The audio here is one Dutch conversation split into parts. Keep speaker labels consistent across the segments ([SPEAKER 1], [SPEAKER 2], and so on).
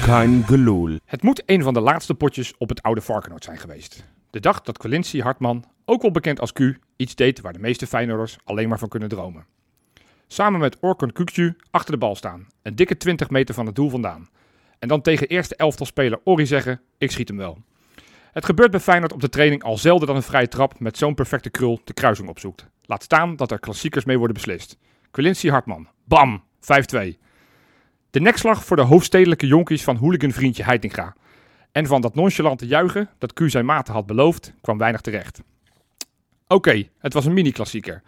[SPEAKER 1] Kein geloel.
[SPEAKER 2] Het moet een van de laatste potjes op het oude Varkenoord zijn geweest. De dag dat Colinci Hartman, ook wel bekend als Q, iets deed waar de meeste Feyenoorders alleen maar van kunnen dromen. Samen met Orkun Kukcu achter de bal staan, een dikke 20 meter van het doel vandaan. En dan tegen eerste elftal speler Ori zeggen, ik schiet hem wel. Het gebeurt bij Feyenoord op de training al zelden dat een vrije trap met zo'n perfecte krul de kruising opzoekt. Laat staan dat er klassiekers mee worden beslist. Quilincy Hartman, bam, 5-2. De nekslag voor de hoofdstedelijke jonkies van hooliganvriendje Heitinga. En van dat nonchalante juichen dat Q zijn maten had beloofd, kwam weinig terecht. Oké, het was een mini-klassieker.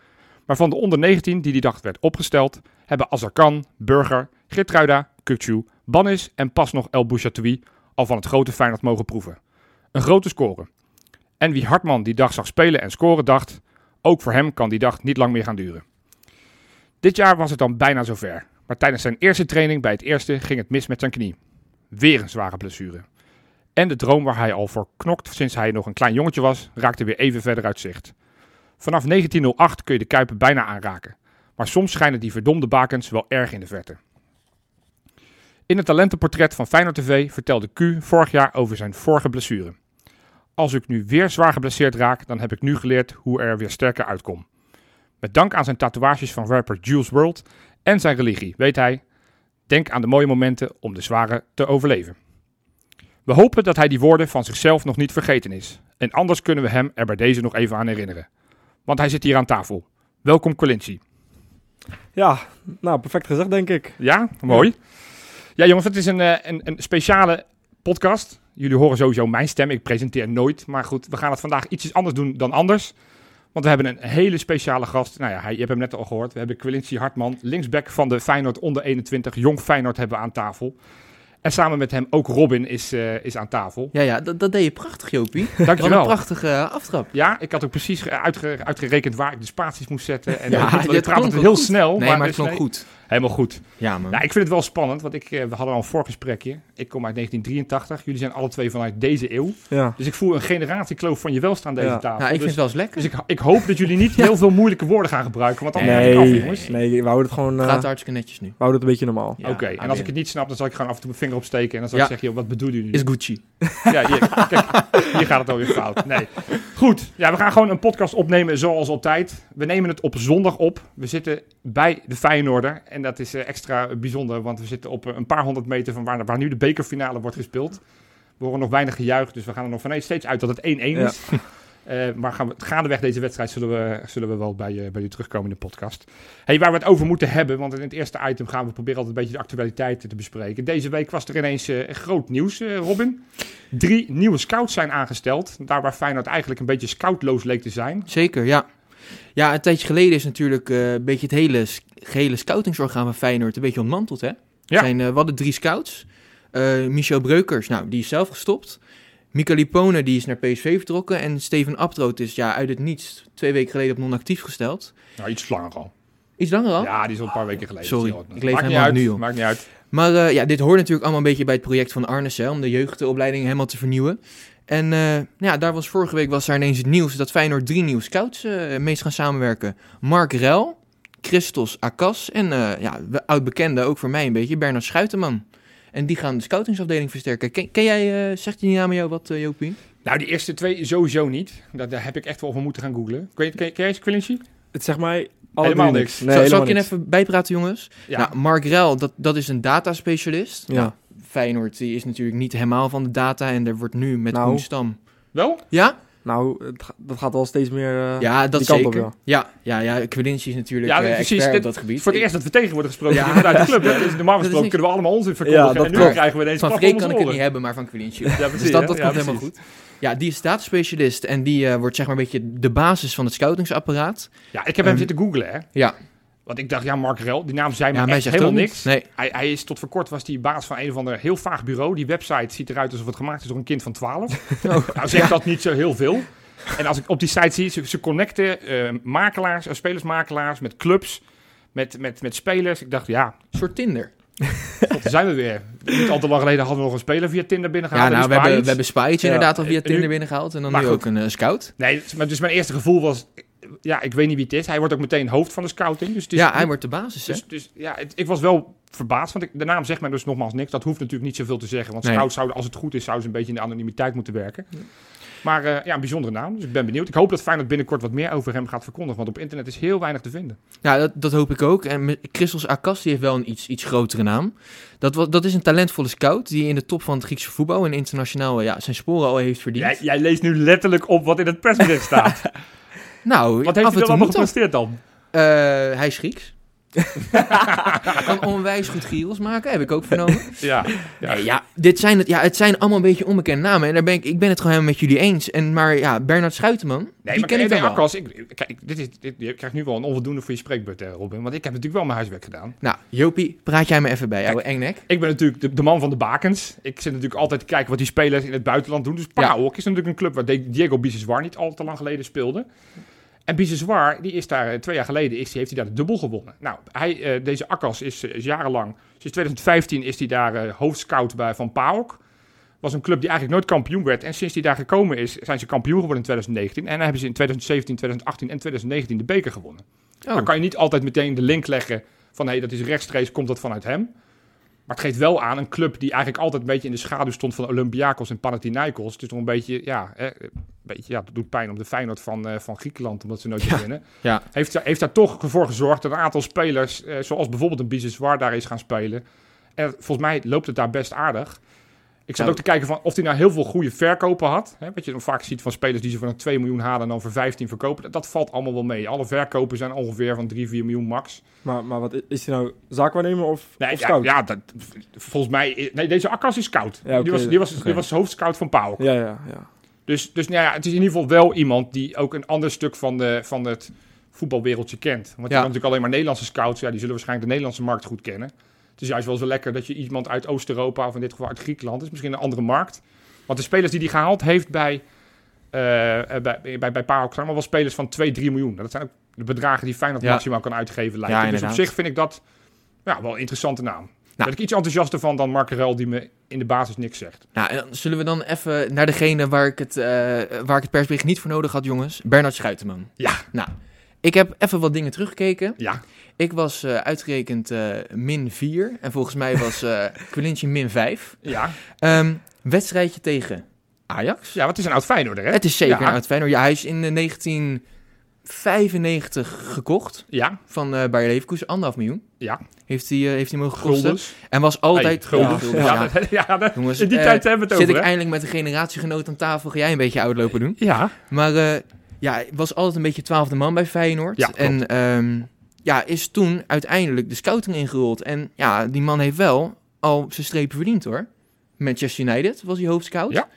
[SPEAKER 2] Maar van de onder 19 die die dag werd opgesteld, hebben Azarkan, Burger, Gertruida, Kukçu, Bannis en pas nog El Bouchatoui al van het grote Feyenoord mogen proeven. Een grote score. En wie Hartman die dag zag spelen en scoren dacht, ook voor hem kan die dag niet lang meer gaan duren. Dit jaar was het dan bijna zover. Maar tijdens zijn eerste training bij het eerste ging het mis met zijn knie. Weer een zware blessure. En de droom waar hij al voor knokt sinds hij nog een klein jongetje was, raakte weer even verder uit zicht. Vanaf 1908 kun je de Kuipen bijna aanraken. Maar soms schijnen die verdomde bakens wel erg in de verte. In het talentenportret van Feyenoord TV vertelde Q vorig jaar over zijn vorige blessure. Als ik nu weer zwaar geblesseerd raak, dan heb ik nu geleerd hoe er weer sterker uitkom. Met dank aan zijn tatoeages van rapper Jules World en zijn religie weet hij: denk aan de mooie momenten om de zware te overleven. We hopen dat hij die woorden van zichzelf nog niet vergeten is. En anders kunnen we hem er bij deze nog even aan herinneren. Want hij zit hier aan tafel. Welkom Colinci.
[SPEAKER 3] Ja, nou perfect gezegd denk ik.
[SPEAKER 2] Ja, mooi. Ja, jongens, het is een, eh, een, een speciale podcast. Jullie horen sowieso mijn stem. Ik presenteer nooit. Maar goed, we gaan het vandaag ietsjes anders doen dan anders. Want we hebben een hele speciale gast. Nou ja, hij, je hebt hem net al gehoord. We hebben Quilincy Hartman, linksback van de Feyenoord onder 21. Jong Feyenoord hebben we aan tafel. En samen met hem ook Robin is, eh, is aan tafel.
[SPEAKER 4] Ja, ja dat, dat deed je prachtig, Jopie. Wat een
[SPEAKER 2] Dankjewel.
[SPEAKER 4] prachtige eh, aftrap.
[SPEAKER 2] Ja, ik had ook precies ge- uitge- uitgerekend waar ik de spaties moest zetten. En
[SPEAKER 4] Ja,
[SPEAKER 2] ja,
[SPEAKER 4] dit
[SPEAKER 2] ik praat
[SPEAKER 4] klonk
[SPEAKER 2] altijd
[SPEAKER 4] wel
[SPEAKER 2] heel
[SPEAKER 4] goed.
[SPEAKER 2] snel.
[SPEAKER 4] nee, maar het
[SPEAKER 2] dus
[SPEAKER 4] klonk
[SPEAKER 2] nee,
[SPEAKER 4] goed.
[SPEAKER 2] Helemaal goed.
[SPEAKER 4] Ja, man.
[SPEAKER 2] Nou, ik vind het wel spannend, want ik, eh, we hadden al een voorgesprekje. Ik kom uit 1983. Jullie zijn alle twee vanuit deze eeuw.
[SPEAKER 3] Ja.
[SPEAKER 2] Dus ik voel een generatiekloof van je welste aan deze
[SPEAKER 3] Ja.
[SPEAKER 2] tafel.
[SPEAKER 4] Nou, ik vind
[SPEAKER 2] dus
[SPEAKER 4] het wel eens lekker.
[SPEAKER 2] dus ik, ik hoop dat jullie niet heel veel moeilijke woorden gaan gebruiken, want dan ben ik af,
[SPEAKER 3] Nee,
[SPEAKER 2] jongens.
[SPEAKER 3] nee, we houden het gewoon eh,
[SPEAKER 4] Gaat hartstikke netjes nu.
[SPEAKER 3] we houden het een beetje normaal.
[SPEAKER 4] Ja,
[SPEAKER 2] Oké, en als ik het
[SPEAKER 4] amen.
[SPEAKER 2] niet snap, dan zal ik gewoon af en toe mijn vinger opsteken en dan zal ik
[SPEAKER 4] Ja.
[SPEAKER 2] zeggen, joh, wat bedoelen jullie? nu?
[SPEAKER 4] Is Gucci.
[SPEAKER 2] Ja, hier, kijk, hier gaat het alweer fout. Nee. Goed, ja, we gaan gewoon een podcast opnemen zoals altijd. We nemen het op zondag op. We zitten bij de Feyenoorder. En dat is eh, extra bijzonder, want we zitten op eh, een paar honderd meter van waar, waar nu de bekerfinale wordt gespeeld. We horen nog weinig gejuich, dus we gaan er nog vanuit steeds uit dat het 1-1
[SPEAKER 3] Ja.
[SPEAKER 2] is. Eh, maar gaan we, gaandeweg deze wedstrijd zullen we, zullen we wel bij, eh, bij u terugkomen in de podcast. Hey, waar we het over moeten hebben, want in het eerste item gaan we proberen altijd een beetje de actualiteit te bespreken. Deze week was er ineens eh, groot nieuws, eh, Robin. Drie nieuwe scouts zijn aangesteld. Daar waar Feyenoord eigenlijk een beetje scoutloos leek te zijn.
[SPEAKER 4] Zeker, ja. Ja, een tijdje geleden is natuurlijk eh, een beetje het hele, s- gehele scoutingsorgaan van Feyenoord een beetje ontmanteld, hè?
[SPEAKER 2] Ja.
[SPEAKER 4] Zijn, eh, we hadden drie scouts. Eh, Michel Breukers, nou, die is zelf gestopt. Mika Lipone, die is naar PSV vertrokken. En Steven Abtroot is ja, uit het niets twee weken geleden op non-actief gesteld.
[SPEAKER 2] Nou, iets langer al.
[SPEAKER 4] Iets langer al.
[SPEAKER 2] Ja, die is al een paar weken geleden.
[SPEAKER 4] Oh. Sorry,
[SPEAKER 2] Heel wat.
[SPEAKER 4] ik leef
[SPEAKER 2] Maakt niet
[SPEAKER 4] helemaal
[SPEAKER 2] uit,
[SPEAKER 4] nu, joh.
[SPEAKER 2] Maakt niet uit.
[SPEAKER 4] Maar eh, ja, dit hoort natuurlijk allemaal een beetje bij het project van Arnes, hè, om de jeugdopleiding helemaal te vernieuwen. En eh, nou ja, daar was vorige week was daar ineens het nieuws dat Feyenoord drie nieuwe scouts eh mee is gaan samenwerken. Mark Rel, Christos Akas en eh ja, we- oud-bekende, ook voor mij een beetje, Bernard Schuitenman. En die gaan de scoutingsafdeling versterken. Ken, ken jij, eh, zegt die naam jou wat, eh, Jopie?
[SPEAKER 2] Nou, die eerste twee sowieso niet. Daar, daar heb ik echt wel over moeten gaan googlen. Kun je, ken je- ken jij eens Quillincy?
[SPEAKER 3] Het zegt mij alle
[SPEAKER 2] Helemaal
[SPEAKER 3] drie
[SPEAKER 2] niks.
[SPEAKER 3] Nee,
[SPEAKER 4] Zal, zal
[SPEAKER 3] helemaal
[SPEAKER 4] ik je
[SPEAKER 3] niks.
[SPEAKER 4] even bijpraten, jongens?
[SPEAKER 2] Ja.
[SPEAKER 4] Nou, Mark Rel, dat, dat is een dataspecialist.
[SPEAKER 3] Ja.
[SPEAKER 4] Feyenoord die is natuurlijk niet helemaal van de data en er wordt nu met
[SPEAKER 3] Nou.
[SPEAKER 4] Koen Stam...
[SPEAKER 2] Wel?
[SPEAKER 4] Ja?
[SPEAKER 3] Nou, het ga- dat gaat wel steeds meer... eh,
[SPEAKER 4] Ja, dat
[SPEAKER 3] die kant op,
[SPEAKER 4] zeker. ja, ja, ja, Quilinci is natuurlijk
[SPEAKER 2] Ja,
[SPEAKER 4] ja,
[SPEAKER 2] dat- precies.
[SPEAKER 4] eh, expert
[SPEAKER 2] Dit-
[SPEAKER 4] op dat gebied.
[SPEAKER 2] Voor het
[SPEAKER 4] Ik-
[SPEAKER 2] eerst dat we tegen worden gesproken
[SPEAKER 4] Ja,
[SPEAKER 2] hier vanuit de club. hè? Dus normaal
[SPEAKER 4] dat is
[SPEAKER 2] gesproken
[SPEAKER 4] niks.
[SPEAKER 2] kunnen we allemaal onzin verkondigen.
[SPEAKER 3] Ja, dat
[SPEAKER 2] en nu
[SPEAKER 3] klopt.
[SPEAKER 2] krijgen we ineens
[SPEAKER 4] Van
[SPEAKER 2] klap
[SPEAKER 4] Freek
[SPEAKER 2] om
[SPEAKER 4] kan
[SPEAKER 2] onze
[SPEAKER 4] ik het
[SPEAKER 2] oren.
[SPEAKER 4] niet hebben, maar van Quilinci.
[SPEAKER 2] Ja,
[SPEAKER 4] Dus
[SPEAKER 2] precies,
[SPEAKER 4] dat,
[SPEAKER 2] hè?
[SPEAKER 4] dat
[SPEAKER 2] Ja,
[SPEAKER 4] komt
[SPEAKER 2] precies.
[SPEAKER 4] helemaal goed. Ja, die is dataspecialist en die eh, wordt zeg maar een beetje de basis van het scoutingsapparaat.
[SPEAKER 2] Ja, ik heb hem
[SPEAKER 4] Ehm,
[SPEAKER 2] zitten googlen, hè.
[SPEAKER 4] Ja,
[SPEAKER 2] Want ik dacht, ja, Mark Rel, die naam zei me
[SPEAKER 4] ja
[SPEAKER 2] echt helemaal
[SPEAKER 4] ook niet.
[SPEAKER 2] niks.
[SPEAKER 4] Nee,
[SPEAKER 2] Hij, hij is tot voor kort was die baas van een of ander heel vaag bureau. Die website ziet eruit alsof het gemaakt is door een kind van 12.
[SPEAKER 4] Oh,
[SPEAKER 2] Nou zegt dat niet zo heel veel. En als ik op die site zie, ze, ze connecten eh, makelaars, eh, spelersmakelaars met clubs, met, met, met spelers. Ik dacht, ja,
[SPEAKER 4] een soort Tinder.
[SPEAKER 2] god, daar zijn we weer. Niet al te lang geleden hadden we nog een speler via Tinder
[SPEAKER 4] Ja,
[SPEAKER 2] binnengehaald.
[SPEAKER 4] nou,
[SPEAKER 2] en
[SPEAKER 4] we
[SPEAKER 2] is
[SPEAKER 4] hebben, we
[SPEAKER 2] Bajic.
[SPEAKER 4] hebben Spajic
[SPEAKER 3] Ja.
[SPEAKER 4] inderdaad al via
[SPEAKER 2] En eh, nu-
[SPEAKER 4] Tinder binnengehaald en dan
[SPEAKER 2] Maar
[SPEAKER 4] nu
[SPEAKER 2] goed.
[SPEAKER 4] ook een eh, scout.
[SPEAKER 2] Nee, dus- maar dus mijn eerste gevoel was... ja, ik weet niet wie het is. Hij wordt ook meteen hoofd van de scouting. Dus het is
[SPEAKER 4] ja, hij wordt de basis. hè?
[SPEAKER 2] Dus, dus ja, het- ik was wel verbaasd, want ik, de naam zegt mij dus nogmaals niks. Dat hoeft natuurlijk niet zoveel te zeggen, want
[SPEAKER 4] Nee.
[SPEAKER 2] scouts zouden, als het goed is, zouden ze een beetje in de anonimiteit moeten werken. Maar eh, ja, een bijzondere naam, dus ik ben benieuwd. Ik hoop dat Feyenoord binnenkort wat meer over hem gaat verkondigen, want op internet is heel weinig te vinden.
[SPEAKER 4] Ja, dat, dat hoop ik ook. En me- Christos Akas die heeft wel een iets, iets grotere naam. Dat, wa- dat is een talentvolle scout die in de top van het Griekse voetbal en internationaal eh, ja, zijn sporen al heeft verdiend.
[SPEAKER 2] Jij, jij leest nu letterlijk op wat in het persbericht staat.
[SPEAKER 4] Nou,
[SPEAKER 2] Wat heeft
[SPEAKER 4] af
[SPEAKER 2] hij dan
[SPEAKER 4] en toe
[SPEAKER 2] allemaal
[SPEAKER 4] moet dat.
[SPEAKER 2] gepresteerd dan?
[SPEAKER 4] Eh, hij is Grieks. Hij kan onwijs goed Giros maken, heb ik ook vernomen.
[SPEAKER 2] Ja,
[SPEAKER 4] Nee, ja, dit zijn het, ja, het zijn allemaal een beetje onbekende namen. En daar ben ik, ik ben het gewoon helemaal met jullie eens. En, maar ja, Bernard Schuiteman,
[SPEAKER 2] Nee,
[SPEAKER 4] die
[SPEAKER 2] maar
[SPEAKER 4] ken
[SPEAKER 2] nee,
[SPEAKER 4] ik dan wel.
[SPEAKER 2] Akkas, ik, kijk, dit is, dit, je krijgt nu wel een onvoldoende voor je spreekbeurt, eh, Robin. Want ik heb natuurlijk wel mijn huiswerk gedaan.
[SPEAKER 4] Nou, Jopie, praat jij me even bij, ouwe engnek.
[SPEAKER 2] Ik ben natuurlijk de, de man van de bakens. Ik zit natuurlijk altijd te kijken wat die spelers in het buitenland doen. Dus PAOK is natuurlijk een club waar Di- Diego Biseswar niet al te lang geleden speelde. En Biseswar, die is daar eh, twee jaar geleden, is, die- heeft hij daar de dubbel gewonnen. Nou, hij, eh, deze Akkas is, eh, is jarenlang, sinds 2015 is hij daar eh, hoofdscout bij van PAOK. Was een club die eigenlijk nooit kampioen werd. En sinds hij daar gekomen is, zijn ze kampioen geworden in 2019. En dan hebben ze in 2017, 2018 en 2019 de beker gewonnen.
[SPEAKER 4] Oh.
[SPEAKER 2] Dan kan je niet altijd meteen de link leggen van hé, dat is rechtstreeks, komt dat vanuit hem. Maar het geeft wel aan een club die eigenlijk altijd een beetje in de schaduw stond van Olympiakos en Panathinaikos. Het is toch een beetje, ja, hè, een beetje, ja dat doet pijn om de Feyenoord van, eh, van Griekenland, omdat ze nooit winnen.
[SPEAKER 4] Ja.
[SPEAKER 2] Heeft, daar- heeft daar toch voor gezorgd dat een aantal spelers, eh, zoals bijvoorbeeld een Biseswar, daar is gaan spelen. En volgens mij loopt het daar best aardig. Ik zat
[SPEAKER 4] Ja.
[SPEAKER 2] ook te kijken van of hij nou heel veel goede verkopen had. Hè, wat je dan vaak ziet van spelers die ze voor een 2 miljoen halen en dan voor 15 verkopen. Dat, dat valt allemaal wel mee. Alle verkopen zijn ongeveer van 3, 4 miljoen max.
[SPEAKER 3] Maar, maar wat, i- is hij nou zaakwaarnemer of,
[SPEAKER 2] Nee,
[SPEAKER 3] of
[SPEAKER 2] ja,
[SPEAKER 3] scout?
[SPEAKER 2] ja, dat, volgens mij... Nee, deze Akkas is scout.
[SPEAKER 3] Ja, oké,
[SPEAKER 2] die, was, die, was,
[SPEAKER 4] oké.
[SPEAKER 2] die was hoofdscout van Pauw.
[SPEAKER 3] ja, ja, ja.
[SPEAKER 2] Dus, dus nou ja, het is in ieder geval wel iemand die ook een ander stuk van, de, van het voetbalwereldje kent. Want je kan natuurlijk alleen maar Nederlandse scouts. Ja, die zullen waarschijnlijk de Nederlandse markt goed kennen. Het is juist wel zo lekker dat je iemand uit Oost-Europa, of in dit geval uit Griekenland, is misschien een andere markt. Want de spelers die hij gehaald heeft bij, eh eh, bij, bij, bij PAOK zijn allemaal wel spelers van 2, 3 miljoen. Nou, Dat zijn ook de bedragen die Feyenoord
[SPEAKER 4] Ja.
[SPEAKER 2] maximaal kan uitgeven. Lijkt
[SPEAKER 4] Ja,
[SPEAKER 2] het. dus op
[SPEAKER 4] inderdaad.
[SPEAKER 2] zich vind ik dat ja, wel een interessante naam. Daar
[SPEAKER 4] Nou.
[SPEAKER 2] ben ik iets enthousiaster van dan Mark Rel, die me in de basis niks zegt.
[SPEAKER 4] Nou, en dan zullen we dan even naar degene waar ik, het, eh, waar ik het persbericht niet voor nodig had, jongens. Bernard Schuiteman.
[SPEAKER 2] Ja.
[SPEAKER 4] Nou, ik heb even wat dingen teruggekeken.
[SPEAKER 2] Ja,
[SPEAKER 4] Ik was eh, uitgerekend eh, min 4. En volgens mij was eh Quilinci min 5.
[SPEAKER 2] ja.
[SPEAKER 4] Ehm, wedstrijdje tegen Ajax.
[SPEAKER 2] ja wat is een oud Feyenoorder, hè?
[SPEAKER 4] Het is zeker
[SPEAKER 2] Ja.
[SPEAKER 4] een oud Feyenoord. Ja, hij is in eh, 1995 gekocht
[SPEAKER 2] Ja,
[SPEAKER 4] van eh Bayer Leverkusen. Anderhalf miljoen.
[SPEAKER 2] Ja.
[SPEAKER 4] Heeft hij, eh, heeft hij mogen kosten.
[SPEAKER 2] guldens.
[SPEAKER 4] En was altijd...
[SPEAKER 2] Hey, guldens.
[SPEAKER 4] guldens,
[SPEAKER 2] Ja, ja. dat-
[SPEAKER 4] Jongens,
[SPEAKER 2] in die
[SPEAKER 4] eh,
[SPEAKER 2] tijd hebben we het
[SPEAKER 4] Zit
[SPEAKER 2] over,
[SPEAKER 4] ik
[SPEAKER 2] hè?
[SPEAKER 4] eindelijk met een generatiegenoot aan tafel? Ga jij een beetje uitlopen doen?
[SPEAKER 2] Ja.
[SPEAKER 4] Maar eh, ja, ik was altijd een beetje twaalfde man bij Feyenoord.
[SPEAKER 2] Ja, klopt.
[SPEAKER 4] en ehm, ja, is toen uiteindelijk de scouting ingerold. En ja, die man heeft wel al zijn strepen verdiend hoor. Manchester United was hij hoofdscout.
[SPEAKER 2] Ja.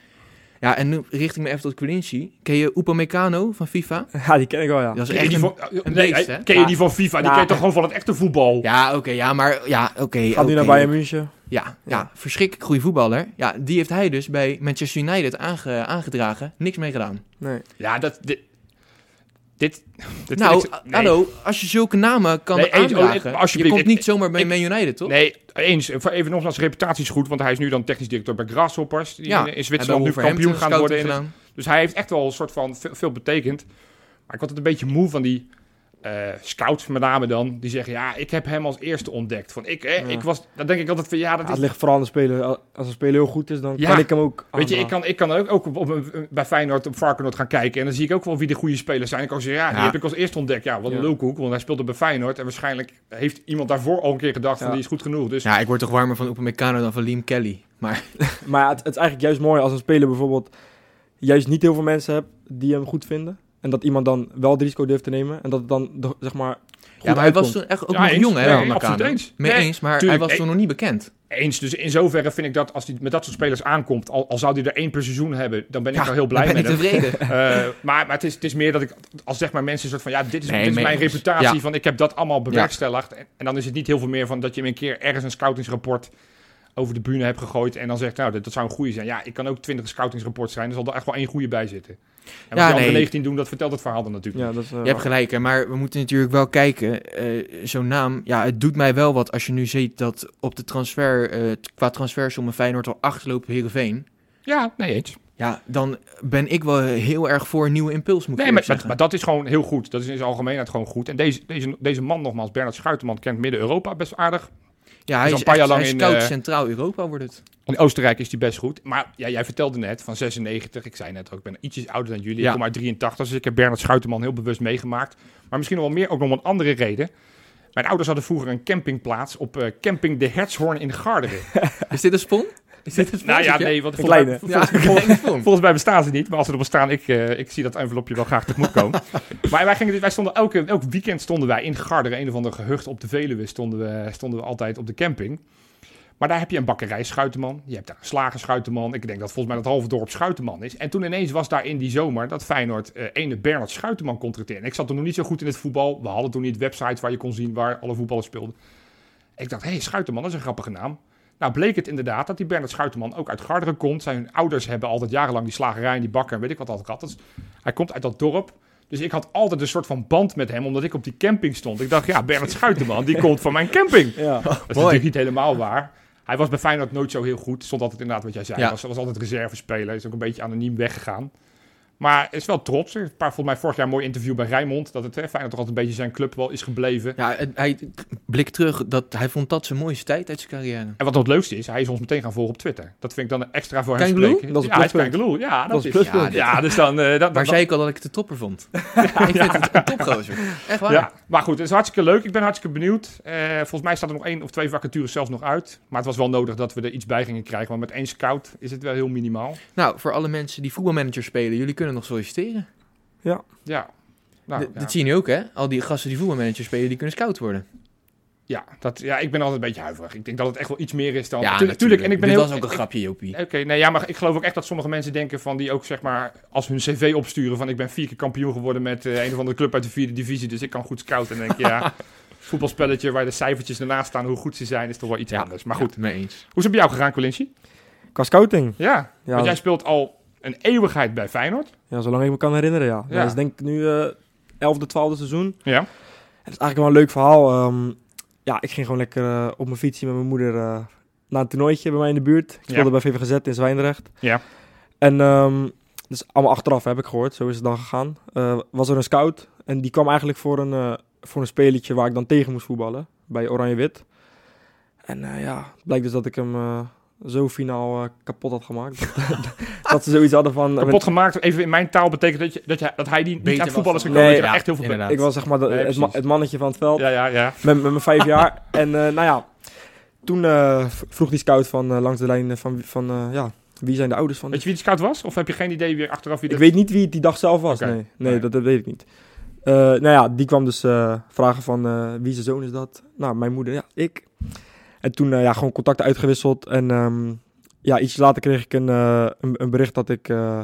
[SPEAKER 4] Ja, en nu richt ik me even tot Quilinci. Ken je Upamecano van FIFA?
[SPEAKER 3] Ja, die ken ik wel, ja.
[SPEAKER 4] Dat is
[SPEAKER 2] Ken je
[SPEAKER 4] echt
[SPEAKER 2] die
[SPEAKER 4] een-
[SPEAKER 2] van,
[SPEAKER 4] een
[SPEAKER 2] nee,
[SPEAKER 4] beest,
[SPEAKER 2] hey,
[SPEAKER 4] hè?
[SPEAKER 2] ken je
[SPEAKER 4] Ja.
[SPEAKER 2] die van FIFA? Die
[SPEAKER 3] Ja.
[SPEAKER 2] ken je toch gewoon van het echte voetbal?
[SPEAKER 4] Ja, oké, ja, maar ja, oké.
[SPEAKER 3] Gaat nu
[SPEAKER 4] oké.
[SPEAKER 3] naar Bayern München?
[SPEAKER 4] Ja, ja, verschrikkelijk goede voetballer. Ja, die heeft hij dus bij Manchester United aange- aangedragen. Niks mee gedaan.
[SPEAKER 3] Nee.
[SPEAKER 2] Ja, dat... Dit... dit, dit
[SPEAKER 4] nou,
[SPEAKER 2] ik- nee.
[SPEAKER 4] hallo, als je zulke namen kan
[SPEAKER 2] Nee, eens- oh,
[SPEAKER 4] aandragen,
[SPEAKER 2] eh, alsjeblieft,
[SPEAKER 4] je komt
[SPEAKER 2] ik-
[SPEAKER 4] niet zomaar bij
[SPEAKER 2] ik-
[SPEAKER 4] Man United, toch?
[SPEAKER 2] Nee, eens. Even nogmaals, zijn reputatie is goed, want hij is nu dan technisch directeur bij Grasshoppers. Die
[SPEAKER 4] Ja,
[SPEAKER 2] in, in Zwitserland nu kampioen gaan worden. in het- dus hij heeft echt wel een soort van veel, veel betekend. Maar ik word het een beetje moe van die eh, scouts met name dan. Die zeggen, ja, ik heb hem als eerste ontdekt. Van, ik, eh,
[SPEAKER 3] Ja.
[SPEAKER 2] ik was, dan denk ik altijd van, ja, dat
[SPEAKER 3] Ja,
[SPEAKER 2] is
[SPEAKER 3] het ligt vooral aan de speler. Al- Als een speler heel goed is, dan
[SPEAKER 2] Ja.
[SPEAKER 3] kan ik hem ook
[SPEAKER 2] Weet je, ik
[SPEAKER 3] aandragen.
[SPEAKER 2] kan, ik kan ook, ook op, op- bij Feyenoord op Varkenoord gaan kijken. En dan zie ik ook wel wie de goede spelers zijn. Ik kan zeggen, ja, die
[SPEAKER 4] Ja.
[SPEAKER 2] heb ik als eerste ontdekt. Ja, wat een
[SPEAKER 3] Ja.
[SPEAKER 2] lulkoek, want hij speelde bij Feyenoord. En waarschijnlijk heeft iemand daarvoor al een keer gedacht van,
[SPEAKER 3] Ja.
[SPEAKER 2] die is goed genoeg. Dus
[SPEAKER 4] Ja, ik word toch warmer van Upamecano dan van Liam Kelly. Maar
[SPEAKER 3] Maar het, het is eigenlijk juist mooi als een speler bijvoorbeeld juist niet heel veel mensen hebt die hem goed vinden. En dat iemand dan wel het risico durft te nemen. En dat het dan, de- zeg maar, goed
[SPEAKER 4] ja, maar hij
[SPEAKER 3] uitkomt.
[SPEAKER 4] was toen echt ook
[SPEAKER 2] Ja,
[SPEAKER 4] nog
[SPEAKER 2] eens.
[SPEAKER 4] jong, hè,
[SPEAKER 2] Nee,
[SPEAKER 4] Upamecano?
[SPEAKER 2] absoluut eens.
[SPEAKER 4] Mee
[SPEAKER 2] Nee,
[SPEAKER 4] eens, maar
[SPEAKER 2] tuurlijk.
[SPEAKER 4] hij was toen nog niet bekend.
[SPEAKER 2] eens. Dus in zoverre vind ik dat als hij met dat soort spelers aankomt, al, al zou hij er één per seizoen hebben, dan ben ik
[SPEAKER 4] Ja,
[SPEAKER 2] al heel
[SPEAKER 4] Daar
[SPEAKER 2] blij
[SPEAKER 4] ben
[SPEAKER 2] met
[SPEAKER 4] ik
[SPEAKER 2] hem.
[SPEAKER 4] tevreden.
[SPEAKER 2] Eh, maar maar het, is, het is meer dat ik, als zeg maar mensen een soort van, ja, dit is,
[SPEAKER 4] Nee,
[SPEAKER 2] dit is
[SPEAKER 4] mee
[SPEAKER 2] mijn
[SPEAKER 4] eens.
[SPEAKER 2] reputatie,
[SPEAKER 4] Ja.
[SPEAKER 2] van ik heb dat allemaal bewerkstelligd. En, en dan is het niet heel veel meer van dat je hem een keer ergens een scoutingsrapport over de bühne hebt gegooid en dan zegt, nou, dat, dat zou een goede zijn. Ja, ik kan ook twintig scoutingsrapports zijn, er zal er echt wel één goede bij zitten. En wat die andere
[SPEAKER 4] nee.
[SPEAKER 2] 19 doen, dat vertelt het verhaal dan natuurlijk.
[SPEAKER 3] Ja, dat is, eh,
[SPEAKER 4] Je hebt gelijk, hè, maar we moeten natuurlijk wel kijken. eh, Zo'n naam, ja, het doet mij wel wat als je nu ziet dat op de transfer, eh, t- qua transfersommen Feyenoord al achterloopt op Heerenveen.
[SPEAKER 2] Ja, nee eens.
[SPEAKER 4] Ja, dan ben ik wel heel erg voor een nieuwe impuls, moet ik
[SPEAKER 2] Nee, maar,
[SPEAKER 4] eerlijk
[SPEAKER 2] maar,
[SPEAKER 4] zeggen.
[SPEAKER 2] maar dat is gewoon heel goed. Dat is in zijn algemeenheid gewoon goed. En deze, deze, deze man nogmaals, Bernard Schuiterman, kent Midden-Europa best aardig.
[SPEAKER 4] ja, hij
[SPEAKER 2] is
[SPEAKER 4] is,
[SPEAKER 2] al een paar jaar
[SPEAKER 4] echt-
[SPEAKER 2] lang
[SPEAKER 4] hij is
[SPEAKER 2] in,
[SPEAKER 4] koud
[SPEAKER 2] eh,
[SPEAKER 4] Centraal-Europa wordt het.
[SPEAKER 2] In Oostenrijk is die best goed. Maar ja, jij vertelde net van 96. Ik zei net ook, ik ben ietsjes ouder dan jullie.
[SPEAKER 4] Ja.
[SPEAKER 2] Ik kom uit 83. Dus ik heb Bernard Schuiterman heel bewust meegemaakt. Maar misschien nog wel meer, ook nog om een andere reden. Mijn ouders hadden vroeger een campingplaats op eh, camping De Hertshoorn in Garderen.
[SPEAKER 4] Is dit een spon? Is dit een spon?
[SPEAKER 2] nou ja, nee, want
[SPEAKER 3] Een
[SPEAKER 2] volgens mij,
[SPEAKER 3] kleine.
[SPEAKER 4] Ja, ik denk het wel.
[SPEAKER 2] volgens mij bestaan ze niet. Maar als ze er bestaan, ik, eh, ik zie dat envelopje wel graag tegemoetkomen. maar wij, gingen, dus- wij stonden elke, elk weekend stonden wij in Garderen, een of ander gehucht op de Veluwe, stonden we, stonden we altijd op de camping. Maar daar heb je een bakkerij Schuitenman, je hebt daar een slager Schuitenman. Ik denk dat volgens mij dat halve dorp Schuitenman is. En toen ineens was daar in die zomer dat Feyenoord eh ene Bernard Schuitenman contracteerde. En ik zat toen nog niet zo goed in het voetbal. We hadden toen niet websites waar je kon zien waar alle voetballers speelden. Ik dacht, hé, hey, Schuitenman, dat is een grappige naam. Nou, bleek het inderdaad dat die Bernard Schuitenman ook uit Garderen komt. Zijn ouders hebben altijd jarenlang die slagerij en die bakker en weet ik wat altijd gehad. Dus hij komt uit dat dorp. Dus ik had altijd een soort van band met hem, omdat ik op die camping stond. Ik dacht, ja, Bernard Schuitenman, die komt van mijn camping.
[SPEAKER 3] Ja.
[SPEAKER 2] Dat is natuurlijk niet helemaal waar. Hij was bij Feyenoord nooit zo heel goed. Stond altijd inderdaad wat jij zei.
[SPEAKER 4] Ja.
[SPEAKER 2] Hij was, was altijd reservespeler. Is ook een beetje anoniem weggegaan. Maar is wel trots. Een paar, volgens mij vorig jaar een mooi interview bij Rijnmond. Dat het hè, Feyenoord toch altijd een beetje zijn club wel is gebleven.
[SPEAKER 4] Ja, het- hij blik terug, dat, hij vond dat zijn mooiste tijd uit zijn carrière.
[SPEAKER 2] En wat nog het leukste is, hij is ons meteen gaan volgen op Twitter. Dat vind ik dan extra voor hem
[SPEAKER 4] Kangaroo?
[SPEAKER 2] spreken.
[SPEAKER 3] Dat is
[SPEAKER 2] ja, hij is
[SPEAKER 3] pluspunt.
[SPEAKER 2] Kangaroo. Ja, dat,
[SPEAKER 3] Dat is
[SPEAKER 2] is.
[SPEAKER 3] pluspunt.
[SPEAKER 2] Ja, ja, dus dan... eh, dat- dat,
[SPEAKER 4] Waar
[SPEAKER 2] dat-
[SPEAKER 4] zei ik al dat ik het de topper vond? ik vind het een topgozer. Echt waar.
[SPEAKER 2] Ja, maar goed, het is hartstikke leuk. Ik ben hartstikke benieuwd. Eh, volgens mij staat er nog één of twee vacatures zelfs nog uit. Maar het was wel nodig dat we er iets bij gingen krijgen. Want met één scout is het wel heel minimaal.
[SPEAKER 4] Nou, voor alle mensen die voetbalmanager spelen, jullie kunnen nog solliciteren.
[SPEAKER 2] Ja. Nou,
[SPEAKER 4] D-
[SPEAKER 2] ja.
[SPEAKER 4] Dat zie je nu ook, hè? Al die gasten die voetbalmanager spelen, die kunnen scout worden.
[SPEAKER 2] Ja, dat, ja, ik ben altijd een beetje huiverig. Ik denk dat het echt wel iets meer is dan...
[SPEAKER 4] ja,
[SPEAKER 2] Tuurlijk, tuurlijk. En ik ben
[SPEAKER 4] Dit
[SPEAKER 2] heel,
[SPEAKER 4] was ook een grapje, Jopie.
[SPEAKER 2] Oké, nee, ja, maar ik geloof ook echt dat sommige mensen denken van die ook zeg maar als hun cv opsturen van ik ben vier keer kampioen geworden met eh, een of andere club uit de vierde divisie, dus ik kan goed scouten. En dan denk je, ja, voetbalspelletje waar de cijfertjes ernaast staan, hoe goed ze zijn, is toch wel iets
[SPEAKER 4] Ja,
[SPEAKER 2] anders. Maar goed,
[SPEAKER 4] mee eens.
[SPEAKER 2] hoe is het bij jou gegaan, Colinci?
[SPEAKER 3] Qua scouting.
[SPEAKER 2] Ja,
[SPEAKER 3] Ja,
[SPEAKER 2] want jij speelt al een eeuwigheid bij Feyenoord.
[SPEAKER 3] ja, zolang ik me kan herinneren, ja.
[SPEAKER 2] Ja.
[SPEAKER 3] Dat is denk ik nu eh 11e, 12e seizoen.
[SPEAKER 2] Ja.
[SPEAKER 3] Het is eigenlijk wel een leuk verhaal. Ehm, ja, ik ging gewoon lekker eh, op mijn fietsje met mijn moeder eh, naar een toernooitje bij mij in de buurt. Ik speelde bij VVGZ in Zwijndrecht.
[SPEAKER 2] Ja.
[SPEAKER 3] En ehm dus allemaal achteraf heb ik gehoord, zo is het dan gegaan. Eh, was er een scout en die kwam eigenlijk voor een, eh voor een spelletje waar ik dan tegen moest voetballen bij Oranje Wit. En eh, ja, het blijkt dus dat ik hem eh, zo finaal eh, kapot had gemaakt. Dat- dat ze zoiets hadden van... eh,
[SPEAKER 2] Kapot gemaakt, even in mijn taal betekent dat, je, dat, je, dat hij die niet
[SPEAKER 4] Beter
[SPEAKER 2] aan voetbal is
[SPEAKER 4] was dan-
[SPEAKER 2] gekomen, dat je
[SPEAKER 3] Nee,
[SPEAKER 2] er
[SPEAKER 4] ja,
[SPEAKER 2] echt heel veel bent.
[SPEAKER 4] inderdaad.
[SPEAKER 3] Ik was zeg maar de-
[SPEAKER 2] Nee,
[SPEAKER 3] het, ma-
[SPEAKER 2] precies.
[SPEAKER 3] het mannetje van het veld.
[SPEAKER 2] Ja, ja, ja.
[SPEAKER 3] Met, met mijn vijf jaar. En eh, nou ja, toen eh, v- vroeg die scout van eh, langs de lijn eh, van, van eh, ja, wie zijn de ouders van
[SPEAKER 2] Weet je wie die scout was? Of heb je geen idee weer achteraf wie
[SPEAKER 3] Ik
[SPEAKER 2] dat...
[SPEAKER 3] weet niet wie het die dag zelf was.
[SPEAKER 2] Oké.
[SPEAKER 3] Nee, nee,
[SPEAKER 2] Nee.
[SPEAKER 3] Dat, dat weet ik niet. Eh, nou ja, die kwam dus eh, vragen van eh, wie zijn zoon is dat? Nou, mijn moeder, ja, ik. En toen eh, ja, gewoon contacten uitgewisseld. En ehm, ja, iets later kreeg ik een, eh, een, een bericht dat ik eh,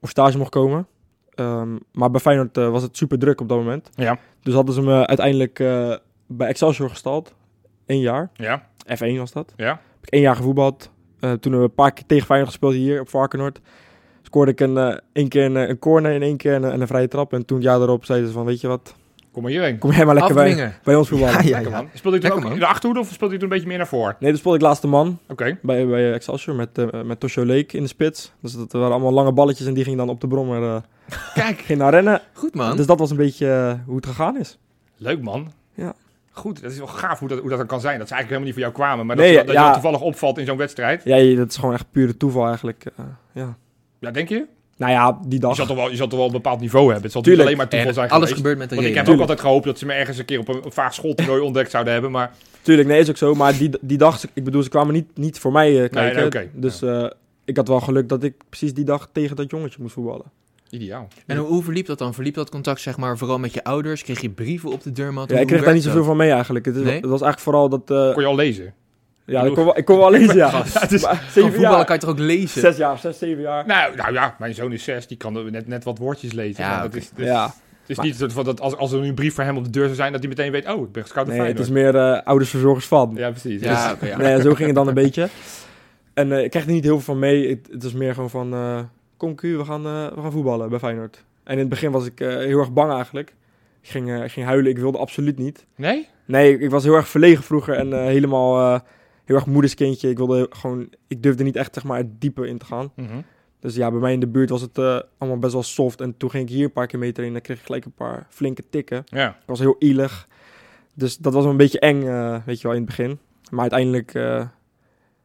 [SPEAKER 3] op stage mocht komen. Ehm, maar bij Feyenoord eh, was het super druk op dat moment.
[SPEAKER 2] Ja.
[SPEAKER 3] Dus hadden ze me uiteindelijk eh, bij Excelsior gestald. Eén jaar.
[SPEAKER 2] Ja,
[SPEAKER 3] F1 was dat.
[SPEAKER 2] ja.
[SPEAKER 3] Heb ik één jaar gevoetbald. Eh, toen hebben we een paar keer tegen Feyenoord gespeeld hier op Varkenoord. Scoorde ik een, eh, één keer een, eh, een corner en één keer een, en een vrije trap. En toen het jaar daarop zeiden ze van, weet je wat,
[SPEAKER 2] Kom maar hierheen.
[SPEAKER 3] kom jij maar lekker bij,
[SPEAKER 4] Afdwingen.
[SPEAKER 3] bij ons voetballen.
[SPEAKER 2] Lekker man. Speelde je toen
[SPEAKER 4] Lekker,
[SPEAKER 2] ook
[SPEAKER 4] man.
[SPEAKER 2] in de achterhoede of speelde je toen een beetje meer naar voren?
[SPEAKER 3] Nee, toen speelde ik laatste man
[SPEAKER 2] Oké.
[SPEAKER 3] bij, bij Excelsior met, eh, met Tosho Leek in de spits. Dus dat waren allemaal lange balletjes en die ging dan op de brommer eh
[SPEAKER 4] Kijk,
[SPEAKER 3] ging naar rennen.
[SPEAKER 4] goed man.
[SPEAKER 3] Dus dat was een beetje eh, hoe het gegaan is.
[SPEAKER 2] Leuk man.
[SPEAKER 3] Ja.
[SPEAKER 2] Goed, dat is wel gaaf hoe dat, hoe dat dan kan zijn. Dat ze eigenlijk helemaal niet voor jou kwamen, maar
[SPEAKER 3] Nee,
[SPEAKER 2] dat, ze- dat je
[SPEAKER 3] ja.
[SPEAKER 2] dan toevallig opvalt in zo'n wedstrijd.
[SPEAKER 3] Ja, je- dat is gewoon echt pure toeval eigenlijk. eh, ja.
[SPEAKER 2] Ja, denk je?
[SPEAKER 3] Nou ja, die
[SPEAKER 2] Je
[SPEAKER 3] dag.
[SPEAKER 2] zal, toch wel, je zal toch wel een bepaald niveau hebben. Het zal
[SPEAKER 3] Tuurlijk.
[SPEAKER 2] niet alleen maar toeval
[SPEAKER 4] En
[SPEAKER 2] zijn
[SPEAKER 4] alles
[SPEAKER 2] geweest.
[SPEAKER 4] gebeurt met een
[SPEAKER 2] Want ik
[SPEAKER 4] reden.
[SPEAKER 2] heb ook
[SPEAKER 3] Tuurlijk.
[SPEAKER 2] altijd gehoopt dat ze me ergens een keer op een, een vaag schooltoernooi ontdekt zouden hebben. Maar
[SPEAKER 3] Tuurlijk, nee, is ook zo. Maar die, die dag, ze- ik bedoel, ze kwamen niet, niet voor mij eh, kijken.
[SPEAKER 2] nee, oké.
[SPEAKER 3] Dus eh, ik had wel geluk dat ik precies die dag tegen dat jongetje moest voetballen.
[SPEAKER 2] ideaal.
[SPEAKER 4] En hoe, hoe verliep dat dan? Verliep dat contact, zeg maar, vooral met je ouders? Kreeg je brieven op de deurmat?
[SPEAKER 3] Ja, ik kreeg daar niet zoveel van mee eigenlijk. Het, is-
[SPEAKER 4] Nee?
[SPEAKER 3] het was eigenlijk vooral dat... eh,
[SPEAKER 2] Kon je al lezen?
[SPEAKER 3] ja, ik kon, wel- ik kon wel lezen, ja.
[SPEAKER 4] Gast.
[SPEAKER 3] Ja, het is maar
[SPEAKER 4] Van
[SPEAKER 3] zeven
[SPEAKER 4] voetballen
[SPEAKER 3] jaar,
[SPEAKER 4] kan je toch ook lezen?
[SPEAKER 3] zes jaar, zes, zeven jaar.
[SPEAKER 2] Nou, nou ja, mijn zoon is zes, die kan er net, net wat woordjes lezen.
[SPEAKER 4] Ja,
[SPEAKER 2] maar dat
[SPEAKER 4] oké.
[SPEAKER 2] is, dus,
[SPEAKER 3] ja,
[SPEAKER 2] Het is
[SPEAKER 3] Maar-
[SPEAKER 2] niet zo van dat als, als er nu een brief voor hem op de deur zou zijn, dat hij meteen weet, oh, ik ben gescout door
[SPEAKER 3] nee, het is
[SPEAKER 2] Feyenoord.
[SPEAKER 3] meer eh ouders verzorgers van.
[SPEAKER 2] Ja, precies.
[SPEAKER 4] Ja,
[SPEAKER 2] Dus-
[SPEAKER 4] oké, ja.
[SPEAKER 3] Nee, zo ging het dan een beetje. En eh, ik kreeg er niet heel veel van mee. Het, het is meer gewoon van, eh, kom Q, we gaan, eh, we gaan voetballen bij Feyenoord. En in het begin was ik eh, heel erg bang eigenlijk. Ik ging, eh, ik ging huilen, ik wilde absoluut niet.
[SPEAKER 2] Nee?
[SPEAKER 3] Nee, ik, ik was heel erg verlegen vroeger en eh, helemaal eh, heel erg moederskindje. Ik wilde heel- gewoon, ik durfde niet echt zeg maar het diepe in te gaan.
[SPEAKER 2] Mhm.
[SPEAKER 3] Dus ja, bij mij in de buurt was het eh, allemaal best wel soft. En toen ging ik hier een paar keer mee trainen. Dan kreeg ik gelijk een paar flinke tikken.
[SPEAKER 2] Ja,
[SPEAKER 3] Ik was heel ielig. Dus dat was een beetje eng, eh, weet je wel, in het begin. Maar uiteindelijk eh,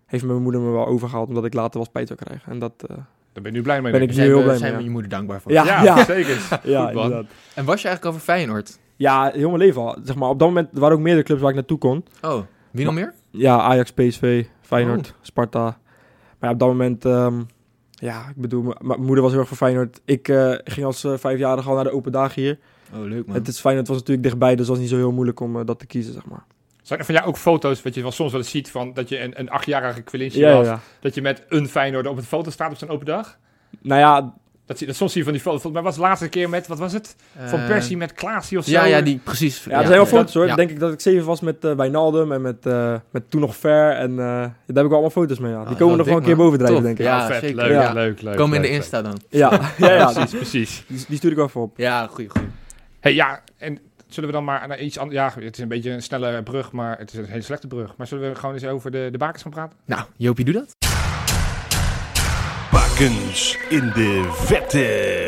[SPEAKER 3] heeft mijn moeder me wel overgehaald, omdat ik later wel spijt zou krijgen. En dat... eh,
[SPEAKER 2] daar ben je nu blij mee.
[SPEAKER 3] Ben
[SPEAKER 2] denk
[SPEAKER 3] ik
[SPEAKER 2] ik.
[SPEAKER 3] heel
[SPEAKER 4] be-
[SPEAKER 3] blij
[SPEAKER 4] zijn
[SPEAKER 3] mee,
[SPEAKER 4] we
[SPEAKER 3] ja.
[SPEAKER 4] je moeder dankbaar voor.
[SPEAKER 3] Ja,
[SPEAKER 2] ja,
[SPEAKER 3] ja.
[SPEAKER 2] zeker.
[SPEAKER 3] ja,
[SPEAKER 2] Goed, man.
[SPEAKER 3] inderdaad.
[SPEAKER 4] En was je eigenlijk over Feyenoord?
[SPEAKER 3] Ja, heel mijn leven al. Zeg maar, op dat moment er waren ook meerdere clubs waar ik naartoe kon.
[SPEAKER 4] Oh, wie nog meer?
[SPEAKER 3] Ja, Ajax, PSV, Feyenoord, Sparta. Maar ja, op dat moment... ehm, ja, ik bedoel, m- mijn moeder was heel erg voor Feyenoord. Ik eh, ging als eh, vijfjarige al naar de open dagen hier.
[SPEAKER 4] Oh, leuk man.
[SPEAKER 3] Het is Feyenoord was natuurlijk dichtbij, dus het was niet zo heel moeilijk om eh, dat te kiezen, zeg maar.
[SPEAKER 2] Zijn er van jou ook foto's, wat je wel soms wel eens ziet, van dat je een, een achtjarige Quilinci
[SPEAKER 3] Ja, ja,
[SPEAKER 2] was,
[SPEAKER 3] ja.
[SPEAKER 2] dat je met een Feyenoorder op het foto staat op zijn open dag?
[SPEAKER 3] Nou ja,
[SPEAKER 2] Dat, zie, dat soms zie je van die foto's. Volgens mij was de laatste keer met, wat was het? Van
[SPEAKER 4] Eh,
[SPEAKER 2] Persie met Klaasie of zo?
[SPEAKER 4] Ja, ja, die precies.
[SPEAKER 3] Ja, er zijn
[SPEAKER 2] ja.
[SPEAKER 3] wel foto's hoor.
[SPEAKER 4] Ja.
[SPEAKER 3] Ik denk ik dat ik zeven was met eh Wijnaldum en met, eh, met toen nog Ver. En eh, daar heb ik wel allemaal foto's mee. Ja. Die
[SPEAKER 4] Ah,
[SPEAKER 3] komen nog
[SPEAKER 4] dat
[SPEAKER 3] wel een
[SPEAKER 4] ding,
[SPEAKER 3] keer
[SPEAKER 4] man.
[SPEAKER 3] bovendrijven,
[SPEAKER 4] Tof.
[SPEAKER 3] denk ik.
[SPEAKER 2] Ja,
[SPEAKER 4] Ja,
[SPEAKER 2] Oh, vet.
[SPEAKER 4] zeker.
[SPEAKER 2] Leuk,
[SPEAKER 4] Ja.
[SPEAKER 2] leuk, leuk.
[SPEAKER 4] Komen
[SPEAKER 2] leuk,
[SPEAKER 4] in de
[SPEAKER 2] leuk.
[SPEAKER 4] Insta dan.
[SPEAKER 3] Ja, ja, ja, die,
[SPEAKER 2] Precies, precies.
[SPEAKER 3] die stuur ik wel even op.
[SPEAKER 4] Ja, goeie, goeie.
[SPEAKER 2] Hey, ja, en zullen we dan maar naar iets anders... Ja, het is een beetje een snelle brug, maar het is een hele slechte brug. Maar zullen we gewoon eens over de, de bakens gaan praten?
[SPEAKER 4] Nou, Joopie, doe dat.
[SPEAKER 1] Bakens in de vette.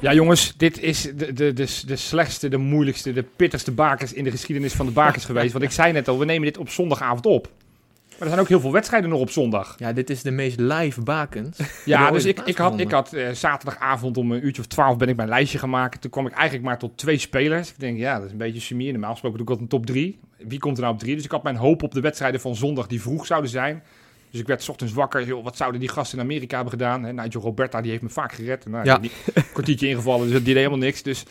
[SPEAKER 2] Ja, jongens, dit is de, de, de, de slechtste, de moeilijkste, de pittigste bakens in de geschiedenis van de bakens geweest. Want ik zei net al, we nemen dit op zondagavond op. Maar er zijn ook heel veel wedstrijden nog op zondag.
[SPEAKER 4] Ja, dit is de meest live bakens.
[SPEAKER 2] Ja,
[SPEAKER 4] ooit
[SPEAKER 2] dus ik, ik had,
[SPEAKER 4] plaatsgevonden?
[SPEAKER 2] ik had eh, zaterdagavond om een uurtje of twaalf ben ik mijn lijstje gemaakt. Toen kwam ik eigenlijk maar tot twee spelers. Ik denk, ja, dat is een beetje chemie. Normaal gesproken doe ik altijd een top drie. Wie komt er nou op drie? Dus ik had mijn hoop op de wedstrijden van zondag die vroeg zouden zijn. Dus ik werd 's ochtends wakker. Joh, wat zouden die gasten in Amerika hebben gedaan? Hè, Nigel Roberta, die heeft me vaak gered. En, nou,
[SPEAKER 4] Ja.
[SPEAKER 2] die- een kwartiertje ingevallen, dus dat deed helemaal niks. Dus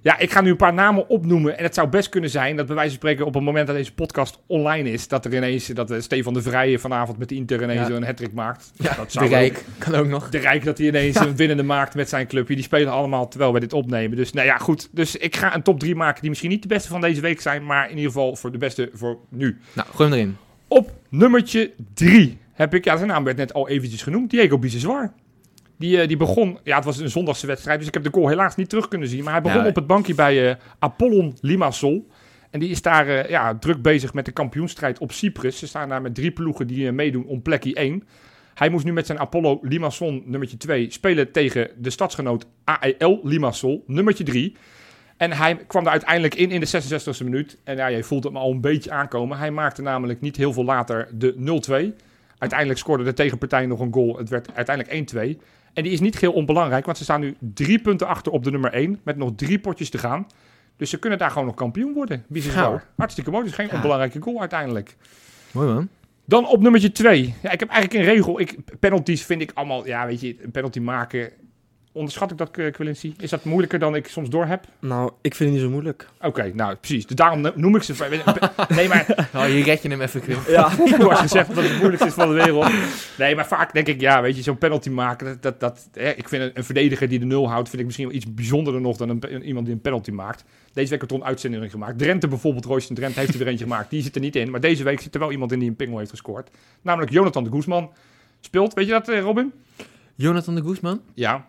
[SPEAKER 2] ja, ik ga nu een paar namen opnoemen. En het zou best kunnen zijn dat bij wijze van spreken op het moment dat deze podcast online is... dat er ineens, dat eh, Stefan de Vrije vanavond met Inter ineens
[SPEAKER 4] Ja.
[SPEAKER 2] een hat maakt.
[SPEAKER 4] Ja,
[SPEAKER 2] dat
[SPEAKER 4] de
[SPEAKER 2] zou wel-
[SPEAKER 4] Rijk kan ook nog.
[SPEAKER 2] de Rijk dat hij ineens een winnende maakt met zijn clubje. Die spelen allemaal terwijl we dit opnemen. Dus nou ja, goed. Dus ik ga een top 3 maken die misschien niet de beste van deze week zijn. Maar in ieder geval voor de beste voor nu.
[SPEAKER 4] Nou, gooi hem erin.
[SPEAKER 2] Op nummertje 3 heb ik, ja zijn naam werd net al eventjes genoemd, Diego Biseswar. Die, eh, die begon, ja het was een zondagse wedstrijd, dus ik heb de goal helaas niet terug kunnen zien. Maar hij begon
[SPEAKER 4] Ja.
[SPEAKER 2] op het bankje bij eh, Apollon Limassol. En die is daar eh, ja, druk bezig met de kampioenstrijd op Cyprus. Ze staan daar met drie ploegen die eh, meedoen om plekje 1. Hij moest nu met zijn Apollo Limassol nummertje 2 spelen tegen de stadsgenoot AEL Limassol nummertje 3. En hij kwam er uiteindelijk in in de 66e minuut. En ja, je voelt hem al een beetje aankomen. Hij maakte namelijk niet heel veel later de 0-2. Uiteindelijk scoorde de tegenpartij nog een goal. Het werd uiteindelijk 1-2. En die is niet heel onbelangrijk, want ze staan nu drie punten achter op de nummer 1. Met nog drie potjes te gaan. Dus ze kunnen daar gewoon nog kampioen worden.
[SPEAKER 4] Gaar.
[SPEAKER 2] Bizar. Hartstikke mooi. Dus geen
[SPEAKER 4] Ja.
[SPEAKER 2] onbelangrijke goal uiteindelijk.
[SPEAKER 4] Mooi man.
[SPEAKER 2] Dan op nummertje 2. Ja, ik heb eigenlijk een regel. Ik, penalties vind ik allemaal, ja, weet je, een penalty maken. Onderschat ik dat, eh, Quilincy? Is dat moeilijker dan ik soms doorheb?
[SPEAKER 3] Nou, ik vind het niet zo moeilijk.
[SPEAKER 2] Oké, nou precies. Dus daarom no- noem ik ze. Nee, maar
[SPEAKER 4] Oh, je red je hem even kwijt.
[SPEAKER 3] Ja,
[SPEAKER 2] er wordt gezegd dat het het moeilijkste is van de wereld. Nee, maar vaak denk ik, ja, weet je, zo'n penalty maken. Dat, dat, dat, hè, ik vind een, een verdediger die de nul houdt, vind ik misschien wel iets bijzonderder nog dan een, pe- iemand die een penalty maakt. Deze week heeft er een uitzending gemaakt. Drenthe bijvoorbeeld, Royston Drenthe heeft er weer eentje gemaakt. Die zit er niet in. Maar deze week zit er wel iemand in die een pingel heeft gescoord. Namelijk Jonathan de Guzman. Speelt, weet je dat, eh, Robin?
[SPEAKER 4] Jonathan de Guzman?
[SPEAKER 2] Ja.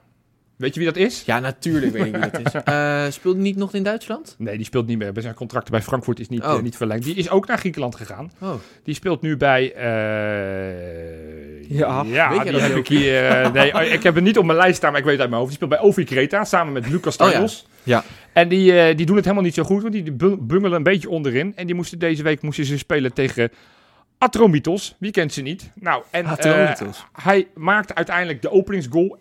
[SPEAKER 2] Weet je wie dat is?
[SPEAKER 4] Ja, natuurlijk weet ik wie dat is. Eh, speelt hij niet nog in Duitsland?
[SPEAKER 2] Nee, die speelt niet meer. Bij Zijn contract bij Frankfurt is niet,
[SPEAKER 4] Oh.
[SPEAKER 2] eh, niet verlengd. Die is ook naar Griekenland gegaan.
[SPEAKER 4] Oh,
[SPEAKER 2] Die speelt nu bij. eh,
[SPEAKER 3] Ja,
[SPEAKER 4] weet je
[SPEAKER 2] die
[SPEAKER 4] dat
[SPEAKER 2] heb
[SPEAKER 4] heel
[SPEAKER 2] ik hier. eh, nee, oh, ik heb het niet op mijn lijst staan, maar ik weet het uit mijn hoofd. Die speelt bij Ovi Kreta samen met Lucas
[SPEAKER 4] Oh ja,
[SPEAKER 2] Tarros.
[SPEAKER 4] ja.
[SPEAKER 2] En die, eh, die doen het helemaal niet zo goed, want die bu- bungelen een beetje onderin. En die moesten deze week moesten ze spelen tegen Atromitos. Wie kent ze niet? Nou, en eh,
[SPEAKER 4] Atromitos.
[SPEAKER 2] hij maakte uiteindelijk de openingsgoal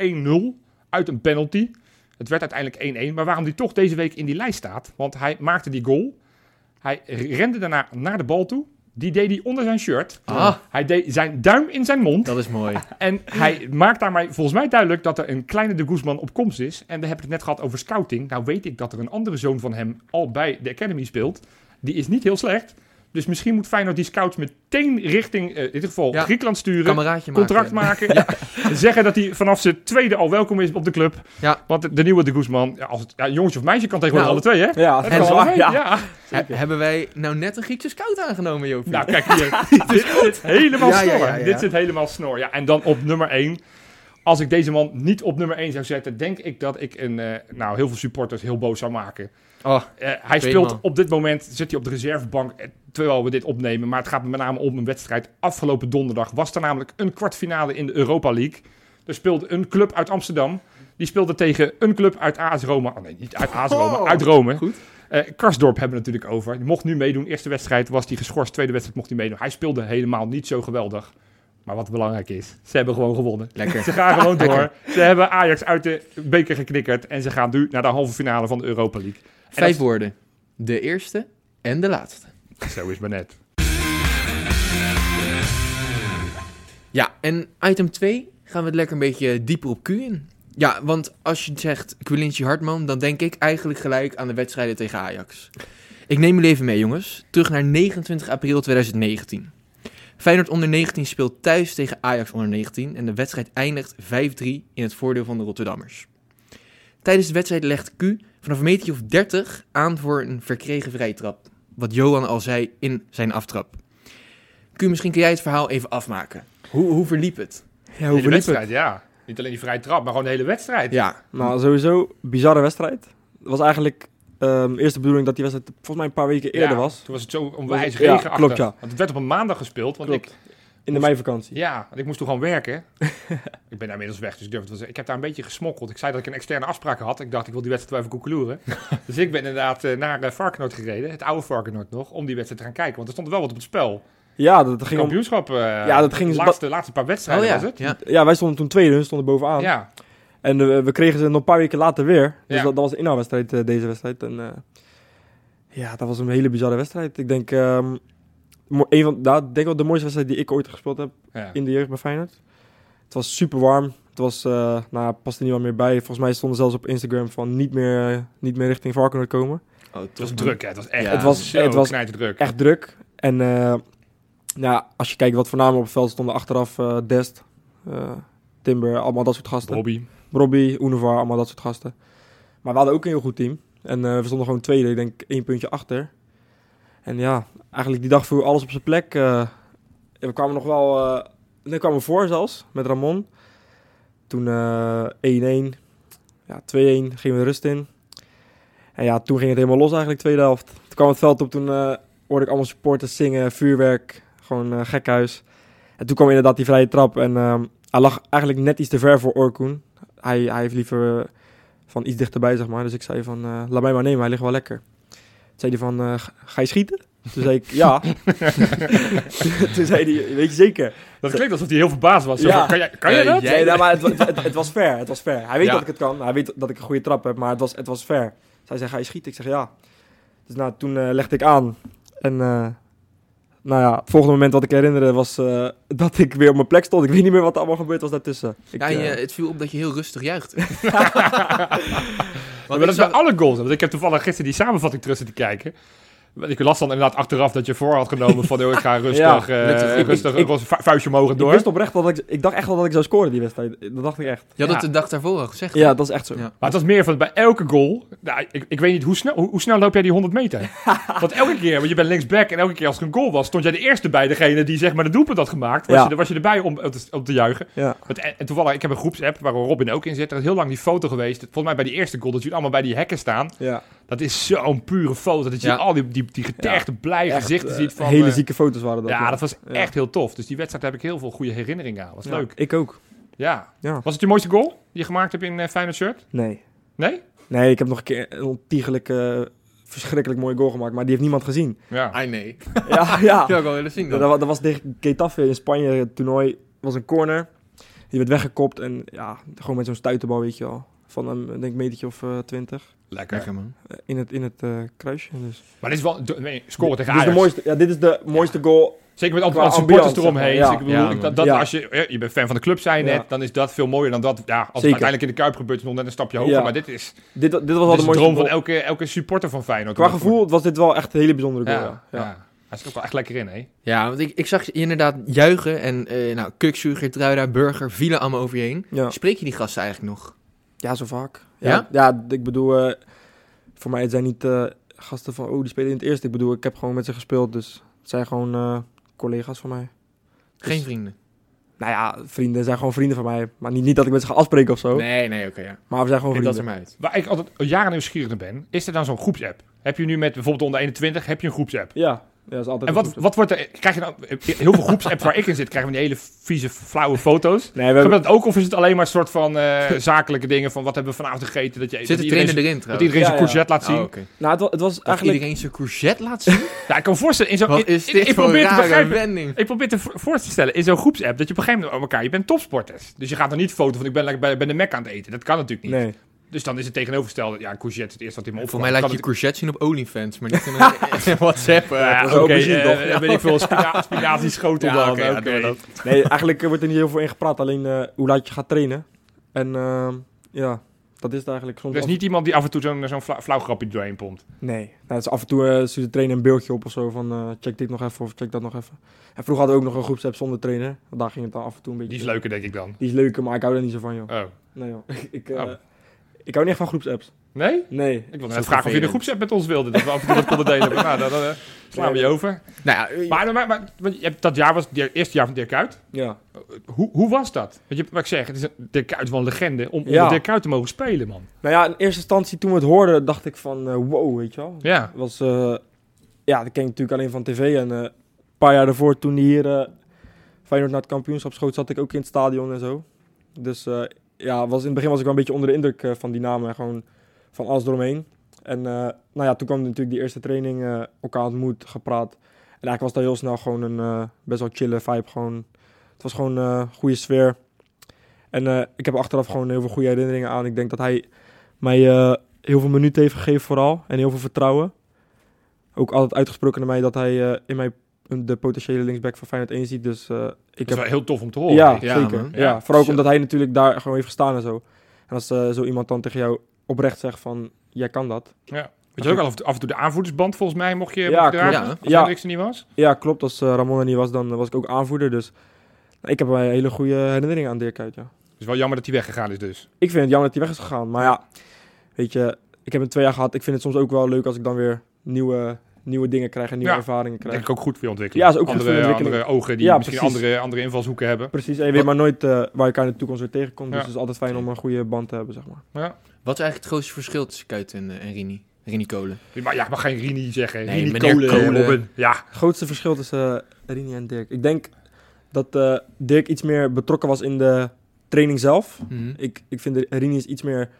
[SPEAKER 2] 1-0 uit een penalty. Het werd uiteindelijk 1-1. Maar waarom die toch deze week in die lijst staat? Want hij maakte die goal. Hij rende daarna naar de bal toe. Die deed hij onder zijn shirt.
[SPEAKER 4] Ah.
[SPEAKER 2] Hij deed zijn duim in zijn mond.
[SPEAKER 4] dat is mooi.
[SPEAKER 2] En hij maakt daarmee volgens mij duidelijk dat er een kleine de Guzman op komst is. En we hebben het net gehad over scouting. Nou weet ik dat er een andere zoon van hem al bij de Academy speelt. Die is niet heel slecht. Dus misschien moet Feyenoord die scouts meteen richting, eh, in dit geval
[SPEAKER 4] Ja.
[SPEAKER 2] Griekenland sturen.
[SPEAKER 4] Kameraadje maken.
[SPEAKER 2] Contract maken. Zeggen dat hij vanaf zijn tweede al welkom is op de club.
[SPEAKER 4] Ja.
[SPEAKER 2] Want de- de nieuwe de Guzman, ja, als het, ja, jongetje of meisje kan tegenwoordig
[SPEAKER 4] Nou,
[SPEAKER 2] alle twee hè?
[SPEAKER 3] ja,
[SPEAKER 2] Dat
[SPEAKER 3] dat is
[SPEAKER 2] kan alle
[SPEAKER 3] waar.
[SPEAKER 2] twee,
[SPEAKER 3] Ja.
[SPEAKER 2] ja.
[SPEAKER 4] He- hebben wij nou net een Griekse scout aangenomen, Joopie?
[SPEAKER 2] Nou, kijk hier. dit zit helemaal
[SPEAKER 4] Ja, ja,
[SPEAKER 2] snor.
[SPEAKER 4] ja, ja.
[SPEAKER 2] Dit zit helemaal snor. Ja, en dan op nummer 1. Als ik deze man niet op nummer 1 zou zetten, denk ik dat ik een, eh, nou, heel veel supporters heel boos zou maken.
[SPEAKER 4] Oh,
[SPEAKER 2] Eh, hij
[SPEAKER 4] Twee
[SPEAKER 2] speelt
[SPEAKER 4] man.
[SPEAKER 2] op dit moment, zit hij op de reservebank eh, terwijl we dit opnemen. Maar het gaat me met name om een wedstrijd. Afgelopen donderdag was er namelijk een kwartfinale in de Europa League. Er speelde een club uit Amsterdam. Die speelde tegen een club uit AS Roma. Oh nee, niet uit AS Roma,
[SPEAKER 4] Oh,
[SPEAKER 2] uit Rome.
[SPEAKER 4] goed.
[SPEAKER 2] Eh, Karsdorp hebben we natuurlijk over. Die mocht nu meedoen. Eerste wedstrijd was hij geschorst. Tweede wedstrijd mocht hij meedoen. Hij speelde helemaal niet zo geweldig. Maar wat belangrijk is, ze hebben gewoon gewonnen. Ze
[SPEAKER 4] Lekker.
[SPEAKER 2] gaan gewoon door. Ze hebben Ajax uit de beker geknikkerd. En ze gaan nu naar de halve finale van de Europa League.
[SPEAKER 4] Vijf woorden. De eerste en de laatste.
[SPEAKER 2] Zo is maar net.
[SPEAKER 4] Ja, en item 2 gaan we het lekker een beetje dieper op Q in. Ja, want als je zegt Quilinci Hartman, dan denk ik eigenlijk gelijk aan de wedstrijden tegen Ajax. Ik neem jullie even mee, jongens. Terug naar 29 april 2019. Feyenoord onder 19 speelt thuis tegen Ajax onder 19 en de wedstrijd eindigt 5-3 in het voordeel van de Rotterdammers. Tijdens de wedstrijd legt Q vanaf een metertje of 30 aan voor een verkregen vrijtrap. Wat Johan al zei in zijn aftrap. Q, misschien kun jij het verhaal even afmaken. Hoe, hoe verliep het?
[SPEAKER 2] De
[SPEAKER 3] Ja, hoe
[SPEAKER 2] hele
[SPEAKER 3] verliep
[SPEAKER 2] wedstrijd,
[SPEAKER 3] het?
[SPEAKER 2] ja. Niet alleen die vrije trap, maar gewoon de hele wedstrijd.
[SPEAKER 4] Ja,
[SPEAKER 3] Nou, sowieso, bizarre wedstrijd. Het was eigenlijk ehm eerst de bedoeling dat die wedstrijd volgens mij een paar weken eerder
[SPEAKER 2] Ja,
[SPEAKER 3] was.
[SPEAKER 2] Toen was het zo onwijs
[SPEAKER 3] Ja,
[SPEAKER 2] regenachtig.
[SPEAKER 3] klopt, ja.
[SPEAKER 2] Want het werd op een maandag gespeeld. Want
[SPEAKER 3] Klopt.
[SPEAKER 2] ik,
[SPEAKER 3] In de meivakantie.
[SPEAKER 2] ja, want ik moest toen gewoon werken. ik ben daar inmiddels weg, dus ik durf het wel te zeggen. Ik heb daar een beetje gesmokkeld. Ik zei dat ik een externe afspraak had. Ik dacht, ik wil die wedstrijd wel even koekeloeren. dus ik ben inderdaad eh, naar eh, Varkenoord gereden, het oude Varkenoord nog, om die wedstrijd te gaan kijken. Want er stond wel wat op het spel.
[SPEAKER 3] Ja, dat ging om...
[SPEAKER 2] Kampioenschap, eh
[SPEAKER 3] Ja, dat ging- Oh
[SPEAKER 2] laatste, laatste paar wedstrijden
[SPEAKER 4] Oh ja.
[SPEAKER 2] was het.
[SPEAKER 4] ja.
[SPEAKER 3] Ja, wij stonden toen tweede, hun stonden bovenaan.
[SPEAKER 2] Ja,
[SPEAKER 3] En eh, we kregen ze nog een paar weken later weer. Dus
[SPEAKER 2] Ja.
[SPEAKER 3] dat, dat was de inhaalwedstrijd, eh, deze wedstrijd. En, eh, ja, dat was een hele bizarre wedstrijd. Ik denk, ehm, mo- een van, nou, ik denk wel de mooiste wedstrijd die ik ooit gespeeld heb
[SPEAKER 2] ja.
[SPEAKER 3] in de jeugd bij Feyenoord. Het was super warm. Het was, eh nou, ja, past er niemand meer bij. Volgens mij stonden zelfs op Instagram van niet meer, eh, niet meer richting Varkenoord komen.
[SPEAKER 4] Oh,
[SPEAKER 2] Het was druk, hè. Het was echt
[SPEAKER 4] Ja.
[SPEAKER 3] het was,
[SPEAKER 2] zo
[SPEAKER 3] het was
[SPEAKER 2] knijterdruk.
[SPEAKER 3] echt druk. En eh, nou, als je kijkt wat voor namen op het veld stonden achteraf, eh, Dest, eh, Timber, allemaal dat soort gasten.
[SPEAKER 2] Robbie.
[SPEAKER 3] Robbie, Univar, allemaal dat soort gasten. Maar we hadden ook een heel goed team. En eh, we stonden gewoon tweede, ik denk één puntje achter. En ja, eigenlijk die dag viel alles op zijn plek. eh. we kwamen nog wel... eh nee, kwamen we voor zelfs, met Ramon. Toen eh, 1-1. Ja, 2-1 gingen we de rust in. En ja, toen ging het helemaal los eigenlijk, tweede helft. Toen kwam het veld op, toen eh, hoorde ik allemaal supporters zingen, vuurwerk. Gewoon eh gekhuis. En toen kwam inderdaad die vrije trap. En ehm, hij lag eigenlijk net iets te ver voor Orkun hij, hij heeft liever eh, van iets dichterbij, zeg maar. Dus ik zei van, eh, laat mij maar nemen, hij ligt wel lekker. Toen zei hij van, eh, ga- ga je schieten? Toen zei ik, ja. Toen zei hij, weet je zeker?
[SPEAKER 2] Dat klinkt alsof hij heel verbaasd was. Zo
[SPEAKER 3] Ja.
[SPEAKER 2] van, Kan, jij, kan jij
[SPEAKER 4] Eh,
[SPEAKER 2] dat?
[SPEAKER 4] jij-
[SPEAKER 3] Nee, nou, maar het, wa- het, het was fair, het was fair. Hij weet
[SPEAKER 2] Ja.
[SPEAKER 3] dat ik het kan, hij weet dat ik een goede trap heb, maar het was, het was fair. Zij zei, ga je schieten? Ik zeg, ja. Dus nou, toen eh, legde ik aan. En eh, nou ja, het volgende moment wat ik herinnerde was eh, dat ik weer op mijn plek stond. Ik weet niet meer wat er allemaal gebeurd was daartussen. Ik,
[SPEAKER 4] Ja, en
[SPEAKER 3] eh,
[SPEAKER 4] je- het viel op dat je heel rustig juicht.
[SPEAKER 2] Maar
[SPEAKER 4] Want
[SPEAKER 2] dat is
[SPEAKER 4] ik
[SPEAKER 2] bij
[SPEAKER 4] zag,
[SPEAKER 2] alle goals. Want ik heb toevallig gisteren die samenvatting terug zitten kijken. Want Ik las dan inderdaad achteraf dat je voor had genomen van... joh, ik ga rustig,
[SPEAKER 3] Ja,
[SPEAKER 2] eh,
[SPEAKER 4] lukt het. Ik-
[SPEAKER 2] rustig
[SPEAKER 3] ik-
[SPEAKER 2] rustig vuistje omhoog en
[SPEAKER 3] Ik
[SPEAKER 2] door.
[SPEAKER 3] wist oprecht dat ik, ik dacht echt wel dat ik zou scoren die wedstrijd. Dat dacht ik echt.
[SPEAKER 4] je had
[SPEAKER 2] Ja.
[SPEAKER 4] het de dag daarvoor al gezegd.
[SPEAKER 3] Ja, dat is echt zo.
[SPEAKER 4] Ja.
[SPEAKER 2] Maar het was meer van bij elke goal... Nou, ik, ik weet niet, hoe snel, hoe, hoe snel loop jij die 100 meter? Want elke keer, want je bent linksback... en elke keer als er een goal was, stond jij de eerste bij degene... die zeg maar de doelpunt had gemaakt. Was,
[SPEAKER 3] Ja.
[SPEAKER 2] je, er- was je erbij om, om, te, om te juichen.
[SPEAKER 3] Ja.
[SPEAKER 2] Want, eh, en, en toevallig, ik heb een groepsapp waar Robin ook in zit. Er is heel lang die foto geweest. Volgens mij bij die eerste goal dat jullie allemaal bij die hekken staan.
[SPEAKER 3] ja.
[SPEAKER 2] Dat is zo'n pure foto. Dat je
[SPEAKER 4] Ja.
[SPEAKER 2] al die, die, die getergde, blije gezichten ziet van...
[SPEAKER 3] Hele
[SPEAKER 2] eh,
[SPEAKER 3] zieke foto's waren dat.
[SPEAKER 2] ja, dat was
[SPEAKER 3] Ja.
[SPEAKER 2] echt heel tof. Dus die wedstrijd heb ik heel veel goede herinneringen aan. Was
[SPEAKER 3] Ja,
[SPEAKER 2] leuk.
[SPEAKER 3] Ik ook.
[SPEAKER 2] Ja.
[SPEAKER 3] Ja.
[SPEAKER 2] Was het je mooiste goal die je gemaakt hebt in eh, Feyenoord shirt?
[SPEAKER 3] Nee.
[SPEAKER 2] Nee?
[SPEAKER 3] Nee, ik heb nog een keer een ontiegelijk, eh, verschrikkelijk mooie goal gemaakt, maar die heeft niemand gezien.
[SPEAKER 2] Ja.
[SPEAKER 4] Ah, nee. Dat
[SPEAKER 3] ja, ja.
[SPEAKER 4] wil ik wel willen zien
[SPEAKER 3] Dat,
[SPEAKER 4] dan.
[SPEAKER 3] dat was tegen Getafe in Spanje, het toernooi. was een corner. Die werd weggekopt en ja, gewoon met zo'n stuiterbal, weet je wel. Van een, denk ik, metertje of eh, twintig.
[SPEAKER 2] Lekker.
[SPEAKER 4] man.
[SPEAKER 3] in het, in het eh, kruisje. Dus.
[SPEAKER 2] Maar dit is wel... Nee, scoren tegen
[SPEAKER 3] dit is de
[SPEAKER 2] Ajax.
[SPEAKER 3] mooiste, ja, dit is de mooiste goal.
[SPEAKER 2] Zeker met al
[SPEAKER 3] Qua
[SPEAKER 2] die supporters
[SPEAKER 3] ambiance,
[SPEAKER 2] eromheen.
[SPEAKER 3] zeg maar.
[SPEAKER 2] Dus ik bedoel,
[SPEAKER 4] Ja,
[SPEAKER 2] ik-
[SPEAKER 4] man.
[SPEAKER 2] dat, dat
[SPEAKER 3] Ja.
[SPEAKER 2] als je... eh, Je bent fan van de club, zijn
[SPEAKER 3] Ja.
[SPEAKER 2] net. Dan is dat veel mooier dan dat. Ja, als het
[SPEAKER 3] Zeker.
[SPEAKER 2] uiteindelijk in de Kuip gebeurt, is het nog net een stapje hoger.
[SPEAKER 3] Ja.
[SPEAKER 2] Maar dit is,
[SPEAKER 3] Dit, dit was
[SPEAKER 2] dit
[SPEAKER 3] wel de
[SPEAKER 2] is de
[SPEAKER 3] mooiste
[SPEAKER 2] droom van
[SPEAKER 3] goal.
[SPEAKER 2] elke, elke supporter van Feyenoord.
[SPEAKER 3] Qua gevoel was dit wel echt een hele bijzondere
[SPEAKER 2] Ja.
[SPEAKER 3] goal.
[SPEAKER 2] ja.
[SPEAKER 3] ja. ja.
[SPEAKER 2] Hij zit ook wel echt lekker in, hè?
[SPEAKER 4] Ja, want ik, ik zag je inderdaad juichen en eh nou, Kuksu, Gertruida, Burger vielen allemaal over je heen.
[SPEAKER 3] ja.
[SPEAKER 4] Spreek je die gasten eigenlijk nog?
[SPEAKER 3] Ja, zo vaak.
[SPEAKER 4] Ja?
[SPEAKER 3] Ja, ja? d- ik bedoel, eh, voor mij het zijn niet eh, gasten van, oh, die spelen in het eerste. Ik bedoel, ik heb gewoon met ze gespeeld, dus het zijn gewoon eh, collega's van mij. Dus-
[SPEAKER 4] Geen vrienden?
[SPEAKER 3] Nou ja, vrienden zijn gewoon vrienden van mij. Maar niet, niet dat ik met ze ga afspreken of zo,
[SPEAKER 4] Nee, nee, oké, ja.
[SPEAKER 3] maar we zijn gewoon
[SPEAKER 4] Kijk dat er
[SPEAKER 3] vrienden.
[SPEAKER 4] maar uit.
[SPEAKER 2] Waar ik altijd al jaren nieuwsgierig naar ben, is er dan zo'n groepsapp? Heb je nu met bijvoorbeeld onder 21, heb je een groepsapp?
[SPEAKER 3] Ja, Ja, dat is altijd
[SPEAKER 2] En
[SPEAKER 3] een
[SPEAKER 2] wat,
[SPEAKER 3] goed-
[SPEAKER 2] wat wordt er... Krijg je nou... Heel veel groepsapps waar ik in zit, krijgen we die hele vieze, flauwe foto's.
[SPEAKER 3] Nee, we hebben-
[SPEAKER 2] Gebeurt dat ook of is het alleen maar een soort van eh, zakelijke dingen van wat hebben we vanavond gegeten? Dat je
[SPEAKER 4] Zit
[SPEAKER 2] dat
[SPEAKER 4] de
[SPEAKER 2] iedereen
[SPEAKER 4] trainer erin
[SPEAKER 2] dat
[SPEAKER 4] trouwens?
[SPEAKER 2] iedereen zijn
[SPEAKER 3] Ja, ja.
[SPEAKER 2] courgette laat zien.
[SPEAKER 4] Oh, oké.
[SPEAKER 3] nou, het, wa- het was
[SPEAKER 4] Dat
[SPEAKER 3] eigenlijk...
[SPEAKER 4] iedereen zijn courgette laat zien?
[SPEAKER 2] Ja, ik kan me voorstellen, in zo'n...
[SPEAKER 4] Wat
[SPEAKER 2] ik-
[SPEAKER 4] is
[SPEAKER 2] ik-
[SPEAKER 4] dit
[SPEAKER 2] ik
[SPEAKER 4] voor
[SPEAKER 2] probeer
[SPEAKER 4] een
[SPEAKER 2] te
[SPEAKER 4] rare
[SPEAKER 2] begrijpen.
[SPEAKER 4] wending?
[SPEAKER 2] Ik probeer te vo- voor te stellen, in zo'n groepsapp, dat je op een gegeven moment over elkaar, je bent topsporters. Dus je gaat dan niet foto van ik ben, lekker bij, bij de Mac aan het eten. Dat kan natuurlijk niet.
[SPEAKER 3] Nee.
[SPEAKER 2] Dus dan is het tegenovergestelde, ja, een courgette is het eerste wat in me
[SPEAKER 4] Voor
[SPEAKER 2] opvalt.
[SPEAKER 4] mij laat
[SPEAKER 2] Kan
[SPEAKER 4] je
[SPEAKER 2] het-
[SPEAKER 4] courgette zien op OnlyFans, maar niet in een- in WhatsApp. eh.
[SPEAKER 2] Ja,
[SPEAKER 3] was
[SPEAKER 2] oké,
[SPEAKER 3] aubergine,
[SPEAKER 2] eh,
[SPEAKER 3] toch?
[SPEAKER 2] weet ik veel, spina spinazie schotel
[SPEAKER 4] Ja,
[SPEAKER 2] dan.
[SPEAKER 4] oké, ja,
[SPEAKER 2] oké.
[SPEAKER 4] doen we dat.
[SPEAKER 3] nee, eigenlijk eh, wordt er niet heel veel in gepraat. Alleen eh, hoe laat je gaat trainen. En ehm, ja, dat is het eigenlijk. Soms
[SPEAKER 2] Er is
[SPEAKER 3] af-
[SPEAKER 2] Dus niet iemand die af en toe zo'n zo'n fla- flauw grapje doorheen pompt.
[SPEAKER 3] Nee, nou, het is af en toe eh, stuurt de trainer een beeldje op of zo van eh, check dit nog even of check dat nog even. En vroeger hadden we ook nog een groepsapp zonder trainer. Want Daar ging het dan af en toe een beetje.
[SPEAKER 2] Die is leuker, denk ik dan.
[SPEAKER 3] Die is leuker, maar ik hou daar niet zo van, joh.
[SPEAKER 2] Oh.
[SPEAKER 3] Nee, joh. ik, eh,
[SPEAKER 2] Oh.
[SPEAKER 3] ik hou niet echt van groepsapps.
[SPEAKER 2] Nee?
[SPEAKER 3] Nee.
[SPEAKER 2] Ik wilde
[SPEAKER 4] Zo
[SPEAKER 2] net vragen of je de
[SPEAKER 4] vervelend.
[SPEAKER 2] groepsapp met ons wilde. Dat we af en toe wat konden delen. Maar nou, dan eh, slaan we je over.
[SPEAKER 4] Nou ja,
[SPEAKER 2] Maar, maar, maar want je hebt, dat jaar was het eerste jaar van Dirk Kuyt.
[SPEAKER 3] Ja.
[SPEAKER 2] Hoe, hoe was dat? Want je, wat ik zeg, het is een, Dirk Kuyt is wel een legende. Om
[SPEAKER 3] Ja.
[SPEAKER 2] onder Dirk Kuyt te mogen spelen, man.
[SPEAKER 3] Nou ja, in eerste instantie toen we het hoorden, dacht ik van eh, wow, weet je wel.
[SPEAKER 2] Ja.
[SPEAKER 3] was, eh, ja, dat ken ik natuurlijk alleen van tv. En eh, een paar jaar daarvoor, toen hij hier eh, Feyenoord naar het kampioenschap schoot, zat ik ook in het stadion en zo. Dus eh, ja, was, in het begin was ik wel een beetje onder de indruk eh, van die namen en gewoon van alles eromheen. En eh, nou ja, toen kwam natuurlijk die eerste training, eh, elkaar ontmoet, gepraat. En eigenlijk was dat heel snel gewoon een eh, best wel chille vibe. Gewoon, het was gewoon een goede sfeer. En eh, ik heb achteraf gewoon heel veel goede herinneringen aan. Ik denk dat hij mij eh, heel veel minuten heeft gegeven vooral. En heel veel vertrouwen. Ook altijd uitgesproken naar mij dat hij eh, in mij de potentiële linksback van Feyenoord 1 ziet. Dus eh, ik
[SPEAKER 2] Dat is
[SPEAKER 3] heb
[SPEAKER 2] wel heel tof om te horen.
[SPEAKER 3] ja,
[SPEAKER 4] Ja,
[SPEAKER 3] zeker.
[SPEAKER 4] man.
[SPEAKER 3] Ja,
[SPEAKER 2] Ja.
[SPEAKER 3] Vooral ook
[SPEAKER 4] Zo.
[SPEAKER 3] omdat hij natuurlijk daar gewoon heeft gestaan en zo. En als eh, zo iemand dan tegen jou oprecht zegt van, jij kan dat.
[SPEAKER 2] Weet je ook al af- af en toe de aanvoerdersband volgens mij mocht je,
[SPEAKER 3] Ja,
[SPEAKER 2] mocht je
[SPEAKER 3] klopt.
[SPEAKER 2] dragen?
[SPEAKER 4] Ja.
[SPEAKER 2] Als
[SPEAKER 3] Ja.
[SPEAKER 2] Hendricks er niet was?
[SPEAKER 3] Ja, klopt. Als eh, Ramon er niet was, dan was ik ook aanvoerder. Dus nou, ik heb een hele goede herinnering aan Dirk uit, ja.
[SPEAKER 2] Het is wel jammer dat hij weggegaan is dus.
[SPEAKER 3] Ik vind het jammer dat hij weg is gegaan. Maar ja, weet je, ik heb hem twee jaar gehad. Ik vind het soms ook wel leuk als ik dan weer nieuwe, nieuwe dingen krijg en nieuwe
[SPEAKER 2] Ja.
[SPEAKER 3] ervaringen krijg.
[SPEAKER 2] Denk ik ook goed voor je ontwikkeling.
[SPEAKER 3] Ja, is ook goed
[SPEAKER 2] andere,
[SPEAKER 3] voor je ontwikkeling.
[SPEAKER 2] Andere ogen die
[SPEAKER 3] Ja,
[SPEAKER 2] misschien
[SPEAKER 3] precies.
[SPEAKER 2] andere, andere invalshoeken hebben.
[SPEAKER 3] Precies, en je weet maar nooit eh, waar je elkaar in de toekomst weer tegenkomt. Dus
[SPEAKER 2] Ja.
[SPEAKER 3] het is altijd fijn om een goede band te hebben, zeg maar.
[SPEAKER 4] Wat is eigenlijk het grootste verschil tussen Kuyt en, eh, en Rini? Rini Kolen.
[SPEAKER 2] Maar ja, ik mag geen Rini zeggen.
[SPEAKER 4] Nee,
[SPEAKER 2] Rini
[SPEAKER 4] meneer
[SPEAKER 2] Kolen.
[SPEAKER 4] Kolen.
[SPEAKER 2] Robben. Ja,
[SPEAKER 3] Het grootste verschil tussen eh, Rini en Dirk. Ik denk dat eh, Dirk iets meer betrokken was in de training zelf. Ik, ik vind Rini is iets meer,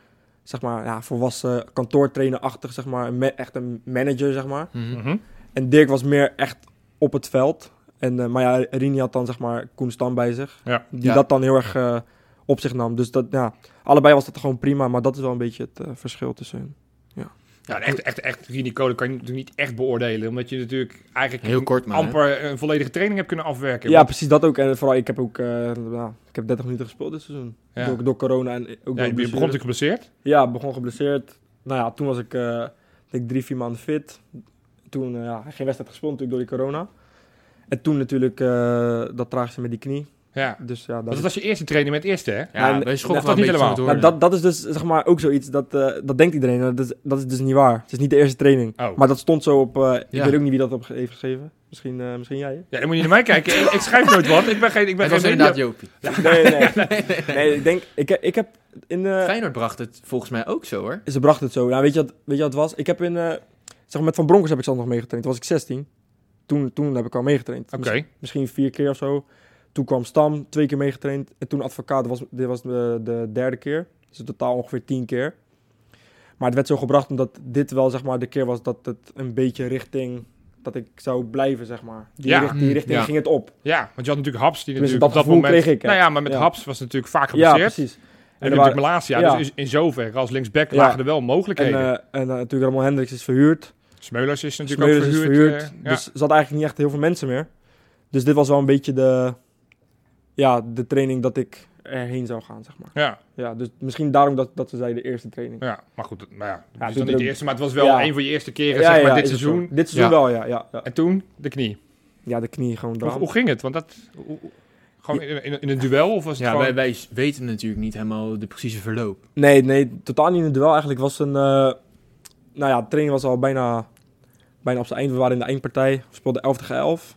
[SPEAKER 3] zeg maar, ja, volwassen kantoortrainerachtig, zeg maar. Een ma- echt een manager, zeg maar.
[SPEAKER 4] Mhm.
[SPEAKER 2] Mhm.
[SPEAKER 3] En Dirk was meer echt op het veld. En, eh, maar ja, Rini had dan, zeg maar, Koen Stam bij zich.
[SPEAKER 2] Ja.
[SPEAKER 3] Die
[SPEAKER 4] Ja.
[SPEAKER 3] dat dan heel erg eh, op zich nam. Dus dat, ja, allebei was dat gewoon prima. Maar dat is wel een beetje het eh, verschil tussen hun.
[SPEAKER 2] Ja, en echt, echt, echt Rini Kolen kan je natuurlijk niet echt beoordelen. Omdat je natuurlijk eigenlijk
[SPEAKER 4] Heel kort maar, hè?
[SPEAKER 2] amper een volledige training hebt kunnen afwerken.
[SPEAKER 3] Ja,
[SPEAKER 2] Want-
[SPEAKER 3] precies dat ook. En vooral, ik heb ook eh, nou, ik heb 30 minuten gespeeld dit seizoen.
[SPEAKER 2] Ja.
[SPEAKER 3] Door, door corona en ook
[SPEAKER 2] Ja, je
[SPEAKER 3] door
[SPEAKER 2] begon
[SPEAKER 3] blessures.
[SPEAKER 2] natuurlijk geblesseerd.
[SPEAKER 3] Ja, begon geblesseerd. Nou ja, toen was ik eh, ik denk drie, vier maanden fit. Toen eh, ja, geen wedstrijd gespeeld natuurlijk door die corona. En toen natuurlijk eh, dat traagste met die knie.
[SPEAKER 2] Ja.
[SPEAKER 3] Dus ja,
[SPEAKER 2] Dat
[SPEAKER 3] dat,
[SPEAKER 2] was je eerste training met het eerste, hè?
[SPEAKER 4] Ja,
[SPEAKER 3] Nou,
[SPEAKER 4] wij schokken
[SPEAKER 2] dat
[SPEAKER 4] wel
[SPEAKER 2] niet
[SPEAKER 4] een beetje
[SPEAKER 2] helemaal.
[SPEAKER 4] van
[SPEAKER 3] Nou,
[SPEAKER 4] het horen.
[SPEAKER 3] dat, dat is dus zeg maar ook zoiets, dat, eh, dat denkt iedereen. Nou, Dat is, dat is dus niet waar. Het is niet de eerste training.
[SPEAKER 2] Oh.
[SPEAKER 3] Maar dat stond zo op, eh,
[SPEAKER 4] Ja.
[SPEAKER 3] ik weet ook niet wie dat op ge- heeft geschreven. Misschien, eh, misschien jij.
[SPEAKER 2] Ja, dan moet je niet naar mij kijken. Ik, ik schrijf nooit wat. Ik ben geen... Ik ben
[SPEAKER 4] Het was
[SPEAKER 2] geen
[SPEAKER 4] inderdaad Jopie.
[SPEAKER 3] Nee, nee, nee. nee ik denk, ik, heb- ik heb in... eh,
[SPEAKER 4] Feyenoord bracht het volgens mij ook zo hoor.
[SPEAKER 3] Ze bracht het zo. Ja, weet, je wat, weet je wat het was? Ik heb in, eh, zeg maar, met Van Bronckhorst heb ik zelf nog meegetraind. Toen was ik 16. Toen, toen heb ik al meegetraind.
[SPEAKER 2] Oké.
[SPEAKER 3] Miss- misschien vier keer of zo. Toen kwam Stam, twee keer meegetraind. En toen Advocaat, dat was, dit was de, de derde keer. Dus in totaal ongeveer tien keer. Maar het werd zo gebracht omdat dit wel zeg maar, de keer was dat het een beetje richting... dat ik zou blijven, zeg maar. Die,
[SPEAKER 2] Ja.
[SPEAKER 3] richt- die richting
[SPEAKER 4] Ja.
[SPEAKER 3] ging het op.
[SPEAKER 2] Ja, want je had natuurlijk Haps. Die
[SPEAKER 3] Tenminste,
[SPEAKER 2] natuurlijk
[SPEAKER 3] dat
[SPEAKER 2] op dat
[SPEAKER 3] gevoel
[SPEAKER 2] moment...
[SPEAKER 3] kreeg ik, hè?
[SPEAKER 2] Nou ja, maar met
[SPEAKER 3] Ja.
[SPEAKER 2] Haps was het natuurlijk vaak
[SPEAKER 3] Ja,
[SPEAKER 2] geblesseerd.
[SPEAKER 3] precies.
[SPEAKER 2] En
[SPEAKER 3] En
[SPEAKER 2] natuurlijk
[SPEAKER 3] er
[SPEAKER 2] Malasia.
[SPEAKER 3] ja.
[SPEAKER 2] Dus in, in zoverre als linksback
[SPEAKER 3] Ja.
[SPEAKER 2] lagen er wel
[SPEAKER 3] En,
[SPEAKER 2] mogelijkheden.
[SPEAKER 3] eh, en eh, natuurlijk Ramon Hendricks is verhuurd.
[SPEAKER 2] Smeulers is natuurlijk
[SPEAKER 3] Smeulers
[SPEAKER 2] ook
[SPEAKER 3] is
[SPEAKER 2] verhuurd.
[SPEAKER 3] verhuurd.
[SPEAKER 2] eh, ja.
[SPEAKER 3] Dus er zat eigenlijk niet echt heel veel mensen meer. Dus dit was wel een beetje de, ja, de training dat ik erheen zou gaan, zeg maar.
[SPEAKER 2] ja.
[SPEAKER 3] Ja, dus misschien daarom dat, dat ze zei de eerste training.
[SPEAKER 2] Ja, maar goed, dat- maar ja, het is
[SPEAKER 3] toen
[SPEAKER 2] dan niet de
[SPEAKER 3] de-
[SPEAKER 2] eerste, maar het was wel
[SPEAKER 3] Ja.
[SPEAKER 2] een van je eerste keren,
[SPEAKER 3] ja,
[SPEAKER 2] zeg maar,
[SPEAKER 3] ja,
[SPEAKER 2] dit
[SPEAKER 3] is het
[SPEAKER 2] seizoen.
[SPEAKER 3] zo. Dit seizoen
[SPEAKER 4] Ja.
[SPEAKER 3] wel, ja, ja, ja.
[SPEAKER 2] En toen de knie.
[SPEAKER 3] Ja, de knie gewoon
[SPEAKER 2] Hoe,
[SPEAKER 3] eraan.
[SPEAKER 2] hoe ging het? Want dat, hoe- hoe- gewoon in, in, in een duel of was het
[SPEAKER 4] Ja,
[SPEAKER 2] gewoon...
[SPEAKER 4] wij, wij s- weten natuurlijk niet helemaal de precieze verloop.
[SPEAKER 3] Nee, nee, totaal niet in het duel. Eigenlijk was een... eh, nou ja, de training was al bijna, bijna op zijn eind. We waren in de eindpartij. We speelden 11 tegen 11.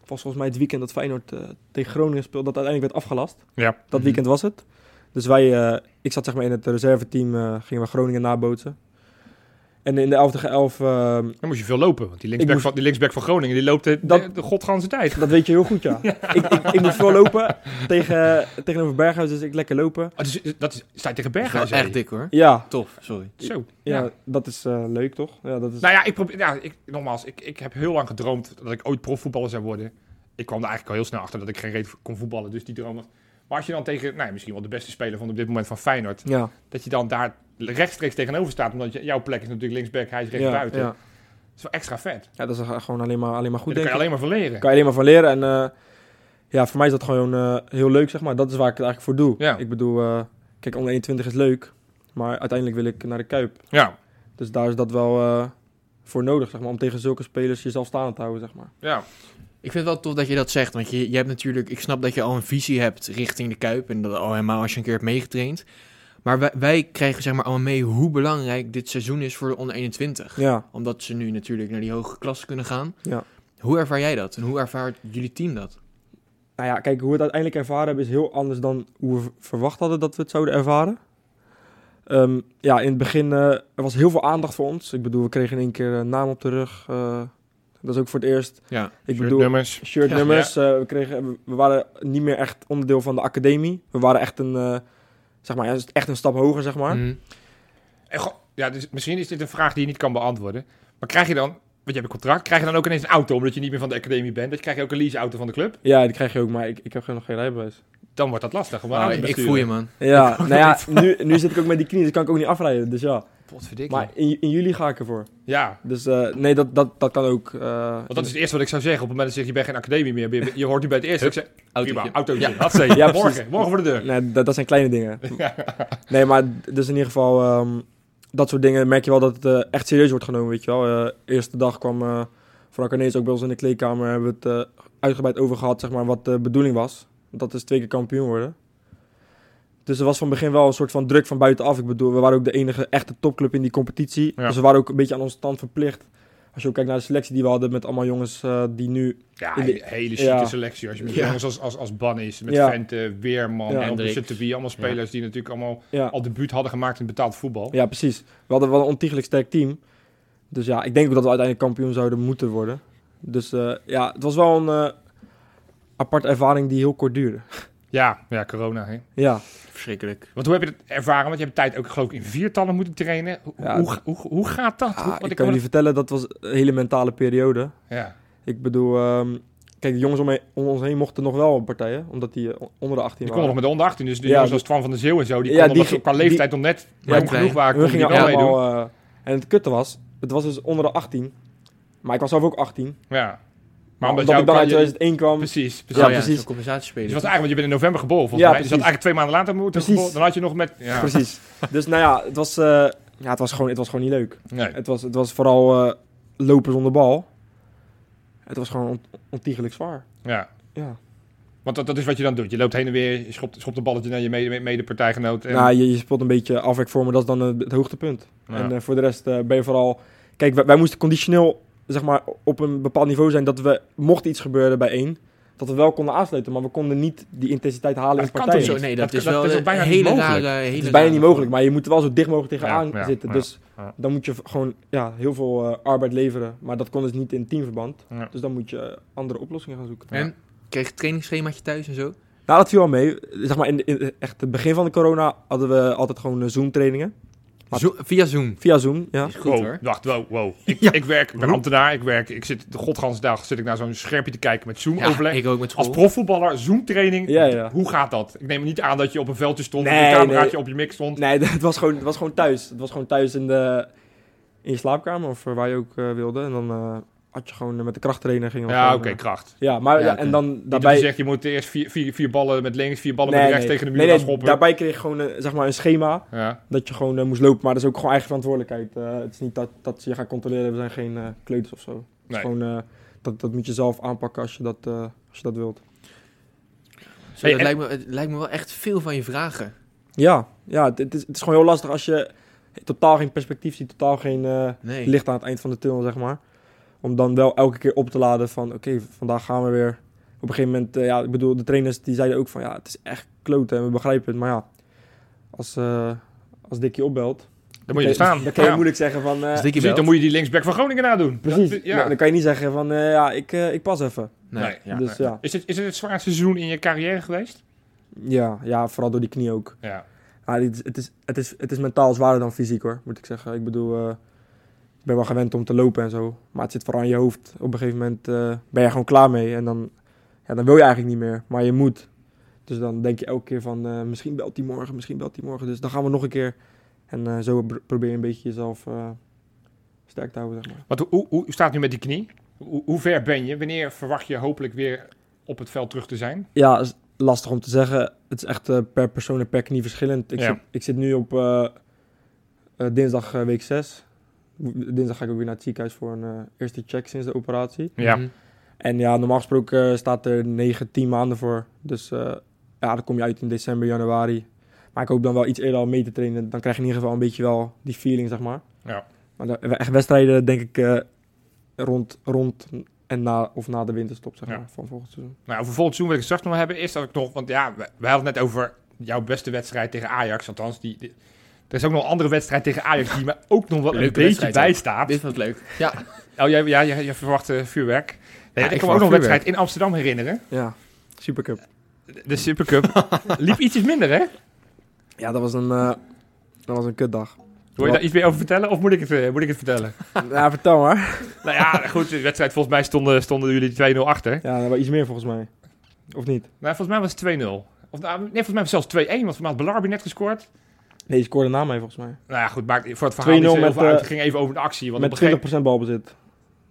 [SPEAKER 3] Het was volgens mij het weekend dat Feyenoord eh, tegen Groningen speelde. Dat uiteindelijk werd afgelast.
[SPEAKER 2] Ja.
[SPEAKER 3] Dat
[SPEAKER 4] Mhm.
[SPEAKER 3] weekend was het. Dus wij, eh, ik zat zeg maar in het reserveteam, eh, gingen we Groningen nabootsen. En in de 11 tegen 11, ehm,
[SPEAKER 2] Dan moest je veel lopen, want die linksback,
[SPEAKER 3] moest-
[SPEAKER 2] van, die linksback van Groningen die loopt de,
[SPEAKER 3] Dat-
[SPEAKER 2] de, de godganse tijd.
[SPEAKER 3] dat weet je heel goed, ja. Ik, ik, ik moest veel lopen tegen, tegenover Berghuis, dus ik lekker lopen.
[SPEAKER 2] Ah, dus, dat is, staat tegen
[SPEAKER 4] Dat is wel
[SPEAKER 2] Berghuis.
[SPEAKER 4] echt dik hoor.
[SPEAKER 3] Ja,
[SPEAKER 4] Tof, sorry.
[SPEAKER 2] Zo.
[SPEAKER 3] ja,
[SPEAKER 2] Ja.
[SPEAKER 3] dat is eh, leuk, toch? Ja, dat is...
[SPEAKER 2] Nou ja, ik probeer, ja ik, nogmaals, ik, ik heb heel lang gedroomd dat ik ooit profvoetballer zou worden. Ik kwam er eigenlijk al heel snel achter dat ik geen reet kon voetballen, dus die droom was- Maar als je dan tegen, nou, ja, misschien wel de beste speler van op dit moment van Feyenoord,
[SPEAKER 3] Ja,
[SPEAKER 2] dat je dan daar rechtstreeks tegenover staat, omdat je, jouw plek is natuurlijk linksback, hij is
[SPEAKER 3] ja,
[SPEAKER 2] rechtsbuiten.
[SPEAKER 3] Ja.
[SPEAKER 2] Dat is wel extra vet.
[SPEAKER 3] ja, dat is gewoon alleen maar, alleen maar
[SPEAKER 2] Daar
[SPEAKER 3] goed,
[SPEAKER 2] kan
[SPEAKER 3] denk
[SPEAKER 2] je
[SPEAKER 3] ik.
[SPEAKER 2] alleen maar van leren.
[SPEAKER 3] kan je alleen maar van leren. En eh, ja, voor mij is dat gewoon eh, heel leuk, zeg maar. Dat is waar ik het eigenlijk voor doe.
[SPEAKER 2] Ja.
[SPEAKER 3] Ik bedoel, eh, kijk, onder 21 is leuk. Maar uiteindelijk wil ik naar de Kuip.
[SPEAKER 2] Ja,
[SPEAKER 3] Dus daar is dat wel eh, voor nodig, zeg maar. Om tegen zulke spelers jezelf staande te houden, zeg maar.
[SPEAKER 2] ja.
[SPEAKER 4] Ik vind het wel tof dat je dat zegt, want je, je hebt natuurlijk, ik snap dat je al een visie hebt richting de Kuip en dat al helemaal als je een keer hebt meegetraind. Maar wij, wij krijgen zeg maar allemaal mee hoe belangrijk dit seizoen is voor de onder 21.
[SPEAKER 3] Ja,
[SPEAKER 4] Omdat ze nu natuurlijk naar die hoge klasse kunnen gaan.
[SPEAKER 3] Ja.
[SPEAKER 4] Hoe ervaar jij dat en hoe ervaart jullie team dat?
[SPEAKER 3] nou ja, kijk, hoe we het uiteindelijk ervaren hebben is heel anders dan hoe we v- verwacht hadden dat we het zouden ervaren. Ehm, ja, in het begin eh, er was heel veel aandacht voor ons. Ik bedoel, we kregen in één keer een naam op de rug. eh, dat is ook voor het eerst.
[SPEAKER 4] Ja,
[SPEAKER 3] Ik
[SPEAKER 2] Shirt
[SPEAKER 3] bedoel,
[SPEAKER 2] nummers.
[SPEAKER 3] shirtnummers. eh, we, kregen, we- we waren niet meer echt onderdeel van de academie. We waren echt een, eh, zeg maar, ja, dus echt een stap hoger, zeg maar.
[SPEAKER 4] Mhm.
[SPEAKER 2] En goh, ja, dus misschien is dit een vraag die je niet kan beantwoorden. Maar krijg je dan, want je hebt een contract, krijg je dan ook ineens een auto omdat je niet meer van de academie bent? Dat krijg je ook een leaseauto van de club?
[SPEAKER 3] Ja, die krijg je ook, maar ik, ik heb gewoon nog geen rijbewijs.
[SPEAKER 2] Dan wordt dat lastig.
[SPEAKER 3] Nou,
[SPEAKER 2] om een
[SPEAKER 4] Ah,
[SPEAKER 2] auto te
[SPEAKER 4] ik, ik
[SPEAKER 2] besturen.
[SPEAKER 4] voel je man.
[SPEAKER 3] Ja, nou ja, nu, nu zit ik ook met die knie, dus kan ik ook niet afrijden. Dus ja,
[SPEAKER 2] Potverdikke.
[SPEAKER 3] maar in, in juli ga ik ervoor.
[SPEAKER 2] Ja,
[SPEAKER 3] Dus eh, nee, dat, dat, dat kan ook. eh,
[SPEAKER 2] want dat is het eerste wat ik zou zeggen. Op het moment dat je zegt, je bent geen academie meer. Je, je hoort nu bij het eerste. Ik zeg, prima,
[SPEAKER 4] Autootje.
[SPEAKER 2] autootje.
[SPEAKER 4] Ja.
[SPEAKER 2] Hatsé,
[SPEAKER 3] Ja, precies.
[SPEAKER 2] morgen, morgen voor de deur.
[SPEAKER 3] Nee, dat, dat zijn kleine dingen. Nee, maar dus in ieder geval, ehm, dat soort dingen merk je wel dat het eh, echt serieus wordt genomen, weet je wel. Eh, eerste dag kwam eh Frank Arnees ook bij ons in de kleedkamer. Hebben we het eh, uitgebreid over gehad, zeg maar, wat de bedoeling was. Dat is twee keer kampioen worden. Dus er was van begin wel een soort van druk van buitenaf. Ik bedoel, we waren ook de enige echte topclub in die competitie.
[SPEAKER 2] Ja.
[SPEAKER 3] Dus we waren ook een beetje aan onze stand verplicht. Als je ook kijkt naar de selectie die we hadden met allemaal jongens eh, die nu...
[SPEAKER 2] Ja,
[SPEAKER 3] In de-
[SPEAKER 2] hele chique
[SPEAKER 3] ja.
[SPEAKER 2] selectie. Als je met
[SPEAKER 4] Ja.
[SPEAKER 2] jongens als, als, als Ban is, met
[SPEAKER 3] Ja.
[SPEAKER 2] Vente, Weerman,
[SPEAKER 3] Ja.
[SPEAKER 2] ja.
[SPEAKER 4] Hendricks.
[SPEAKER 2] Sutterby. Allemaal spelers die natuurlijk allemaal
[SPEAKER 3] Ja,
[SPEAKER 2] al debuut hadden gemaakt in betaald voetbal.
[SPEAKER 3] ja precies. We hadden wel een ontiegelijk sterk team. Dus ja, ik denk ook dat we uiteindelijk kampioen zouden moeten worden. Dus eh, ja, het was wel een eh, aparte ervaring die heel kort duurde.
[SPEAKER 2] Ja, ja corona. Hè.
[SPEAKER 3] Ja,
[SPEAKER 4] Verschrikkelijk.
[SPEAKER 2] Want hoe heb je dat ervaren? Want je hebt tijd ook geloof ik in viertallen moeten trainen. Hoe,
[SPEAKER 3] Ja,
[SPEAKER 2] hoe, hoe, hoe gaat dat?
[SPEAKER 3] Ah,
[SPEAKER 2] Hoe- want
[SPEAKER 3] ik
[SPEAKER 2] ik hoor
[SPEAKER 3] kan jullie vertellen, dat was een hele mentale periode.
[SPEAKER 2] dat- ja.
[SPEAKER 3] Ik bedoel, ehm, kijk, de jongens om, me- om ons heen mochten nog wel partijen, omdat die eh, onder de 18
[SPEAKER 2] Die kon
[SPEAKER 3] waren.
[SPEAKER 2] nog met de onder 18, dus de
[SPEAKER 3] Ja,
[SPEAKER 2] jongens
[SPEAKER 3] die-
[SPEAKER 2] als Twan van der Zeeuw en zo, die
[SPEAKER 3] Ja,
[SPEAKER 2] konden
[SPEAKER 3] die
[SPEAKER 2] nog
[SPEAKER 3] ging-
[SPEAKER 2] qua leeftijd nog net
[SPEAKER 4] Ja,
[SPEAKER 2] jong
[SPEAKER 4] klein.
[SPEAKER 2] genoeg waren,
[SPEAKER 3] we
[SPEAKER 2] konden die
[SPEAKER 3] gingen
[SPEAKER 2] wel meedoen.
[SPEAKER 3] allemaal, eh, en het kutte was, het was dus onder de 18, maar ik was zelf ook 18. Maar
[SPEAKER 2] Ja. Maar
[SPEAKER 3] omdat,
[SPEAKER 2] omdat jou
[SPEAKER 3] ik dan uit
[SPEAKER 2] kan je-
[SPEAKER 3] 2001 kwam,
[SPEAKER 2] Precies, precies.
[SPEAKER 3] Ja,
[SPEAKER 4] oh, ja,
[SPEAKER 3] precies.
[SPEAKER 4] zo'n compensatiespeler.
[SPEAKER 2] Dus het was eigenlijk, want je bent in november geboren volgens
[SPEAKER 3] Ja,
[SPEAKER 2] mij. Dus je had eigenlijk
[SPEAKER 3] precies.
[SPEAKER 2] twee maanden later moeten
[SPEAKER 3] Precies.
[SPEAKER 2] geboren. Dan had je nog met... Ja,
[SPEAKER 3] precies. Dus nou ja, het was, eh, ja, het was, gewoon, het was gewoon niet leuk.
[SPEAKER 2] Nee.
[SPEAKER 3] Het was, het was vooral eh, lopen zonder bal. Het was gewoon ont- ontiegelijk zwaar.
[SPEAKER 2] ja.
[SPEAKER 3] Ja.
[SPEAKER 2] Want dat, dat is wat je dan doet. Je loopt heen en weer, je schopt, schopt een balletje naar je mede, mede- medepartijgenoot. En,
[SPEAKER 3] Nou, je, je speelt een beetje afwek voor, maar dat is dan eh, het hoogtepunt.
[SPEAKER 2] Ja.
[SPEAKER 3] En eh, voor de rest eh, ben je vooral... Kijk, wij, wij moesten conditioneel zeg maar, op een bepaald niveau zijn dat we, mocht iets gebeuren bij één, dat we wel konden aansluiten, maar we konden niet die intensiteit halen
[SPEAKER 2] Dat
[SPEAKER 3] in
[SPEAKER 2] kan
[SPEAKER 3] partijen.
[SPEAKER 2] toch
[SPEAKER 4] Zo, nee, dat,
[SPEAKER 2] Dat-
[SPEAKER 4] is
[SPEAKER 2] dat
[SPEAKER 4] wel
[SPEAKER 2] is ook
[SPEAKER 4] een
[SPEAKER 2] bijna niet
[SPEAKER 4] hele
[SPEAKER 2] mogelijk.
[SPEAKER 4] rare-
[SPEAKER 3] Het
[SPEAKER 4] hele
[SPEAKER 3] is bijna
[SPEAKER 4] rare-
[SPEAKER 3] niet mogelijk, maar je moet er wel zo dicht mogelijk tegenaan
[SPEAKER 2] Ja, ja,
[SPEAKER 3] zitten.
[SPEAKER 2] ja,
[SPEAKER 3] dus
[SPEAKER 2] ja.
[SPEAKER 3] dan moet je v- gewoon ja, heel veel eh, arbeid leveren. Maar dat kon dus niet in teamverband.
[SPEAKER 2] Ja.
[SPEAKER 3] Dus dan moet je eh, andere oplossingen gaan zoeken.
[SPEAKER 4] En kreeg je trainingsschemaatje thuis en zo?
[SPEAKER 3] Nou, dat viel wel mee. Zeg maar, in, de- in echt het begin van de corona hadden we altijd gewoon eh, Zoom-trainingen. Maar-
[SPEAKER 4] Zo- via Zoom.
[SPEAKER 3] Via Zoom, ja.
[SPEAKER 4] Is goed
[SPEAKER 2] Wow,
[SPEAKER 4] hoor.
[SPEAKER 2] wacht, wow, wow. Ik,
[SPEAKER 4] Ja.
[SPEAKER 2] ik werk, ik ben
[SPEAKER 4] Hoe?
[SPEAKER 2] ambtenaar, ik werk, ik zit de godganse dag zit ik naar zo'n schermpje te kijken met Zoom-overleg.
[SPEAKER 4] ik ook met school.
[SPEAKER 2] Als profvoetballer, zoomtraining,
[SPEAKER 3] Ja, ja.
[SPEAKER 2] hoe gaat dat? Ik neem niet aan dat je op een veldje stond,
[SPEAKER 3] Nee,
[SPEAKER 2] met een cameraatje
[SPEAKER 3] nee.
[SPEAKER 2] op je mik stond.
[SPEAKER 3] Nee, dat- het was gewoon, het was gewoon thuis. Het was gewoon thuis in, de, in je slaapkamer of eh, waar je ook eh, wilde. En dan eh, had je gewoon eh, met de krachttrainer gingen we
[SPEAKER 2] ja, oké,
[SPEAKER 3] gewoon, eh,
[SPEAKER 2] kracht.
[SPEAKER 3] ja, maar
[SPEAKER 4] Ja,
[SPEAKER 3] ja,
[SPEAKER 4] oké.
[SPEAKER 3] en dan
[SPEAKER 2] Niet dat
[SPEAKER 3] daarbij...
[SPEAKER 2] je zegt, je moet eerst vier, vier, vier ballen met links, vier ballen
[SPEAKER 3] Nee,
[SPEAKER 2] met rechts
[SPEAKER 3] nee.
[SPEAKER 2] tegen de muur
[SPEAKER 3] Nee, nee,
[SPEAKER 2] gaan schoppen.
[SPEAKER 3] daarbij kreeg je gewoon eh, zeg maar een schema
[SPEAKER 2] Ja.
[SPEAKER 3] dat je gewoon eh, moest lopen. Maar dat is ook gewoon eigen verantwoordelijkheid. Eh, het is niet dat, dat ze je gaan controleren. We zijn geen eh, kleuters of zo. Het
[SPEAKER 2] Nee.
[SPEAKER 3] is gewoon, eh, dat, dat moet je zelf aanpakken als je dat, eh, als je dat wilt.
[SPEAKER 4] Zo,
[SPEAKER 2] Hey,
[SPEAKER 4] dat
[SPEAKER 2] en-
[SPEAKER 4] lijkt me, het lijkt me wel echt veel van je vragen.
[SPEAKER 3] Ja, ja het, het is, het is gewoon heel lastig als je totaal geen perspectief ziet, totaal geen eh,
[SPEAKER 4] Nee.
[SPEAKER 3] licht aan het eind van de tunnel, zeg maar. Om dan wel elke keer op te laden van, oké, v- vandaag gaan we weer. Op een gegeven moment, eh, ja, ik bedoel, de trainers die zeiden ook van, ja, het is echt kloten en we begrijpen het. Maar ja, als, eh als Dickie opbelt,
[SPEAKER 2] Daar moet je staan.
[SPEAKER 3] Dan kan je
[SPEAKER 2] Ja.
[SPEAKER 3] moeilijk zeggen van... eh,
[SPEAKER 4] Als Dikkie
[SPEAKER 2] Je ziet,
[SPEAKER 4] belt.
[SPEAKER 2] dan moet je die linksback van Groningen nadoen.
[SPEAKER 3] precies. Nou,
[SPEAKER 2] Dat-
[SPEAKER 3] Dan- Dan kan je niet zeggen van, eh, ja, ik, eh, ik pas even.
[SPEAKER 4] Nee,
[SPEAKER 2] Nee.
[SPEAKER 4] ja.
[SPEAKER 3] dus ja.
[SPEAKER 2] Is, dit, is dit het zwaarste seizoen in je carrière geweest?
[SPEAKER 3] Ja, ja, vooral door die knie ook.
[SPEAKER 2] Ja.
[SPEAKER 3] Ja, dit is- het, is, het, is, het is mentaal zwaarder dan fysiek hoor, moet ik zeggen. Ik bedoel, eh, ik ben wel gewend om te lopen en zo. Maar het zit vooral in je hoofd. Op een gegeven moment eh, ben je gewoon klaar mee. En dan, ja, dan wil je eigenlijk niet meer, maar je moet. Dus dan denk je elke keer van, eh, misschien belt hij morgen, misschien belt hij morgen. Dus dan gaan we nog een keer. En eh, zo pr- probeer je een beetje jezelf eh, sterk te houden, zeg maar.
[SPEAKER 2] Want hoe, hoe, hoe staat het nu met die knie? Hoe, hoe ver ben je? Wanneer verwacht je hopelijk weer op het veld terug te zijn?
[SPEAKER 3] Ja, is lastig om te zeggen. Het is echt eh, per persoon en per knie verschillend. Ik,
[SPEAKER 2] Ja.
[SPEAKER 3] zit, ik zit nu op eh, eh, dinsdag eh, week 6. Dinsdag ga ik ook weer naar het ziekenhuis voor een eh, eerste check sinds de operatie.
[SPEAKER 4] Mhm.
[SPEAKER 3] En ja, normaal gesproken eh, staat er 9, 10 maanden voor. Dus eh, ja, dan kom je uit in december, januari. Maar ik hoop dan wel iets eerder al mee te trainen. Dan krijg je in ieder geval een beetje wel die feeling, zeg maar.
[SPEAKER 2] Ja.
[SPEAKER 3] Maar de- echt wedstrijden denk ik eh, rond, rond en na, of na de winterstop, zeg
[SPEAKER 2] Ja.
[SPEAKER 3] maar, van volgend seizoen.
[SPEAKER 2] Nou, voor volgend seizoen wil ik het straks nog hebben. Is dat ik nog, want ja, we, we hadden het net over jouw beste wedstrijd tegen Ajax. Althans, die, die- er is ook nog een andere wedstrijd tegen Ajax die me ook nog wel een
[SPEAKER 4] Leuke
[SPEAKER 2] beetje
[SPEAKER 4] wedstrijd, hè?
[SPEAKER 2] bijstaat.
[SPEAKER 4] Dit was leuk. Ja,
[SPEAKER 2] Oh, jij, ja, jij, jij verwacht eh, vuurwerk. Nee, ik
[SPEAKER 4] Ja, ik
[SPEAKER 2] kan me ook nog een
[SPEAKER 4] verwacht
[SPEAKER 2] wedstrijd in Amsterdam herinneren.
[SPEAKER 3] Ja, supercup.
[SPEAKER 2] De, de Supercup liep ietsjes minder, hè?
[SPEAKER 3] Ja, dat was een, eh, dat was een kutdag.
[SPEAKER 2] Wil je daar iets meer over vertellen of moet ik het, eh, moet ik het vertellen?
[SPEAKER 3] ja, vertel maar.
[SPEAKER 2] nou ja, goed, de wedstrijd volgens mij stonden, stonden jullie 2-0 achter.
[SPEAKER 3] Ja, dat was iets meer volgens mij. Of niet?
[SPEAKER 2] Nou, volgens mij was het 2-0. Of, nou, nee, volgens mij was het zelfs 2-1, want volgens mij had Belarbi net gescoord.
[SPEAKER 3] Nee, je scoorde na mij volgens mij.
[SPEAKER 2] Nou ja, goed, maakt voor het verhaal niet
[SPEAKER 3] 2-0
[SPEAKER 2] zo heel
[SPEAKER 3] met,
[SPEAKER 2] veel uit. Het
[SPEAKER 3] eh,
[SPEAKER 2] ging even over de actie. Want op een gegeven
[SPEAKER 3] Met 20% balbezit.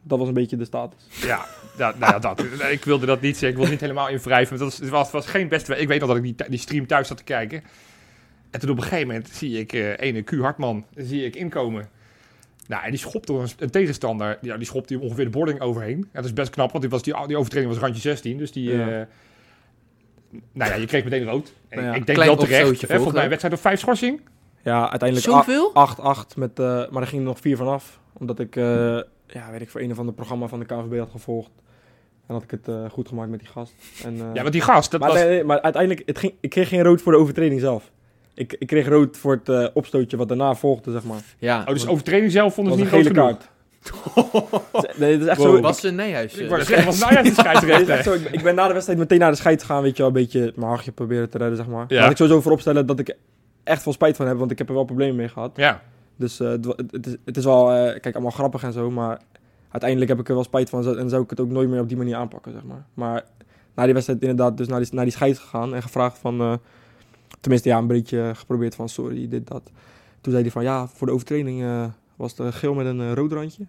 [SPEAKER 3] Dat was een beetje de status.
[SPEAKER 2] Ja, ja, nou ja, dat. Ik wilde dat niet zeggen. Ik wilde niet helemaal in wrijven. want Dat was, het was, was geen beste. Ik weet nog dat ik die, die stream thuis zat te kijken. En toen op een gegeven moment zie ik eh ene Q Hartman zie ik inkomen. Nou, en die schopt door een, een tegenstander. Ja, die schopt die ongeveer de boarding overheen. En dat is best knap, want die, was, die, die overtreding was randje 16. Dus die...
[SPEAKER 3] Ja.
[SPEAKER 2] eh, nou ja, je kreeg meteen rood. En
[SPEAKER 3] Nou ja,
[SPEAKER 2] ik denk
[SPEAKER 4] klein
[SPEAKER 2] wel terecht.
[SPEAKER 4] opstootje
[SPEAKER 2] Hè, volgens mij
[SPEAKER 4] volgde.
[SPEAKER 2] een wedstrijd op vijf schorsing.
[SPEAKER 3] Ja, uiteindelijk a- 8-8.
[SPEAKER 4] zoveel?
[SPEAKER 3] Met, eh, maar er gingen er nog 4 vanaf. Omdat ik, eh, ja, weet ik, voor een of ander programma van de KVB had gevolgd. En had ik het eh, goed gemaakt met die gast. En, eh,
[SPEAKER 2] Ja, want die gast, dat
[SPEAKER 3] maar,
[SPEAKER 2] was...
[SPEAKER 3] nee, nee, maar uiteindelijk, het ging, ik kreeg geen rood voor de overtreding zelf. Ik, ik kreeg rood voor het eh, opstootje wat daarna volgde, zeg maar.
[SPEAKER 4] Ja.
[SPEAKER 2] oh, dus overtreding zelf vonden
[SPEAKER 3] Dat
[SPEAKER 2] ze
[SPEAKER 3] was een
[SPEAKER 2] niet groot
[SPEAKER 3] gele
[SPEAKER 2] genoeg.
[SPEAKER 3] kaart. nee, dat is echt zo.
[SPEAKER 4] was een Nijhuis. eh,
[SPEAKER 2] Ik wou zeggen, was nou ja, de scheidsrechter.
[SPEAKER 3] Nee, het is echt zo, ik, ik ben na de wedstrijd meteen naar de scheid gegaan, weet je wel, een beetje mijn hachje proberen te redden, zeg maar.
[SPEAKER 2] Ja.
[SPEAKER 3] Laat ik sowieso vooropstellen dat ik echt veel spijt van heb, want ik heb er wel problemen mee gehad.
[SPEAKER 2] Ja.
[SPEAKER 3] Dus eh, het, wa- het, is, het is wel, eh, kijk, allemaal grappig en zo, maar uiteindelijk heb ik er wel spijt van zo- en zou ik het ook nooit meer op die manier aanpakken, zeg maar. Maar na die wedstrijd inderdaad dus naar die, naar die scheid gegaan en gevraagd van, eh, tenminste ja, een beetje geprobeerd van sorry, dit, dat. Toen zei hij van ja, voor de overtreding eh, was het eh, geel met een eh, rood randje.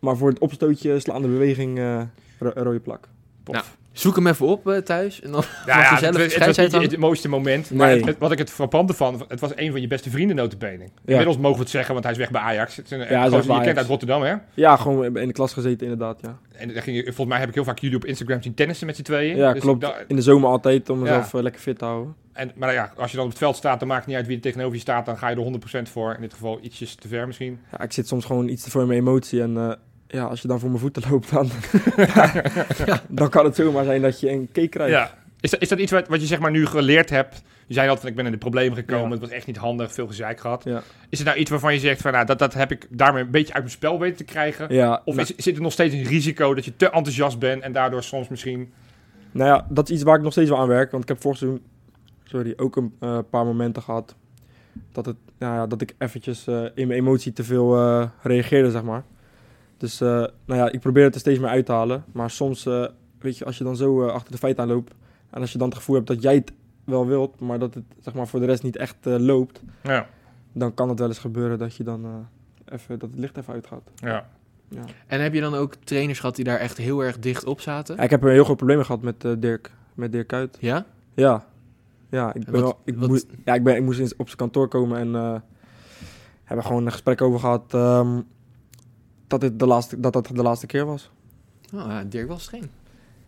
[SPEAKER 3] Maar voor het opstootje slaande beweging eh, ro- een rode plak. Pof.
[SPEAKER 4] Nou, Zoek hem even op eh, thuis. En dan
[SPEAKER 2] Ja, ja
[SPEAKER 4] mag je
[SPEAKER 2] het,
[SPEAKER 4] zelf
[SPEAKER 2] was- het was niet
[SPEAKER 4] scheidsrechter
[SPEAKER 2] het
[SPEAKER 4] dan.
[SPEAKER 2] mooiste moment. Maar
[SPEAKER 3] Nee.
[SPEAKER 2] het- het- wat ik het frappante van, het was een van je beste vrienden notabene. Inmiddels mogen we het zeggen, want hij is weg bij Ajax. Het is een,
[SPEAKER 3] hij is
[SPEAKER 2] gozer
[SPEAKER 3] weg
[SPEAKER 2] die
[SPEAKER 3] bij
[SPEAKER 2] je kent
[SPEAKER 3] Ajax.
[SPEAKER 2] uit Rotterdam, hè?
[SPEAKER 3] Ja, gewoon in de klas gezeten inderdaad, ja.
[SPEAKER 2] En daar ging, je- volgens mij heb ik heel vaak jullie op Instagram zien tennissen met z'n tweeën.
[SPEAKER 3] Ja,
[SPEAKER 2] Dus
[SPEAKER 3] klopt.
[SPEAKER 2] ik da-
[SPEAKER 3] In de zomer altijd, om
[SPEAKER 2] Ja.
[SPEAKER 3] mezelf eh, lekker fit te houden.
[SPEAKER 2] en, maar ja, als je dan op het veld staat, dan maakt het niet uit wie er tegenover je staat. Dan ga je er 100% voor. In dit geval ietsjes te ver misschien.
[SPEAKER 3] Ja, ik zit soms gewoon iets te voor in mijn emotie en... eh, ja, als je dan voor mijn voeten loopt, dan, dan kan het zomaar zijn dat je een cake krijgt.
[SPEAKER 2] Ja. Is, dat, is dat iets wat, wat je zeg maar nu geleerd hebt? Je zei altijd van ik ben in de problemen gekomen.
[SPEAKER 3] Ja.
[SPEAKER 2] Het was echt niet handig, veel gezeik gehad.
[SPEAKER 3] Ja.
[SPEAKER 2] Is het nou iets waarvan je zegt van nou, dat, dat heb ik daarmee een beetje uit mijn spel weten te krijgen?
[SPEAKER 3] Ja,
[SPEAKER 2] Of
[SPEAKER 3] nou,
[SPEAKER 2] is, zit er nog steeds een risico dat je te enthousiast bent en daardoor soms misschien...
[SPEAKER 3] nou ja, dat is iets waar ik nog steeds wel aan werk. Want ik heb vorig seizoen sorry, ook een eh, paar momenten gehad dat, het, nou ja, dat ik eventjes eh, in mijn emotie te veel eh, reageerde, zeg maar. Dus eh, nou ja, ik probeer het er steeds meer uit te halen. Maar soms, eh, weet je, als je dan zo eh, achter de feiten aan loopt... en als je dan het gevoel hebt dat jij het wel wilt... maar dat het zeg maar, voor de rest niet echt eh, loopt...
[SPEAKER 2] Ja,
[SPEAKER 3] dan kan het wel eens gebeuren dat je dan eh, even, dat het licht even uitgaat.
[SPEAKER 2] ja.
[SPEAKER 3] Ja.
[SPEAKER 4] En heb je dan ook trainers gehad die daar echt heel erg dicht op zaten?
[SPEAKER 3] Ja, ik heb een heel groot probleem mee gehad met eh, Dirk, met Dirk Kuyt.
[SPEAKER 4] Ja?
[SPEAKER 3] Ja. Ja, ik, ben
[SPEAKER 4] wat-
[SPEAKER 3] wel, ik,
[SPEAKER 4] wat-
[SPEAKER 3] moest, ja, ik, ben, ik moest eens op zijn kantoor komen en eh, hebben gewoon een gesprek over gehad ehm, dat, dit de laatste, dat dat de laatste keer was.
[SPEAKER 4] Oh, ja, Dirk was streng.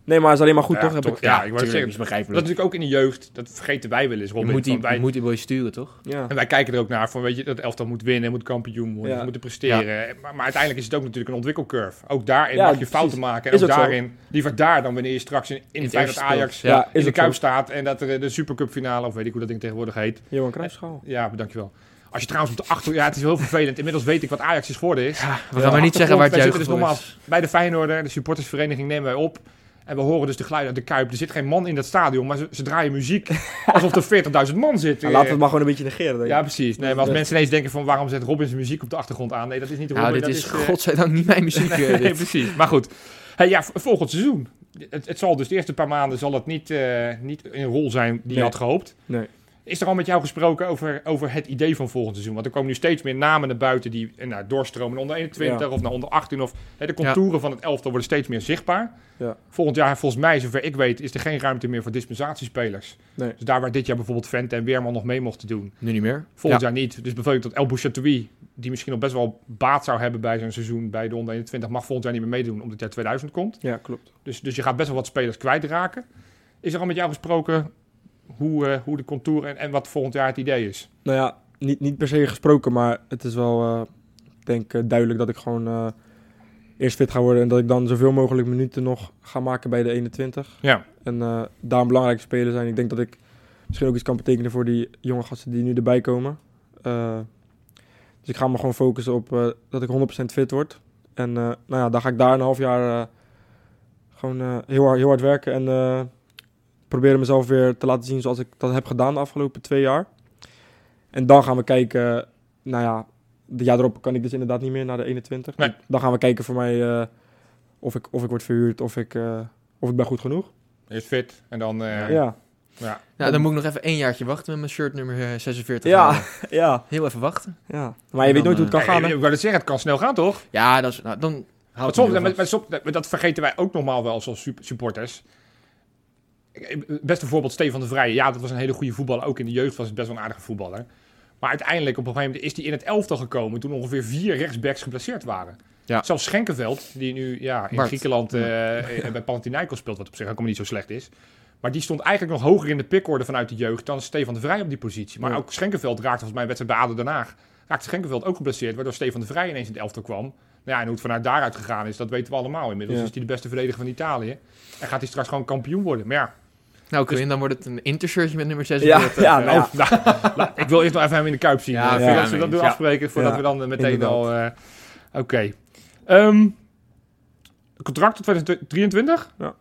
[SPEAKER 3] Nee, maar het is alleen maar goed,
[SPEAKER 2] Ja,
[SPEAKER 3] toch? Heb
[SPEAKER 2] toch?
[SPEAKER 3] ik,
[SPEAKER 2] Ja, ik wou het zeggen.
[SPEAKER 5] is
[SPEAKER 2] Dat is
[SPEAKER 5] begrijpelijk.
[SPEAKER 2] natuurlijk ook in de jeugd, dat vergeten wij wel eens,
[SPEAKER 4] Je
[SPEAKER 2] Robin.
[SPEAKER 4] moet, die,
[SPEAKER 2] want wij,
[SPEAKER 4] je moet die boy sturen, toch?
[SPEAKER 3] ja.
[SPEAKER 2] En wij kijken er ook naar van, weet je, dat elftal moet winnen, moet kampioen worden,
[SPEAKER 3] Ja.
[SPEAKER 2] ze moeten presteren. Maar, maar uiteindelijk is het ook natuurlijk een ontwikkelcurve. Ook daarin
[SPEAKER 3] Ja,
[SPEAKER 2] mag je
[SPEAKER 3] precies.
[SPEAKER 2] fouten maken. En
[SPEAKER 3] Is
[SPEAKER 2] ook
[SPEAKER 3] ook zo.
[SPEAKER 2] daarin, liever daar dan wanneer je straks in, in
[SPEAKER 4] het
[SPEAKER 2] Feyenoord
[SPEAKER 4] eerste
[SPEAKER 2] Ajax
[SPEAKER 4] speelt. Ja,
[SPEAKER 3] Ja,
[SPEAKER 2] in
[SPEAKER 3] is
[SPEAKER 2] de
[SPEAKER 3] ook zo.
[SPEAKER 2] Kuip staat. En dat er de Supercup finale, of weet ik hoe dat ding tegenwoordig heet.
[SPEAKER 3] Johan Cruijffschaal.
[SPEAKER 2] Ja, maar dankjewel. Als je trouwens om de achter... Ja, het is heel vervelend. Inmiddels weet ik wat Ajax is geworden is.
[SPEAKER 4] Ja, we gaan maar niet zeggen waar het
[SPEAKER 2] Wij
[SPEAKER 4] juist
[SPEAKER 2] zitten dus
[SPEAKER 4] voor
[SPEAKER 2] nogmaals
[SPEAKER 4] is.
[SPEAKER 2] bij de Feyenoorder, de supportersvereniging nemen wij op. En we horen dus de geluiden uit de Kuip. Er zit geen man in dat stadion, maar ze, ze draaien muziek alsof er 40.000 man zitten.
[SPEAKER 3] Nou, laten we het maar gewoon een beetje negeren. Denk ik.
[SPEAKER 2] Ja, precies. Nee, maar als mensen ineens denken van waarom zet Robin zijn muziek op de achtergrond aan? Nee, dat is niet Robin.
[SPEAKER 4] Nou, dit
[SPEAKER 2] dat
[SPEAKER 4] is,
[SPEAKER 2] eh,
[SPEAKER 4] godzijdank niet mijn muziek. eh,
[SPEAKER 2] nee,
[SPEAKER 4] dit.
[SPEAKER 2] precies. Maar goed, hey, ja, v- volgend seizoen. Het, het zal dus de eerste paar maanden zal het niet, eh, niet in rol zijn die je
[SPEAKER 3] Nee.
[SPEAKER 2] had gehoopt.
[SPEAKER 3] Nee.
[SPEAKER 2] Is er al met jou gesproken over, over het idee van volgend seizoen? Want er komen nu steeds meer namen naar buiten die eh, nou, doorstromen naar onder 21 of naar onder 18. Of, hè, de contouren van het elftal worden steeds meer zichtbaar.
[SPEAKER 3] Ja.
[SPEAKER 2] Volgend jaar, volgens mij, zover ik weet, is er geen ruimte meer voor dispensatiespelers.
[SPEAKER 3] Nee.
[SPEAKER 2] Dus daar waar dit jaar bijvoorbeeld Vente en Weerman nog mee mochten doen,
[SPEAKER 4] Nu niet meer.
[SPEAKER 2] Volgend jaar niet. Dus bijvoorbeeld dat El Bouchatoui, die misschien nog best wel baat zou hebben bij zijn seizoen bij de onder 21, mag volgend jaar niet meer meedoen omdat het jaar 2000 komt.
[SPEAKER 3] Ja, klopt.
[SPEAKER 2] Dus, dus je gaat best wel wat spelers kwijtraken. Is er al met jou gesproken hoe, eh, hoe de contour en, en wat volgend jaar het idee is?
[SPEAKER 3] Nou ja, niet, niet per se gesproken, maar het is wel, eh, ik denk eh, duidelijk dat ik gewoon eh, eerst fit ga worden. En dat ik dan zoveel mogelijk minuten nog ga maken bij de 21.
[SPEAKER 2] Ja.
[SPEAKER 3] En eh, daar een belangrijke speler zijn. Ik denk dat ik misschien ook iets kan betekenen voor die jonge gasten die nu erbij komen. Eh, dus ik ga me gewoon focussen op eh, dat ik 100% fit word. En eh, nou ja, dan ga ik daar een half jaar eh, gewoon eh, heel, hard, heel hard werken. En eh, proberen mezelf weer te laten zien zoals ik dat heb gedaan de afgelopen twee jaar. En dan gaan we kijken, eh, nou ja, de jaar erop kan ik dus inderdaad niet meer naar de 21.
[SPEAKER 2] Nee.
[SPEAKER 3] Dan gaan we kijken voor mij eh, of, ik, of ik word verhuurd, of ik, eh, of ik ben goed genoeg.
[SPEAKER 2] Eerst fit en dan... eh, ja.
[SPEAKER 3] Ja,
[SPEAKER 4] Nou, dan moet ik nog even één jaartje wachten met mijn shirt nummer eh, 46.
[SPEAKER 3] Ja.
[SPEAKER 4] aan.
[SPEAKER 3] ja,
[SPEAKER 4] Heel even wachten.
[SPEAKER 3] ja. Maar je weet
[SPEAKER 4] En dan,
[SPEAKER 3] nooit hoe het kan
[SPEAKER 2] Nee,
[SPEAKER 3] gaan, hè?
[SPEAKER 2] ik wou dat zeggen, het kan snel gaan toch?
[SPEAKER 4] Ja, dat is, nou, dan
[SPEAKER 2] Want
[SPEAKER 4] houdt
[SPEAKER 2] soms,
[SPEAKER 4] het
[SPEAKER 2] maar-
[SPEAKER 4] nu wel
[SPEAKER 2] maar soms- maar dat vergeten wij ook normaal wel als sup- supporters. Ik- ik- Beste voorbeeld Stefan de Vrij. Ja, dat was een hele goede voetballer. Ook in de jeugd was het best wel een aardige voetballer. Maar uiteindelijk op een gegeven moment is hij in het elftal gekomen toen ongeveer vier rechtsbacks geplaceerd waren.
[SPEAKER 4] Ja.
[SPEAKER 2] Zelfs Schenkenveld, die nu ja, in
[SPEAKER 4] Bart.
[SPEAKER 2] Griekenland eh, bij Panathinaikos speelt, wat op zich ook helemaal niet zo slecht is. Maar die stond eigenlijk nog hoger in de pickorde vanuit de jeugd dan Stefan de Vrij op die positie. Maar
[SPEAKER 3] Ja.
[SPEAKER 2] ook Schenkenveld raakte volgens mij een wedstrijd bij ADO Den Haag. Raakte Schenkenveld ook geblesseerd, waardoor Stefan de Vrij ineens in het elftal kwam. Nou ja, en hoe het vanuit daaruit gegaan is, dat weten we allemaal. Inmiddels
[SPEAKER 3] Ja.
[SPEAKER 2] is hij de beste verdediger van Italië. En gaat hij straks gewoon kampioen worden. Maar ja,
[SPEAKER 4] vast. Nou, Quinn, dan wordt het een intershirtje met nummer
[SPEAKER 3] Ja,
[SPEAKER 4] 46.
[SPEAKER 3] ja, nou ja.
[SPEAKER 2] nou, nou, nou, ik wil eerst nog even hem in de kuip zien.
[SPEAKER 4] Ja,
[SPEAKER 2] Ja,
[SPEAKER 3] ja,
[SPEAKER 2] dat we
[SPEAKER 4] mee
[SPEAKER 2] dat
[SPEAKER 4] eens,
[SPEAKER 2] doen
[SPEAKER 4] ja.
[SPEAKER 2] afspreken voordat
[SPEAKER 3] Ja,
[SPEAKER 2] we dan eh, meteen
[SPEAKER 3] inderdaad.
[SPEAKER 2] al... eh, Oké. Ehm, contract tot 2023?
[SPEAKER 3] Ja.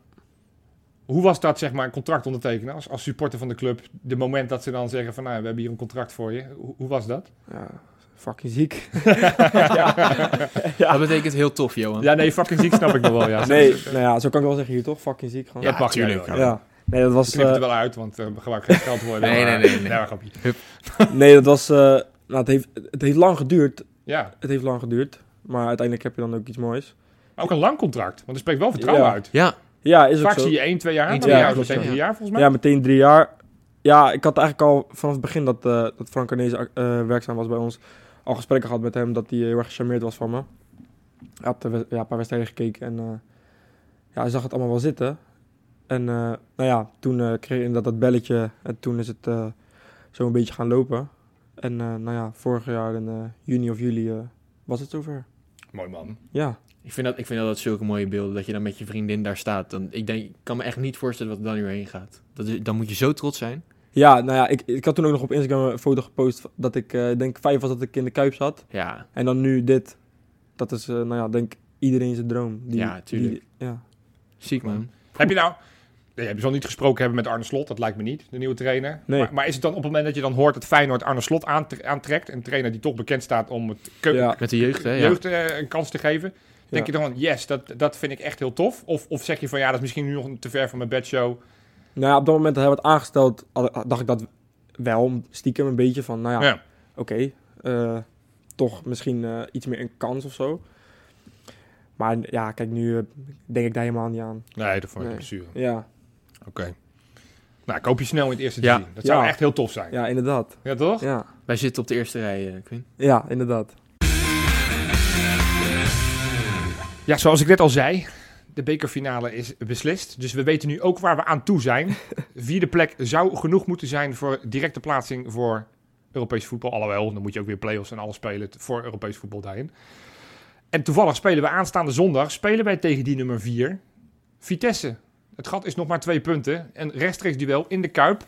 [SPEAKER 2] Hoe was dat, zeg maar, een contract ondertekenen als, als supporter van de club? De moment dat ze dan zeggen van, nou, we hebben hier een contract voor je. Hoe, hoe was dat?
[SPEAKER 3] Ja, fucking ziek.
[SPEAKER 4] Dat betekent heel tof, Johan.
[SPEAKER 2] Ja, nee, fucking ziek snap ik nog wel, ja.
[SPEAKER 3] Nee, nou ja, zo kan ik wel zeggen hier toch? Fucking ziek gewoon.
[SPEAKER 2] dat mag je
[SPEAKER 4] tuurlijk.
[SPEAKER 2] wel, ja.
[SPEAKER 3] Ja. Nee, dat was,
[SPEAKER 2] Knip het
[SPEAKER 3] eh,
[SPEAKER 2] er wel uit, want eh, we gebruiken geen geld worden.
[SPEAKER 4] Nee, nee, nee, nee.
[SPEAKER 2] Ja, grapje.
[SPEAKER 3] nee, dat was eh, nou, het, heeft, het heeft lang geduurd.
[SPEAKER 2] Ja,
[SPEAKER 3] Het heeft lang geduurd. Maar uiteindelijk heb je dan ook iets moois.
[SPEAKER 2] maar ook een lang contract, want er spreekt wel vertrouwen
[SPEAKER 3] Ja.
[SPEAKER 2] uit.
[SPEAKER 4] Ja,
[SPEAKER 3] Ja, is ook
[SPEAKER 2] Vaak
[SPEAKER 3] zo.
[SPEAKER 2] zie je één, twee jaar,
[SPEAKER 4] Eén,
[SPEAKER 2] maar
[SPEAKER 4] twee
[SPEAKER 2] bij
[SPEAKER 3] jaar,
[SPEAKER 2] jou is het
[SPEAKER 4] klopt,
[SPEAKER 2] meteen drie jaar volgens mij.
[SPEAKER 3] Ja, meteen drie jaar. Ja, ik had eigenlijk al vanaf het begin dat, eh, dat Frank Arnees eh, werkzaam was bij ons... al gesprekken gehad met hem dat hij eh, heel erg gecharmeerd was van me. Hij had eh, we- ja, een paar wedstrijden gekeken en eh, ja, hij zag het allemaal wel zitten. En eh, nou ja, toen eh, kreeg ik inderdaad dat belletje en toen is het eh, zo een beetje gaan lopen. En eh, nou ja, vorig jaar in eh, juni of juli eh, was het zover.
[SPEAKER 2] Mooi man.
[SPEAKER 3] Ja,
[SPEAKER 4] ik vind, dat, ik vind dat, dat zulke mooie beelden, dat je dan met je vriendin daar staat. Dan, ik, denk, ik kan me echt niet voorstellen wat er dan nu heen gaat. Dat is, dan moet je zo trots zijn.
[SPEAKER 3] ja nou ja, ik, ik had toen ook nog op Instagram een foto gepost dat ik eh, denk vijf was dat ik in de Kuip zat.
[SPEAKER 4] Ja,
[SPEAKER 3] En dan nu dit. Dat is, eh, nou ja, denk iedereen zijn droom. Die,
[SPEAKER 4] Ja, tuurlijk.
[SPEAKER 3] die- ja.
[SPEAKER 4] ziek man.
[SPEAKER 2] Heb je nou... Nee, heb je zal niet gesproken hebben met Arne Slot, dat lijkt me niet, de nieuwe trainer.
[SPEAKER 3] Nee.
[SPEAKER 2] Maar, maar is het dan op het moment dat je dan hoort dat Feyenoord Arne Slot aantre- aantrekt, een trainer die toch bekend staat om het keu-
[SPEAKER 3] Ja.
[SPEAKER 4] Met de jeugd, hè? Ja.
[SPEAKER 2] jeugd eh, een kans te geven, denk
[SPEAKER 3] Ja.
[SPEAKER 2] je dan van yes, dat, dat vind ik echt heel tof? Of, of zeg je van ja, dat is misschien nu nog te ver van mijn bedshow.
[SPEAKER 3] Nou ja, op dat moment dat hij werd aangesteld, had- dacht ik dat wel stiekem een beetje van, nou ja,
[SPEAKER 2] Ja.
[SPEAKER 3] oké, eh, toch misschien eh, iets meer een kans of zo. Maar ja, kijk, nu eh, denk ik daar helemaal niet aan.
[SPEAKER 2] Nee, dat vond ik
[SPEAKER 3] Nee.
[SPEAKER 2] een blessure.
[SPEAKER 3] Ja,
[SPEAKER 2] Oké. Nou, ik hoop je snel in het eerste
[SPEAKER 4] Ja.
[SPEAKER 2] team. Dat zou
[SPEAKER 3] Ja.
[SPEAKER 2] echt heel tof zijn. Ja,
[SPEAKER 3] ja inderdaad.
[SPEAKER 2] toch?
[SPEAKER 3] Ja,
[SPEAKER 4] Wij zitten op de eerste rij, eh, Quinn.
[SPEAKER 3] ja inderdaad.
[SPEAKER 2] Ja, zoals ik net al zei, de bekerfinale is beslist. Dus we weten nu ook waar we aan toe zijn. Vierde plek zou genoeg moeten zijn voor directe plaatsing voor Europees voetbal. Alhoewel, dan moet je ook weer play-offs en alles spelen t- voor Europees voetbal daarin. En toevallig spelen we aanstaande zondag spelen wij tegen die nummer 4, Vitesse. Het gat is nog maar twee punten. Een rechtstreeks duel in de Kuip.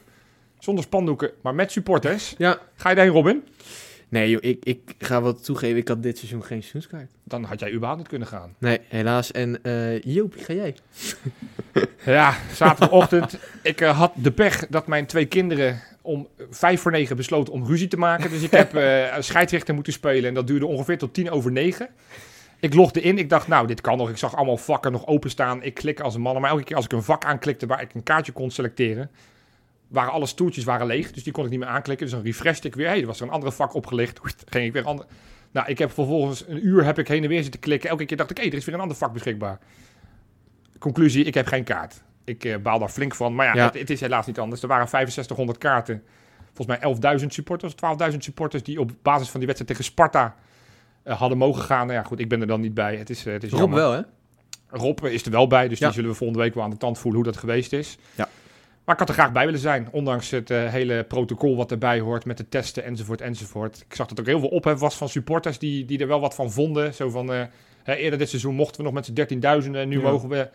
[SPEAKER 2] Zonder spandoeken, maar met supporters.
[SPEAKER 4] Ja.
[SPEAKER 2] Ga je daarheen, Robin?
[SPEAKER 4] Nee, joh, ik, ik ga wel toegeven, ik had dit seizoen geen seizoenskaart.
[SPEAKER 2] Dan had jij überhaupt niet kunnen gaan.
[SPEAKER 4] Nee, helaas. En eh Jopie, ga jij?
[SPEAKER 2] Ja, zaterdagochtend. ik eh, had de pech dat mijn twee kinderen om vijf voor negen besloten om ruzie te maken. Dus ik heb eh scheidsrechter moeten spelen en dat duurde ongeveer tot tien over negen. Ik logde in, ik dacht, nou, dit kan nog. Ik zag allemaal vakken nog openstaan. Ik klik als een man. Maar elke keer als ik een vak aanklikte waar ik een kaartje kon selecteren, waren alle stoeltjes waren leeg. Dus die kon ik niet meer aanklikken. Dus dan refreshte ik weer. Hey, er was er een andere vak opgelicht. Hoest, Ging ik weer een ander. Nou, ik heb vervolgens een uur heb ik heen en weer zitten klikken. Elke keer dacht ik, hé, er is weer een ander vak beschikbaar. Conclusie, ik heb geen kaart. Ik eh, baal daar flink van. Maar ja,
[SPEAKER 4] Ja.
[SPEAKER 2] Het, het is helaas niet anders. Er waren 6500 kaarten. Volgens mij 11.000 supporters, 12.000 supporters... die op basis van die wedstrijd tegen Sparta eh, hadden mogen gaan. Nou ja, goed, ik ben er dan niet bij. Het is, eh, het is
[SPEAKER 4] Rob
[SPEAKER 2] jammer.
[SPEAKER 4] wel, hè?
[SPEAKER 2] Rob is er wel bij, dus
[SPEAKER 4] Ja.
[SPEAKER 2] die zullen we volgende week wel aan de tand voelen hoe dat geweest is.
[SPEAKER 4] Ja.
[SPEAKER 2] Maar ik had er graag bij willen zijn, ondanks het eh, hele protocol wat erbij hoort met de testen enzovoort enzovoort. Ik zag dat er ook heel veel ophef was van supporters die, die er wel wat van vonden. Zo van, eh, hè, eerder dit seizoen mochten we nog met z'n 13.000 en nu
[SPEAKER 4] Ja.
[SPEAKER 2] mogen we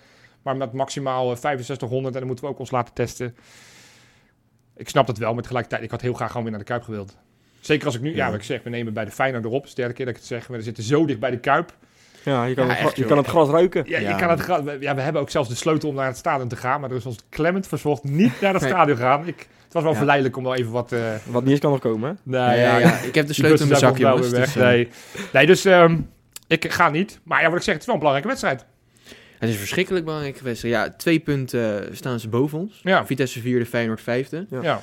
[SPEAKER 2] maar met maximaal eh, 6500 en dan moeten we ook ons laten testen. Ik snap dat wel, maar tegelijkertijd, ik had heel graag gewoon weer naar de Kuip gewild. Zeker als ik nu, ja,
[SPEAKER 4] Ja.
[SPEAKER 2] wat ik zeg, we nemen bij de Feyenoord erop. Het is de derde keer dat ik het zeg, maar we zitten zo dicht bij de Kuip.
[SPEAKER 3] Ja, je kan,
[SPEAKER 2] Ja,
[SPEAKER 3] het, gra-
[SPEAKER 2] echt,
[SPEAKER 3] je
[SPEAKER 2] joh.
[SPEAKER 3] kan het gras ruiken.
[SPEAKER 2] Ja,
[SPEAKER 4] Ja.
[SPEAKER 2] Je kan het gra- we- ja, we hebben ook zelfs de sleutel om naar het stadion te gaan. Maar er is ons klemmend verzorgd niet naar het
[SPEAKER 4] Nee.
[SPEAKER 2] stadion te gaan. Ik, het was wel
[SPEAKER 4] Ja.
[SPEAKER 2] verleidelijk om wel even wat... eh
[SPEAKER 3] Wat niet eens kan nog komen, hè?
[SPEAKER 2] nee,
[SPEAKER 4] Ja, ja, ja. Ik heb de
[SPEAKER 2] die
[SPEAKER 4] sleutel in mijn
[SPEAKER 2] bus is ook
[SPEAKER 4] zak,
[SPEAKER 2] nog
[SPEAKER 4] jongens.
[SPEAKER 2] wel
[SPEAKER 4] dus,
[SPEAKER 2] weer
[SPEAKER 4] eh,
[SPEAKER 2] weg. Nee, nee dus ehm, ik ga niet. Maar ja, wat ik zeg, het is wel een belangrijke wedstrijd.
[SPEAKER 4] Het is een verschrikkelijk belangrijke wedstrijd. Ja, twee punten eh, staan ze boven ons.
[SPEAKER 2] Ja,
[SPEAKER 4] Vitesse vierde, Feyenoord vijfde.
[SPEAKER 3] Ja.
[SPEAKER 2] ja.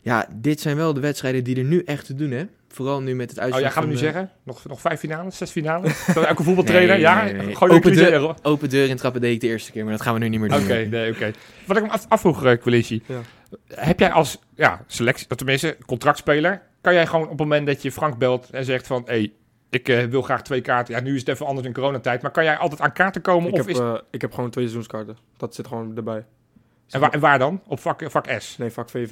[SPEAKER 4] Ja, dit zijn wel de wedstrijden die er nu echt te doen, hè? Vooral nu met het
[SPEAKER 2] Oh,
[SPEAKER 4] uitslag
[SPEAKER 2] ja, gaan we nu
[SPEAKER 4] van, eh,
[SPEAKER 2] zeggen? Nog, nog vijf finales, zes finales? Dat elke voetbaltrainer?
[SPEAKER 4] Nee,
[SPEAKER 2] ja,
[SPEAKER 4] nee, nee.
[SPEAKER 2] gooi je
[SPEAKER 4] Open
[SPEAKER 2] knieën
[SPEAKER 4] de-
[SPEAKER 2] erop.
[SPEAKER 4] Open deur in trappen deed ik de eerste keer, maar dat gaan we nu niet meer doen.
[SPEAKER 2] Oké, nee, oké. Wat ik me af, afvroeg, uh,
[SPEAKER 3] Ja.
[SPEAKER 2] Heb jij als ja, selectie, of tenminste contractspeler, kan jij gewoon op het moment dat je Frank belt en zegt van... Hey, ik eh, wil graag twee kaarten. Ja, nu is het even anders in coronatijd. Maar kan jij altijd aan kaarten komen?
[SPEAKER 3] Ik
[SPEAKER 2] of
[SPEAKER 3] heb,
[SPEAKER 2] is,
[SPEAKER 3] eh, ik heb gewoon twee seizoenskaarten. Dat zit gewoon erbij.
[SPEAKER 2] en, waar, en waar dan? Op vak, vak S?
[SPEAKER 3] Nee, vak VV.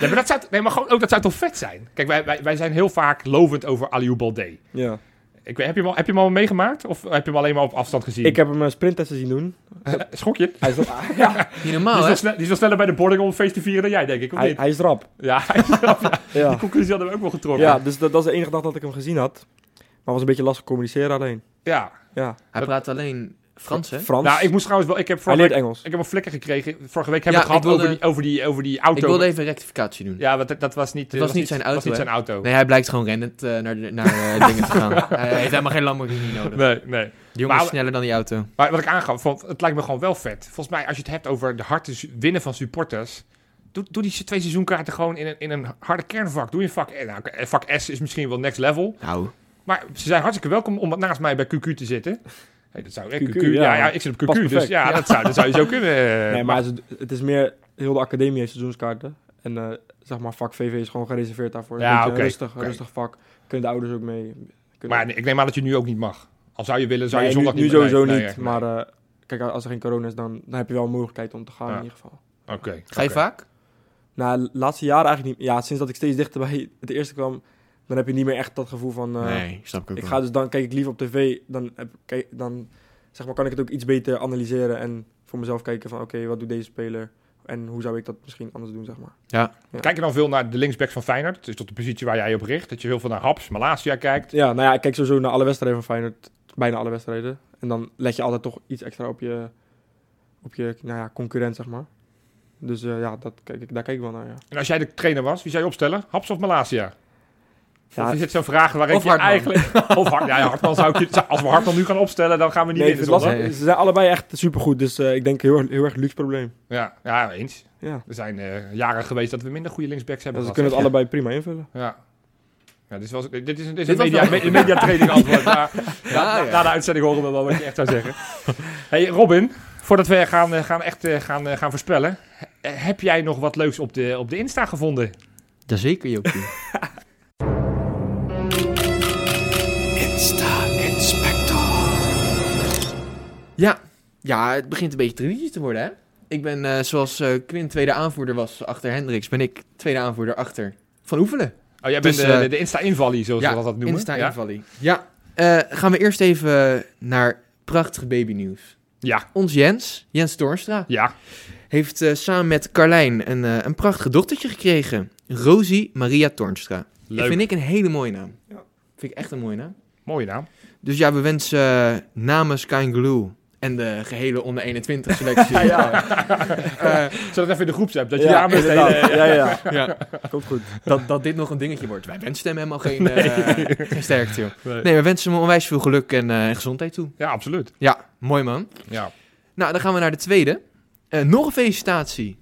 [SPEAKER 2] Nee, maar, dat zou, nee, maar gewoon, ook, dat zou toch vet zijn? Kijk, wij, wij, wij zijn heel vaak lovend over Aliou Baldé.
[SPEAKER 3] ja.
[SPEAKER 2] Ik, weet- heb, je hem al, heb je hem al meegemaakt? Of heb je hem alleen maar op afstand gezien?
[SPEAKER 3] Ik eh, Oh, heb hem een sprinttesten zien doen.
[SPEAKER 2] Schok je?
[SPEAKER 3] Hij is,
[SPEAKER 4] Niet
[SPEAKER 2] die,
[SPEAKER 4] normaal,
[SPEAKER 2] Dus is
[SPEAKER 4] hè?
[SPEAKER 2] wel snel- die is wel sneller bij de boarding om een feest te vieren dan jij, denk ik. Of
[SPEAKER 3] hij,
[SPEAKER 2] niet?
[SPEAKER 3] hij is rap.
[SPEAKER 2] Ja,
[SPEAKER 3] Ja,
[SPEAKER 2] conclusie hadden we ook wel getrokken.
[SPEAKER 3] ja dus dat, dat is de enige dag dat ik hem gezien had. Maar was een beetje lastig communiceren alleen.
[SPEAKER 2] ja.
[SPEAKER 3] Ja.
[SPEAKER 4] Hij
[SPEAKER 2] Dat-
[SPEAKER 4] praat alleen Frans, hè?
[SPEAKER 3] Frans.
[SPEAKER 2] Nou, ik moest trouwens wel. Ik heb
[SPEAKER 3] hij
[SPEAKER 2] vorige
[SPEAKER 3] leert
[SPEAKER 2] week,
[SPEAKER 3] Engels.
[SPEAKER 2] ik heb een flikker gekregen. Vorige week hebben we
[SPEAKER 4] Ja,
[SPEAKER 2] het
[SPEAKER 4] ik
[SPEAKER 2] gehad over,
[SPEAKER 4] wilde-
[SPEAKER 2] die, over, die, over die auto.
[SPEAKER 4] Ik wilde even een rectificatie doen.
[SPEAKER 2] Ja, want dat, dat was niet.
[SPEAKER 4] Het
[SPEAKER 2] eh,
[SPEAKER 4] was niet zijn
[SPEAKER 2] Was
[SPEAKER 4] auto,
[SPEAKER 2] niet
[SPEAKER 4] hè?
[SPEAKER 2] zijn auto.
[SPEAKER 4] Nee, hij blijkt gewoon rennend eh, naar, de- naar eh, dingen te gaan. Hij heeft helemaal geen Lamborghini nodig.
[SPEAKER 2] Nee, nee.
[SPEAKER 4] Die jongen is
[SPEAKER 2] Maar-
[SPEAKER 4] sneller dan die auto.
[SPEAKER 2] Maar wat ik aangaf, van, het lijkt me gewoon wel vet. Volgens mij, als je het hebt over de harde su- winnen van supporters. Doe, doe die twee seizoenkaarten gewoon in een, in een harde kernvak. Doe je vak, eh, nou, eh, vak S is misschien wel next level.
[SPEAKER 4] Nou,
[SPEAKER 2] Maar ze zijn hartstikke welkom om naast mij bij QQ te zitten. Hey, dat zou, eh,
[SPEAKER 3] QQ,
[SPEAKER 2] QQ, ja, ja,
[SPEAKER 3] ja.
[SPEAKER 2] ik zit op
[SPEAKER 3] Past
[SPEAKER 2] QQ. Dus
[SPEAKER 3] perfect.
[SPEAKER 2] ja, Dat, zou, dat zou je zo kunnen. eh,
[SPEAKER 3] nee, maar het is- het is meer... Heel de academie heeft seizoenskaarten. En eh, zeg maar, vak VV is gewoon gereserveerd daarvoor.
[SPEAKER 2] Ja,
[SPEAKER 3] Een beetje
[SPEAKER 2] oké,
[SPEAKER 3] Rustig,
[SPEAKER 2] oké.
[SPEAKER 3] rustig vak. Kunnen de ouders ook mee. Kunnen-
[SPEAKER 2] Maar ik neem aan dat je nu ook niet mag. Al zou je willen, zou
[SPEAKER 3] Nee,
[SPEAKER 2] je
[SPEAKER 3] nu,
[SPEAKER 2] zondag
[SPEAKER 3] nu
[SPEAKER 2] niet
[SPEAKER 3] sowieso
[SPEAKER 2] nee, nee,
[SPEAKER 3] niet.
[SPEAKER 2] nee.
[SPEAKER 3] Maar eh, kijk, als er geen corona is, dan, dan heb je wel een mogelijkheid om te gaan
[SPEAKER 2] Ja.
[SPEAKER 3] in ieder geval.
[SPEAKER 2] Oké.
[SPEAKER 4] ga je
[SPEAKER 2] oké.
[SPEAKER 4] vaak?
[SPEAKER 3] Nou, de laatste jaren eigenlijk niet. Ja, sinds dat ik steeds dichter bij het eerste kwam, dan heb je niet meer echt dat gevoel van... eh,
[SPEAKER 4] snap ook
[SPEAKER 3] Ik ga dus dan, kijk ik liever op tv, dan, heb, kijk, dan zeg maar, kan ik het ook iets beter analyseren en voor mezelf kijken van oké, wat doet deze speler en hoe zou ik dat misschien anders doen, zeg maar.
[SPEAKER 2] Kijk je dan veel naar de linksbacks van Feyenoord? Het is tot de positie waar jij op richt. Dat je heel veel naar Haps, Malasia kijkt.
[SPEAKER 3] Ja, nou ja, ik kijk sowieso naar alle wedstrijden van Feyenoord, bijna alle wedstrijden. En dan let je altijd toch iets extra op je, op je nou ja, concurrent, zeg maar. Dus eh, ja, dat kijk ik, daar kijk ik wel naar, ja.
[SPEAKER 2] En als jij de trainer was, wie zou je opstellen? Haps of Malasia?
[SPEAKER 3] Ja,
[SPEAKER 2] of is het zo'n vraag waar ik
[SPEAKER 4] Of
[SPEAKER 2] je
[SPEAKER 4] Hartman.
[SPEAKER 2] eigenlijk... of Hart, ja, ja, Hartman zou ik je... zou- Als we Hartman nu gaan opstellen, dan gaan we niet
[SPEAKER 3] Nee, ik
[SPEAKER 2] winnen.
[SPEAKER 3] vind het
[SPEAKER 2] zondag.
[SPEAKER 3] lastig. Ze zijn allebei echt supergoed, dus eh, ik denk heel, erg- heel erg luxe probleem.
[SPEAKER 2] Ja, ja, eens.
[SPEAKER 3] Ja.
[SPEAKER 2] Er zijn eh, jaren geweest dat we minder goede linksbacks hebben
[SPEAKER 3] Dus ze
[SPEAKER 2] gehad.
[SPEAKER 3] kunnen het allebei prima invullen.
[SPEAKER 2] Ja. Ja, dit, was, dit is een, dit is
[SPEAKER 4] Dit
[SPEAKER 2] een
[SPEAKER 4] was
[SPEAKER 2] media,
[SPEAKER 4] wel-
[SPEAKER 2] me- een mediatraining antwoord. maar
[SPEAKER 4] Ja,
[SPEAKER 2] na,
[SPEAKER 4] Ah, ja.
[SPEAKER 2] na de uitzending horen we wel wat je echt zou zeggen. hey, Robin, voordat we gaan, eh, gaan, echt, eh, gaan, eh, gaan voorspellen. eh, Heb jij nog wat leuks op de, op de Insta gevonden?
[SPEAKER 4] Jazeker, Jopie. Ja. ja, het begint een beetje traditie te worden, hè? Ik ben, eh, zoals eh Quint tweede aanvoerder was achter Hendricks, ben ik tweede aanvoerder achter Van Oevelen.
[SPEAKER 2] Oh, jij
[SPEAKER 4] Dus,
[SPEAKER 2] bent de,
[SPEAKER 4] eh,
[SPEAKER 2] de, de Insta-invalie, zoals
[SPEAKER 4] ja,
[SPEAKER 2] we dat noemen.
[SPEAKER 4] Insta
[SPEAKER 2] ja?
[SPEAKER 4] invallie. Ja. Eh, gaan we eerst even naar prachtig babynieuws.
[SPEAKER 2] Ja.
[SPEAKER 4] Ons Jens, Jens Toornstra,
[SPEAKER 2] ja.
[SPEAKER 4] heeft eh, samen met Carlijn een, eh, een prachtig dochtertje gekregen. Rosie Maria Toornstra. Dat vind ik een hele mooie naam. Vind ik echt een mooie naam.
[SPEAKER 2] Mooie naam.
[SPEAKER 4] Dus ja, we wensen eh, namens Kind Glue en de gehele onder 21 selectie. eh, ja.
[SPEAKER 2] Zet het even in de groepsapp, dat je
[SPEAKER 3] Ja,
[SPEAKER 2] daar met
[SPEAKER 3] inderdaad.
[SPEAKER 2] hele...
[SPEAKER 3] Ja, ja,
[SPEAKER 4] ja.
[SPEAKER 3] ja. Komt goed.
[SPEAKER 4] dat, dat dit nog een dingetje wordt. Wij wensen hem helemaal geen, eh, geen sterkte. Joh. Nee, we wensen hem onwijs veel geluk en eh, gezondheid toe.
[SPEAKER 2] Ja, absoluut.
[SPEAKER 4] Ja, mooi man.
[SPEAKER 2] Ja.
[SPEAKER 4] Nou, dan gaan we naar de tweede. Eh, nog een felicitatie.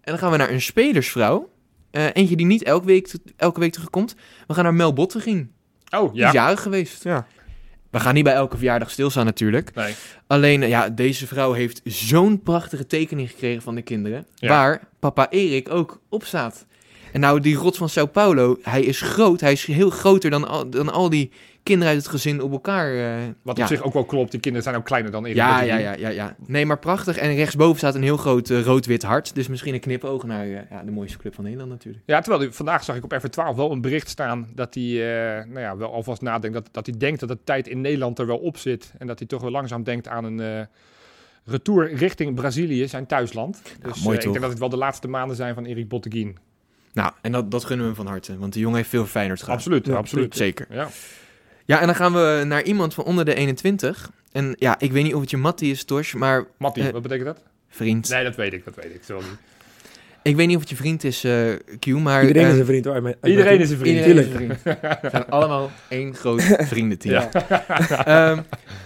[SPEAKER 4] En dan gaan we naar een spelersvrouw. Eh, eentje die niet elke week, elke week terugkomt. We gaan naar Mel Botteging.
[SPEAKER 2] Oh,
[SPEAKER 4] Die
[SPEAKER 2] ja.
[SPEAKER 4] is jarig geweest.
[SPEAKER 3] Ja.
[SPEAKER 4] We gaan niet bij elke verjaardag stilstaan natuurlijk.
[SPEAKER 2] Nee.
[SPEAKER 4] Alleen, eh, ja, deze vrouw heeft zo'n prachtige tekening gekregen van de kinderen.
[SPEAKER 2] Ja.
[SPEAKER 4] Waar papa Erik ook op staat. En nou, die rot van Sao Paulo, hij is groot. Hij is heel groter dan al, dan al die kinderen uit het gezin op elkaar. eh,
[SPEAKER 2] Wat op
[SPEAKER 4] ja.
[SPEAKER 2] zich ook wel klopt, die kinderen zijn ook kleiner dan Erik.
[SPEAKER 4] Ja,
[SPEAKER 2] Dat
[SPEAKER 4] ja,
[SPEAKER 2] die-
[SPEAKER 4] ja, ja, ja. Nee, maar prachtig. En rechtsboven staat een heel groot eh, rood-wit hart. Dus misschien een knipoog naar eh, ja, de mooiste club van Nederland natuurlijk.
[SPEAKER 2] Ja, terwijl die- vandaag zag ik op F12 wel een bericht staan dat hij eh, nou ja, wel alvast nadenkt. Dat, dat hij denkt dat de tijd in Nederland er wel op zit. En dat hij toch wel langzaam denkt aan een eh, retour richting Brazilië, zijn thuisland. Dus
[SPEAKER 4] mooi
[SPEAKER 2] eh, ik
[SPEAKER 4] toch?
[SPEAKER 2] denk dat het wel de laatste maanden zijn van Erik Botteguin.
[SPEAKER 4] Nou, en dat, dat gunnen we hem van harte. Want de jongen heeft veel voor Feyenoord gehad.
[SPEAKER 2] Absoluut,
[SPEAKER 3] Ja,
[SPEAKER 2] absoluut.
[SPEAKER 4] Zeker.
[SPEAKER 2] Ja.
[SPEAKER 4] Ja, en dan gaan we naar iemand van onder de 21. En ja, ik weet niet of het je Mattie is, Tosh, maar
[SPEAKER 2] Mattie,
[SPEAKER 4] Eh,
[SPEAKER 2] wat betekent dat?
[SPEAKER 4] vriend.
[SPEAKER 2] Nee, dat weet ik, dat weet ik. Sorry.
[SPEAKER 4] Ik weet niet of het je vriend is, eh, Q, maar...
[SPEAKER 3] Iedereen
[SPEAKER 4] eh,
[SPEAKER 3] is een vriend hoor. uit mijn- uit
[SPEAKER 2] Iedereen
[SPEAKER 3] mijn
[SPEAKER 2] is een vriend.
[SPEAKER 3] Tuurlijk.
[SPEAKER 4] iedereen is een vriend. We zijn allemaal één groot vriendenteam. Ja,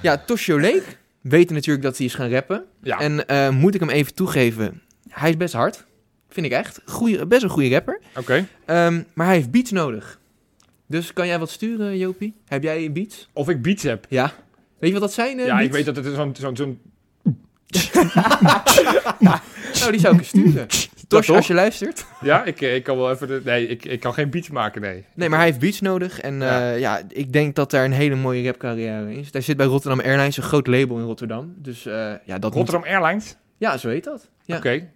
[SPEAKER 4] ja Toshio Leek. Weten natuurlijk dat hij is gaan rappen.
[SPEAKER 2] Ja.
[SPEAKER 4] En eh, moet ik hem even toegeven, hij is best hard. Vind ik echt. Goeie, best een goede rapper.
[SPEAKER 2] Oké.
[SPEAKER 4] Ehm, maar hij heeft beats nodig. Dus kan jij wat sturen, Jopie? Heb jij beats?
[SPEAKER 2] Of ik beats heb.
[SPEAKER 4] Ja. Weet je wat dat zijn? eh,
[SPEAKER 2] Ja, ik
[SPEAKER 4] beats?
[SPEAKER 2] weet dat het zo'n... zo'n zo'n-
[SPEAKER 4] Nou, die zou ik eens sturen. Tosh,
[SPEAKER 2] toch?
[SPEAKER 4] als je luistert.
[SPEAKER 2] ja, ik, eh, ik kan wel even... de- Nee, ik, ik kan geen beats maken, nee.
[SPEAKER 4] Nee, maar hij heeft beats nodig. En
[SPEAKER 2] Ja.
[SPEAKER 4] eh, ja. ik denk dat daar een hele mooie rapcarrière is. Daar zit bij Rotterdam Airlines een groot label in Rotterdam. Dus eh, ja, dat moet-
[SPEAKER 2] Rotterdam Airlines?
[SPEAKER 4] Ja, zo heet dat. Ja.
[SPEAKER 2] Oké.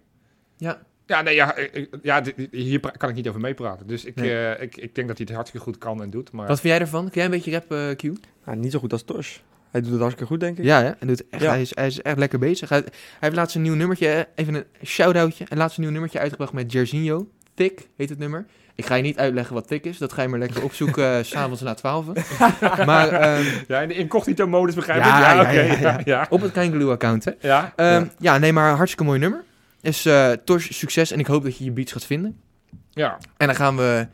[SPEAKER 4] Ja.
[SPEAKER 2] Ja, nee, ja, ik- ik- ja, dit- dit- hier pra- kan ik niet over meepraten. Dus ik,
[SPEAKER 4] Nee.
[SPEAKER 2] eh, ik, ik denk dat hij het hartstikke goed kan en doet. Maar
[SPEAKER 4] Wat vind jij ervan? Kun jij een beetje rap, eh, Q?
[SPEAKER 3] vriend. Nou, niet zo goed als Tosh. Hij doet het hartstikke goed, denk ik.
[SPEAKER 4] Ja, hè? En doet echt,
[SPEAKER 3] Ja.
[SPEAKER 4] Hij, is, hij is echt lekker bezig. Hij, hij heeft laatst een nieuw nummertje, eh, even een shout-outje. Hij heeft laatst een nieuw nummertje uitgebracht met Jerzinho. Tik heet het nummer. Ik ga je niet uitleggen wat tik is. Dat ga je maar lekker opzoeken eh, s s'avonds na 12. maar ehm,
[SPEAKER 2] ja, in de incognito-modus begrijp
[SPEAKER 4] Ja,
[SPEAKER 2] ik. Ja,
[SPEAKER 4] ja,
[SPEAKER 2] oké.
[SPEAKER 4] ja, ja.
[SPEAKER 2] Ja, ja.
[SPEAKER 4] op het Kangaloo-account, hè?
[SPEAKER 2] Ja.
[SPEAKER 4] Ehm, ja. nee, maar een hartstikke mooi nummer. Dus eh Tosh, succes en ik hoop dat je je beats gaat vinden.
[SPEAKER 2] Ja.
[SPEAKER 4] En dan gaan we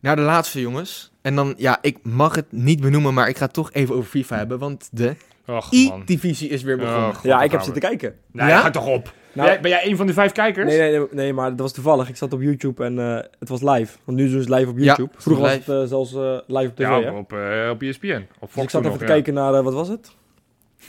[SPEAKER 4] naar de laatste, jongens. En dan, ja, ik mag het niet benoemen, maar ik ga het toch even over FIFA hebben, want de
[SPEAKER 2] Och, man.
[SPEAKER 4] E-divisie is weer begonnen.
[SPEAKER 2] Och,
[SPEAKER 3] Ja, ik heb
[SPEAKER 2] godverdamme.
[SPEAKER 3] zitten kijken.
[SPEAKER 2] Nee,
[SPEAKER 4] Ja?
[SPEAKER 2] ga toch op. Ben
[SPEAKER 3] Nou,
[SPEAKER 2] jij- ben jij een van de vijf kijkers?
[SPEAKER 3] Nee, nee, nee, nee, maar dat was toevallig. Ik zat op YouTube en eh, het was live. Want nu doen ze live op YouTube.
[SPEAKER 4] het is
[SPEAKER 3] Vroeger was het
[SPEAKER 4] live.
[SPEAKER 3] eh, zelfs eh, live op tv,
[SPEAKER 2] Ja,
[SPEAKER 3] hè?
[SPEAKER 2] op, eh op ESPN. Op Fox
[SPEAKER 3] Dus ik zat
[SPEAKER 2] toen
[SPEAKER 3] even te
[SPEAKER 2] nog, ja.
[SPEAKER 3] kijken naar, eh, wat was het?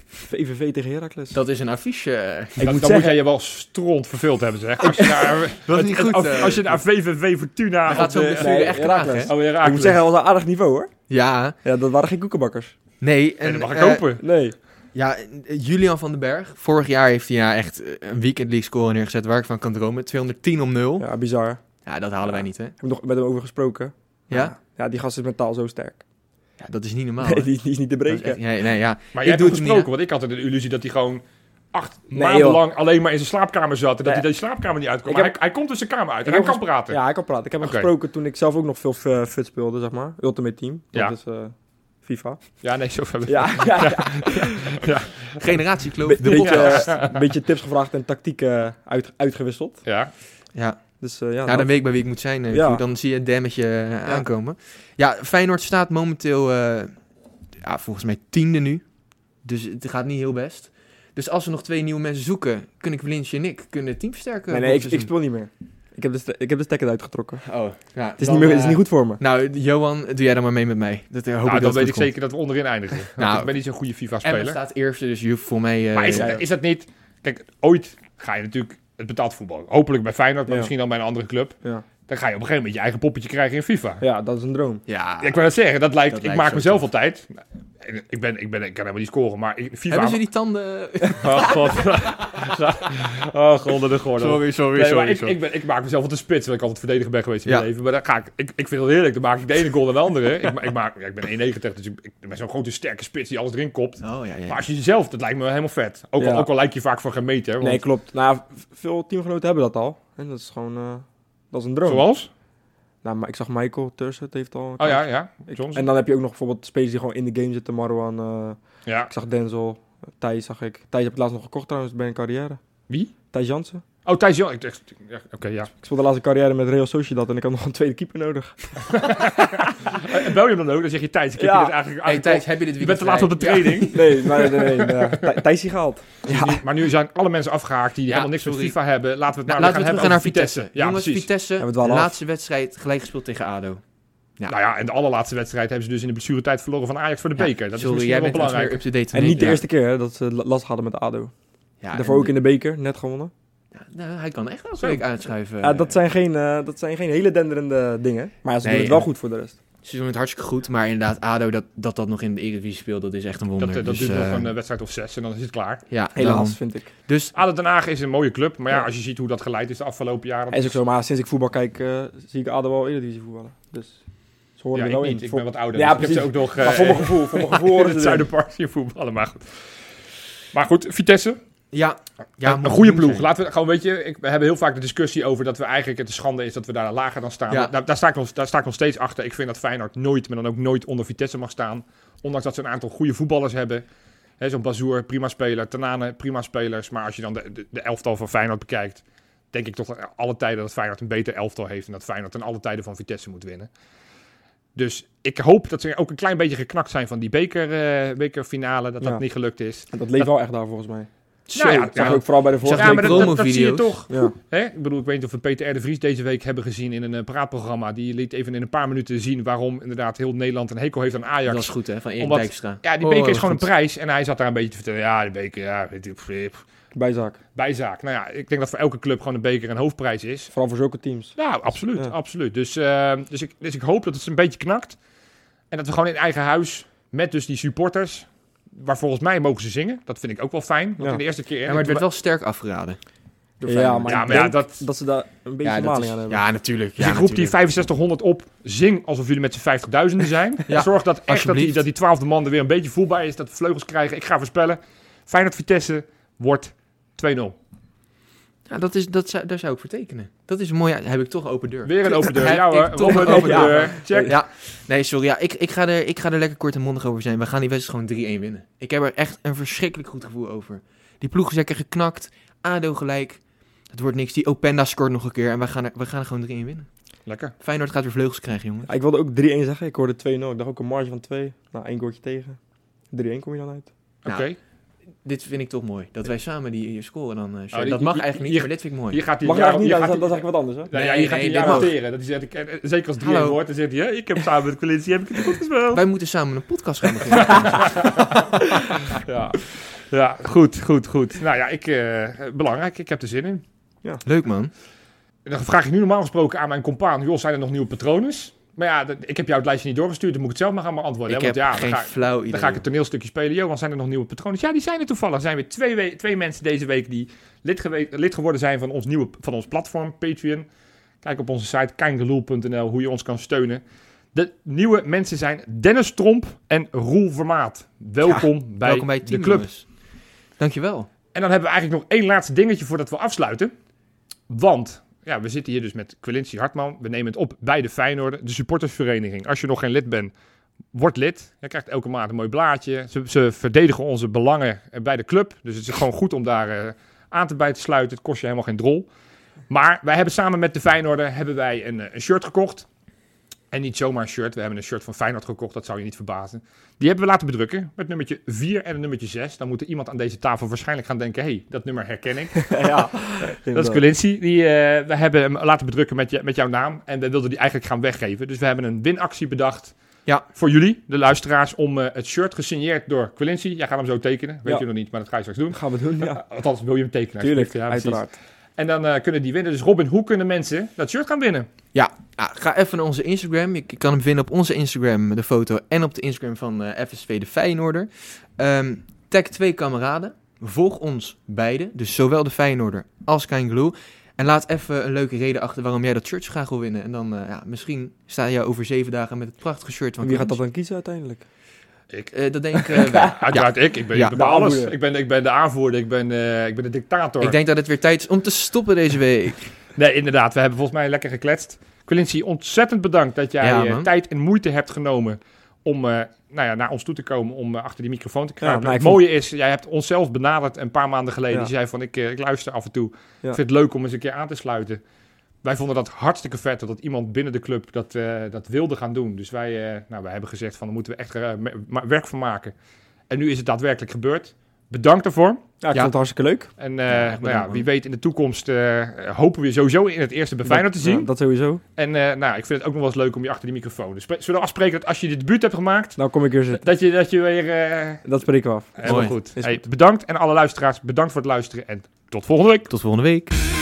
[SPEAKER 3] VVV tegen Heracles.
[SPEAKER 4] Dat is een affiche.
[SPEAKER 3] ik
[SPEAKER 2] Dan,
[SPEAKER 3] moet
[SPEAKER 2] dan moet jij
[SPEAKER 3] zeggen,
[SPEAKER 2] je wel stront verveeld hebben, zeg. Als je naar,
[SPEAKER 4] Dat is niet goed.
[SPEAKER 2] als, als je naar VVV Fortuna...
[SPEAKER 4] Hij gaat
[SPEAKER 2] op
[SPEAKER 4] zo
[SPEAKER 2] de-
[SPEAKER 4] besturen
[SPEAKER 3] nee,
[SPEAKER 4] echt
[SPEAKER 3] Heracles.
[SPEAKER 4] kraken. hè?
[SPEAKER 2] Oh, weer
[SPEAKER 3] ik moet zeggen, dat was een aardig niveau, hoor.
[SPEAKER 4] Ja,
[SPEAKER 3] Ja, dat waren geen koekenbakkers.
[SPEAKER 4] nee.
[SPEAKER 2] En dat mag ik
[SPEAKER 4] eh,
[SPEAKER 2] hopen.
[SPEAKER 3] Nee.
[SPEAKER 4] ja, eh, Julian van den Berg. Vorig jaar heeft hij ja, echt eh, een weekend league score neergezet waar ik van kan dromen. 210 om 0. Ja,
[SPEAKER 3] Ja, bizar. Heb
[SPEAKER 4] dat halen wij niet, hè?
[SPEAKER 3] ik nog met hem over gesproken.
[SPEAKER 4] Ja?
[SPEAKER 3] Ja, die gast is mentaal zo sterk.
[SPEAKER 4] Ja, dat is niet normaal. hè?
[SPEAKER 3] Nee, die, die is niet te
[SPEAKER 4] Dat is
[SPEAKER 3] breken.
[SPEAKER 4] echt- nee, nee, ja.
[SPEAKER 2] Maar
[SPEAKER 4] Ik
[SPEAKER 2] jij hebt hem
[SPEAKER 4] doe het hem
[SPEAKER 2] gesproken,
[SPEAKER 4] niet
[SPEAKER 2] want ik had de illusie dat hij gewoon acht
[SPEAKER 3] Nee,
[SPEAKER 2] maanden
[SPEAKER 3] joh.
[SPEAKER 2] lang alleen maar in zijn slaapkamer zat. En dat
[SPEAKER 3] Nee.
[SPEAKER 2] hij de slaapkamer niet uitkwam.
[SPEAKER 3] Ik
[SPEAKER 2] Maar
[SPEAKER 3] heb-
[SPEAKER 2] hij, hij komt dus zijn kamer uit en
[SPEAKER 3] Ik
[SPEAKER 2] hij
[SPEAKER 3] heb
[SPEAKER 2] kan praten.
[SPEAKER 3] Ja, hij kan praten. Ik heb hem
[SPEAKER 2] Oké.
[SPEAKER 3] gesproken toen ik zelf ook nog veel eh, fut speelde, zeg maar. Ultimate Team. Dat
[SPEAKER 2] Ja.
[SPEAKER 3] is eh, FIFA.
[SPEAKER 2] Ja, nee, zo ver.
[SPEAKER 3] Ja, ja, ja.
[SPEAKER 4] Generatiekloof,
[SPEAKER 3] Be-
[SPEAKER 4] de
[SPEAKER 3] beetje,
[SPEAKER 4] podcast.
[SPEAKER 3] eh, beetje tips gevraagd en tactieken uit, uitgewisseld.
[SPEAKER 2] Ja.
[SPEAKER 4] Ja.
[SPEAKER 3] Dus eh, ja,
[SPEAKER 4] Ja,
[SPEAKER 3] dat-
[SPEAKER 4] dan weet ik bij wie ik moet zijn. eh,
[SPEAKER 3] Ja.
[SPEAKER 4] Koen. Dan zie je het dammetje eh, aankomen. Ja, Feyenoord staat momenteel eh, ja, volgens mij tiende nu. Dus het gaat niet heel best. Dus als we nog twee nieuwe mensen zoeken, kunnen Klinsje en ik kunnen het team versterken.
[SPEAKER 3] nee, nee, ik, eh,
[SPEAKER 4] volgend
[SPEAKER 3] ik
[SPEAKER 4] seizoen.
[SPEAKER 3] speel niet meer. Ik heb de, st- ik heb de stekker uitgetrokken.
[SPEAKER 4] Oh, ja,
[SPEAKER 3] Het is, niet meer, het is niet goed voor me.
[SPEAKER 4] Nou, Johan, doe jij dan maar mee met mij. Dat eh,
[SPEAKER 2] Nou,
[SPEAKER 4] hoop ik
[SPEAKER 2] dan
[SPEAKER 4] dat het
[SPEAKER 2] weet ik
[SPEAKER 4] goed komt.
[SPEAKER 2] zeker dat we onderin eindigen. Want
[SPEAKER 4] Nou,
[SPEAKER 2] ik ben niet zo'n goede
[SPEAKER 4] Emmen
[SPEAKER 2] FIFA-speler.
[SPEAKER 4] staat eerste, dus je hoeft voor mij... eh,
[SPEAKER 2] Maar is,
[SPEAKER 4] ja,
[SPEAKER 2] is dat niet... Kijk, ooit ga je natuurlijk het betaald voetbal. Hopelijk bij Feyenoord, maar
[SPEAKER 3] Ja.
[SPEAKER 2] misschien dan bij een andere club.
[SPEAKER 3] Ja.
[SPEAKER 2] Dan ga je op een gegeven moment je eigen poppetje krijgen in FIFA.
[SPEAKER 3] ja, dat is een droom.
[SPEAKER 4] ja.
[SPEAKER 2] Ja, Ik wil het zeggen, dat lijkt,
[SPEAKER 4] Dat
[SPEAKER 2] ik
[SPEAKER 4] lijkt
[SPEAKER 2] maak
[SPEAKER 4] zo
[SPEAKER 2] mezelf
[SPEAKER 4] tof.
[SPEAKER 2] altijd. En Ik, ben, ik, ben, ik kan helemaal niet scoren, maar ik- FIFA...
[SPEAKER 4] Hebben ze die tanden...
[SPEAKER 2] Oh god. oh god, onder de gordel.
[SPEAKER 4] sorry,
[SPEAKER 2] Nee, maar ik, ik, ben, ik maak mezelf altijd spits, want ik altijd verdediger ben geweest in mijn
[SPEAKER 4] Ja.
[SPEAKER 2] leven. Maar dan ga ik, ik, ik vind het heerlijk, dan maak ik de ene goal en de andere. ik, ma- ik, maak, ja, ik ben 1,90, dus ik, ik ben zo'n grote sterke spits die alles erin kopt.
[SPEAKER 4] Oh, ja,
[SPEAKER 2] Maar
[SPEAKER 4] ja.
[SPEAKER 2] als je jezelf, dat lijkt me helemaal vet. Ook, al,
[SPEAKER 3] Ja.
[SPEAKER 2] ook al lijkt je vaak van geen meter. want-
[SPEAKER 3] Nee, klopt. Nou, v- veel teamgenoten hebben dat al. En dat is gewoon... eh, dat is een droom.
[SPEAKER 2] zoals?
[SPEAKER 3] Nou, maar ik zag Michael Turset heeft al... een
[SPEAKER 2] Oh ja,
[SPEAKER 3] kaart.
[SPEAKER 2] ja.
[SPEAKER 3] Ik-
[SPEAKER 2] Johnson.
[SPEAKER 3] en dan heb je ook nog bijvoorbeeld spelers die gewoon in de game zitten. Marwan, eh,
[SPEAKER 2] Ja.
[SPEAKER 3] ik zag Denzel, Thijs zag ik. Thijs heb ik laatst nog gekocht trouwens bij een carrière.
[SPEAKER 2] Wie?
[SPEAKER 3] Thijs Jansen.
[SPEAKER 2] Oh, Thijs Jan. Ik dacht, ja, oké, ja.
[SPEAKER 3] Ik speelde laatst een carrière met Real Sociedad en ik had nog een tweede keeper nodig.
[SPEAKER 2] Eh, En bel je hem dan ook? Dan zeg je Thijs, ik heb
[SPEAKER 3] Ja.
[SPEAKER 2] je dit eigenlijk
[SPEAKER 4] Hey, Thijs,
[SPEAKER 2] aangekocht.
[SPEAKER 4] heb je dit
[SPEAKER 2] Je
[SPEAKER 4] weekend
[SPEAKER 2] bent te laat
[SPEAKER 4] vrij?
[SPEAKER 2] op de training.
[SPEAKER 3] Nee, nee, nee. nee, nee. Thij- Thijs die gehaald.
[SPEAKER 2] Nu- Maar nu zijn alle mensen afgehaakt die
[SPEAKER 4] Ja,
[SPEAKER 2] helemaal niks
[SPEAKER 4] sorry.
[SPEAKER 2] met FIFA hebben. Laten we het
[SPEAKER 4] Nou,
[SPEAKER 2] nou,
[SPEAKER 4] laten we terug gaan
[SPEAKER 2] hebben
[SPEAKER 4] naar
[SPEAKER 2] over
[SPEAKER 4] Vitesse.
[SPEAKER 2] Ja,
[SPEAKER 4] Jongens,
[SPEAKER 2] precies.
[SPEAKER 4] Vitesse,
[SPEAKER 3] Ja, we
[SPEAKER 4] de
[SPEAKER 3] dwalen af.
[SPEAKER 4] laatste wedstrijd gelijk gespeeld tegen ADO. Ja.
[SPEAKER 2] Nou ja, en de allerlaatste wedstrijd hebben ze dus in de blessuretijd verloren van Ajax voor de
[SPEAKER 4] Ja,
[SPEAKER 2] beker. Dat
[SPEAKER 4] Sorry,
[SPEAKER 2] is
[SPEAKER 4] jij
[SPEAKER 2] misschien wel
[SPEAKER 4] bent iets meer
[SPEAKER 2] belangrijk.
[SPEAKER 4] up-to-date.
[SPEAKER 3] En
[SPEAKER 4] dan ik.
[SPEAKER 3] niet de
[SPEAKER 4] Ja.
[SPEAKER 3] eerste keer hè, dat ze la- last hadden met de ADO.
[SPEAKER 4] Ja,
[SPEAKER 3] Daarvoor
[SPEAKER 4] en-
[SPEAKER 3] ook in de beker, net gewonnen.
[SPEAKER 4] Nou, hij kan echt elke
[SPEAKER 2] Zo.
[SPEAKER 4] week uitschuiven.
[SPEAKER 3] Ja, dat, zijn geen, eh, dat zijn geen hele denderende dingen. Maar ze
[SPEAKER 4] Nee,
[SPEAKER 3] doen het wel
[SPEAKER 4] ja.
[SPEAKER 3] goed voor de rest.
[SPEAKER 4] Ze doen het hartstikke goed, maar inderdaad, ADO, dat dat, dat nog in de Eredivisie speelt, dat is echt een wonder.
[SPEAKER 2] Dat, eh, dat
[SPEAKER 4] Dus,
[SPEAKER 2] duurt
[SPEAKER 4] eh,
[SPEAKER 2] nog een eh, wedstrijd of zes en dan is het klaar.
[SPEAKER 4] ja,
[SPEAKER 3] Helaas,
[SPEAKER 4] daarom.
[SPEAKER 3] vind ik.
[SPEAKER 4] Dus
[SPEAKER 2] ADO Den Haag is een mooie club, maar ja,
[SPEAKER 3] Ja.
[SPEAKER 2] als je ziet hoe dat geleid is de afgelopen jaren...
[SPEAKER 3] En is ook zo, maar sinds ik voetbal kijk, eh, zie ik ADO wel Eredivisie voetballen. Dus ze horen
[SPEAKER 2] Ja,
[SPEAKER 3] er
[SPEAKER 2] ik
[SPEAKER 3] wel
[SPEAKER 2] niet.
[SPEAKER 3] in.
[SPEAKER 2] Ik
[SPEAKER 3] Voor-
[SPEAKER 2] ben wat ouder. dus
[SPEAKER 3] Ja,
[SPEAKER 2] ik heb ze
[SPEAKER 3] precies.
[SPEAKER 2] ook nog...
[SPEAKER 3] maar
[SPEAKER 2] eh,
[SPEAKER 3] voor mijn gevoel, voor mijn gevoel
[SPEAKER 2] in
[SPEAKER 3] horen
[SPEAKER 2] het
[SPEAKER 3] ze erin.
[SPEAKER 2] Zuiderpark zien voetballen, maar goed. Maar goed, Vitesse,
[SPEAKER 4] ja, ja,
[SPEAKER 2] een
[SPEAKER 4] moet
[SPEAKER 2] goede
[SPEAKER 4] goed
[SPEAKER 2] ploeg.
[SPEAKER 4] zijn.
[SPEAKER 2] Laten we gewoon, weet je, ik, we hebben heel vaak de discussie over dat we eigenlijk het een schande is dat we daar lager dan staan.
[SPEAKER 4] Ja.
[SPEAKER 2] Daar, daar, sta ik nog, daar sta ik nog steeds achter. Ik vind dat Feyenoord nooit, maar dan ook nooit onder Vitesse mag staan. Ondanks dat ze een aantal goede voetballers hebben. Hè, Zo'n Bazoer, prima speler. Tanane, prima spelers. Maar als je dan de, de, de elftal van Feyenoord bekijkt, denk ik toch dat alle tijden dat Feyenoord een beter elftal heeft. En dat Feyenoord ten alle tijden van Vitesse moet winnen. Dus ik hoop dat ze ook een klein beetje geknakt zijn van die beker, eh, bekerfinale. Dat dat
[SPEAKER 3] Ja.
[SPEAKER 2] niet gelukt is.
[SPEAKER 3] En Dat leeft wel echt daar volgens mij.
[SPEAKER 4] Zo,
[SPEAKER 2] Nou ja,
[SPEAKER 3] Zag
[SPEAKER 2] ja.
[SPEAKER 3] ik ook vooral bij de vorige
[SPEAKER 4] Zag je
[SPEAKER 3] week.
[SPEAKER 4] die promovideo's?
[SPEAKER 2] toch.
[SPEAKER 3] Ja.
[SPEAKER 2] Hè? Ik bedoel, ik weet niet of we Peter R. de Vries deze week hebben gezien in een eh, praatprogramma. Die liet even in een paar minuten zien waarom inderdaad heel Nederland een hekel heeft aan Ajax.
[SPEAKER 4] dat is goed hè, van Erik
[SPEAKER 2] Omdat-
[SPEAKER 4] Dijkstra.
[SPEAKER 2] Ja, die
[SPEAKER 4] Oh,
[SPEAKER 2] beker
[SPEAKER 4] dat
[SPEAKER 2] is gewoon
[SPEAKER 4] goed.
[SPEAKER 2] een prijs. En hij zat daar een beetje te vertellen, ja, de beker, ja, weet ik, pff,
[SPEAKER 3] Bijzaak.
[SPEAKER 2] bijzaak. Nou ja, ik denk dat voor elke club gewoon een beker een hoofdprijs is.
[SPEAKER 3] Vooral voor zulke teams.
[SPEAKER 2] Nou, absoluut,
[SPEAKER 3] Ja.
[SPEAKER 2] absoluut. Dus, eh, dus, ik, dus ik hoop dat het een beetje knakt. En dat we gewoon in eigen huis, met dus die supporters, waar volgens mij mogen ze zingen. Dat vind ik ook wel fijn, want
[SPEAKER 3] Ja.
[SPEAKER 2] in de eerste keer...
[SPEAKER 4] Ja, maar het werd wel sterk afgeraden. door
[SPEAKER 3] Ja,
[SPEAKER 4] Feyenoord.
[SPEAKER 3] maar,
[SPEAKER 2] Ja,
[SPEAKER 3] ik
[SPEAKER 2] maar ja,
[SPEAKER 3] denk
[SPEAKER 2] dat-
[SPEAKER 3] dat... ze daar een beetje
[SPEAKER 4] ja,
[SPEAKER 3] maling
[SPEAKER 4] dat is-
[SPEAKER 3] aan hebben.
[SPEAKER 4] ja, natuurlijk.
[SPEAKER 2] Dus
[SPEAKER 4] ja,
[SPEAKER 2] ik roep die
[SPEAKER 4] natuurlijk.
[SPEAKER 2] 6500 op. Zing alsof jullie met z'n 50.000 zijn.
[SPEAKER 4] Ja,
[SPEAKER 2] Zorg dat echt dat die,
[SPEAKER 4] alsjeblieft.
[SPEAKER 2] dat die twaalfde man er weer een beetje voelbaar is. Dat we vleugels krijgen. Ik ga voorspellen. Feyenoord Vitesse wordt 2-0.
[SPEAKER 4] Ja, Nou, dat is, dat zou, daar zou ik voor tekenen. Dat is mooi, ja, heb ik toch open deur.
[SPEAKER 2] Weer een open deur.
[SPEAKER 4] Heb
[SPEAKER 2] Ja
[SPEAKER 4] ik
[SPEAKER 2] hoor.
[SPEAKER 4] toch
[SPEAKER 2] Robert,
[SPEAKER 4] een
[SPEAKER 2] open
[SPEAKER 3] open
[SPEAKER 2] deur. Check.
[SPEAKER 4] Ja, nee, sorry. Ja, ik, ik, ga er, ik ga er lekker kort en mondig over zijn. We gaan die wedstrijd gewoon 3-1 winnen. Ik heb er echt een verschrikkelijk goed gevoel over. Die ploeg is lekker geknakt. ADO gelijk. Het wordt niks. Die Openda scoort nog een keer. En we gaan er, we gaan er gewoon 3-1 winnen.
[SPEAKER 2] Lekker.
[SPEAKER 4] Feyenoord gaat weer vleugels krijgen, jongen.
[SPEAKER 3] Ja, ik wilde ook 3-1 zeggen. Ik hoorde 2-0. Ik dacht ook een marge van 2. Nou, één goaltje tegen. 3-1 kom je dan uit.
[SPEAKER 2] Oké.
[SPEAKER 4] Nou, Dit vind ik toch mooi. Dat wij samen die eh, scoren dan. eh,
[SPEAKER 2] Oh, die-
[SPEAKER 4] dat mag
[SPEAKER 2] die-
[SPEAKER 4] eigenlijk
[SPEAKER 2] die-
[SPEAKER 4] niet, maar dit vind ik mooi.
[SPEAKER 2] Hier gaat hij
[SPEAKER 3] Mag
[SPEAKER 2] een
[SPEAKER 3] je
[SPEAKER 2] jaar-
[SPEAKER 3] eigenlijk niet
[SPEAKER 2] hier gaat
[SPEAKER 3] uit. Dat
[SPEAKER 2] hij-
[SPEAKER 3] is eigenlijk wat anders, hè?
[SPEAKER 2] Nou ja,
[SPEAKER 4] Nee,
[SPEAKER 2] hier gaat
[SPEAKER 4] nee,
[SPEAKER 2] hij
[SPEAKER 4] dit
[SPEAKER 2] ja
[SPEAKER 4] mag.
[SPEAKER 2] noteren. Dat is, echt- eh, eh, zeker als 3
[SPEAKER 4] Hallo.
[SPEAKER 2] wordt, dan zegt hij... hè, Ik heb samen met Colinci heb ik het goed gespeeld.
[SPEAKER 4] Wij moeten samen een podcast gaan beginnen.
[SPEAKER 2] Ja. ja, goed, goed, goed. Nou ja, ik, eh, eh, belangrijk. Ik heb er zin in.
[SPEAKER 4] Leuk, man.
[SPEAKER 2] En Dan vraag ik nu normaal gesproken aan mijn compaan: joh, zijn er nog nieuwe patronen? Maar ja, dat- ik heb jou het lijstje niet doorgestuurd, dan moet ik het zelf maar gaan beantwoorden.
[SPEAKER 4] ik
[SPEAKER 2] hè,
[SPEAKER 4] heb
[SPEAKER 2] want ja,
[SPEAKER 4] geen
[SPEAKER 2] dan ga,
[SPEAKER 4] flauw idee.
[SPEAKER 2] dan ga ik het toneelstukje spelen. Johan, zijn er nog nieuwe patronen? Ja, die zijn er toevallig. Er zijn weer twee, we- twee mensen deze week die lid, gewe- lid geworden zijn van ons nieuwe van ons platform, Patreon. Kijk op onze site keingeloel.nl hoe je ons kan steunen. De nieuwe mensen zijn Dennis Tromp en Roel Vermaat. Welkom, bij,
[SPEAKER 4] Welkom bij het
[SPEAKER 2] de
[SPEAKER 4] team,
[SPEAKER 2] club.
[SPEAKER 4] jongens. Dankjewel.
[SPEAKER 2] En dan hebben we eigenlijk nog één laatste dingetje voordat we afsluiten. Want ja, we zitten hier dus met Quilinci Hartman. We nemen het op bij de Feyenoord, de supportersvereniging. Als je nog geen lid bent, word lid. Je krijgt elke maand een mooi blaadje. Ze, ze verdedigen onze belangen eh, bij de club. Dus het is gewoon goed om daar eh, aan te bij te sluiten. Het kost je helemaal geen drol. Maar wij hebben samen met de Feyenoorder hebben wij een, eh, een shirt gekocht. En niet zomaar een shirt. We hebben een shirt van Feyenoord gekocht. Dat zou je niet verbazen. Die hebben we laten bedrukken met nummertje 4 en een nummertje 6. Dan moet er iemand aan deze tafel waarschijnlijk gaan denken... hé, hey, dat nummer herken ik.
[SPEAKER 3] ja.
[SPEAKER 2] Dat is
[SPEAKER 3] Inderdaad.
[SPEAKER 2] Colinci. Die, eh, we hebben hem laten bedrukken met, je, met jouw naam. En we wilden die eigenlijk gaan weggeven. Dus we hebben een winactie bedacht
[SPEAKER 4] Ja.
[SPEAKER 2] voor jullie, de luisteraars... om eh, het shirt gesigneerd door Colinci. Jij gaat hem zo tekenen. Weet
[SPEAKER 3] Ja.
[SPEAKER 2] je nog niet, maar dat ga je straks doen.
[SPEAKER 3] Gaan we doen, ja.
[SPEAKER 2] Althans, wil je hem tekenen?
[SPEAKER 3] Tuurlijk,
[SPEAKER 2] alsjeblieft? precies.
[SPEAKER 3] uiteraard.
[SPEAKER 2] En dan eh, kunnen die winnen. Dus Robin, hoe kunnen mensen dat shirt gaan winnen?
[SPEAKER 4] Ja, ah, ga even naar onze Instagram. Je kan hem vinden op onze Instagram, de foto, en op de Instagram van eh, FSV de Feyenoorder. Ehm, tag twee kameraden. Volg ons beiden, dus zowel de Feyenoorder als Kein Glue. En laat even een leuke reden achter waarom jij dat shirt zo graag wil winnen. En dan, eh, ja, misschien sta jij over zeven dagen met het prachtige shirt van
[SPEAKER 3] Wie gaat dat
[SPEAKER 4] Clemens.
[SPEAKER 3] dan kiezen uiteindelijk?
[SPEAKER 2] Ik.
[SPEAKER 4] Eh, dat denk ik eh, wel.
[SPEAKER 2] Uiteraard ik. Ik ben
[SPEAKER 4] Ja.
[SPEAKER 2] ik bepaal
[SPEAKER 3] De
[SPEAKER 2] alles.
[SPEAKER 3] aanvoerder.
[SPEAKER 2] Ik ben, ik ben de aanvoerder. Ik ben, eh, ik ben de dictator.
[SPEAKER 4] Ik denk dat het weer tijd is om te stoppen deze week.
[SPEAKER 2] Nee, inderdaad. We hebben volgens mij lekker gekletst. Quincy, ontzettend bedankt dat jij
[SPEAKER 4] Ja,
[SPEAKER 2] eh,
[SPEAKER 4] man.
[SPEAKER 2] tijd en moeite hebt genomen om eh, nou ja, naar ons toe te komen om eh, achter die microfoon te kruipen.
[SPEAKER 3] nou, ik
[SPEAKER 2] het
[SPEAKER 3] vond-
[SPEAKER 2] mooie is, jij hebt onszelf benaderd een paar maanden geleden.
[SPEAKER 3] Ja.
[SPEAKER 2] Je zei van, ik, eh, ik luister af en toe.
[SPEAKER 3] Ja.
[SPEAKER 2] Ik vind het leuk om eens een keer aan te sluiten. Wij vonden dat hartstikke vet dat iemand binnen de club dat, eh, dat wilde gaan doen. Dus wij, eh, nou, wij hebben gezegd van, daar moeten we echt eh, me- ma- werk van maken. En nu is het daadwerkelijk gebeurd. Bedankt daarvoor.
[SPEAKER 3] Ja,
[SPEAKER 2] Ja.
[SPEAKER 3] ik vond het harstikke leuk.
[SPEAKER 2] En eh,
[SPEAKER 4] Ja, echt
[SPEAKER 2] nou
[SPEAKER 4] bedankt,
[SPEAKER 2] ja,
[SPEAKER 4] man.
[SPEAKER 2] wie weet in de toekomst eh, hopen we je sowieso in het eerste bij Feyenoord te
[SPEAKER 3] Dat-
[SPEAKER 2] zien.
[SPEAKER 3] ja, dat sowieso.
[SPEAKER 2] En eh, nou, ik vind het ook nog wel eens leuk om je achter die microfoon. Dus spre- zullen we afspreken dat als je dit debuut hebt gemaakt,
[SPEAKER 3] Nou kom ik weer zitten.
[SPEAKER 2] dat je, dat je weer... eh
[SPEAKER 3] Dat spreken we af.
[SPEAKER 2] helemaal
[SPEAKER 4] Mooi.
[SPEAKER 2] goed.
[SPEAKER 3] Is
[SPEAKER 2] Hey, bedankt en alle luisteraars, bedankt voor het luisteren en tot volgende week.
[SPEAKER 4] Tot volgende week.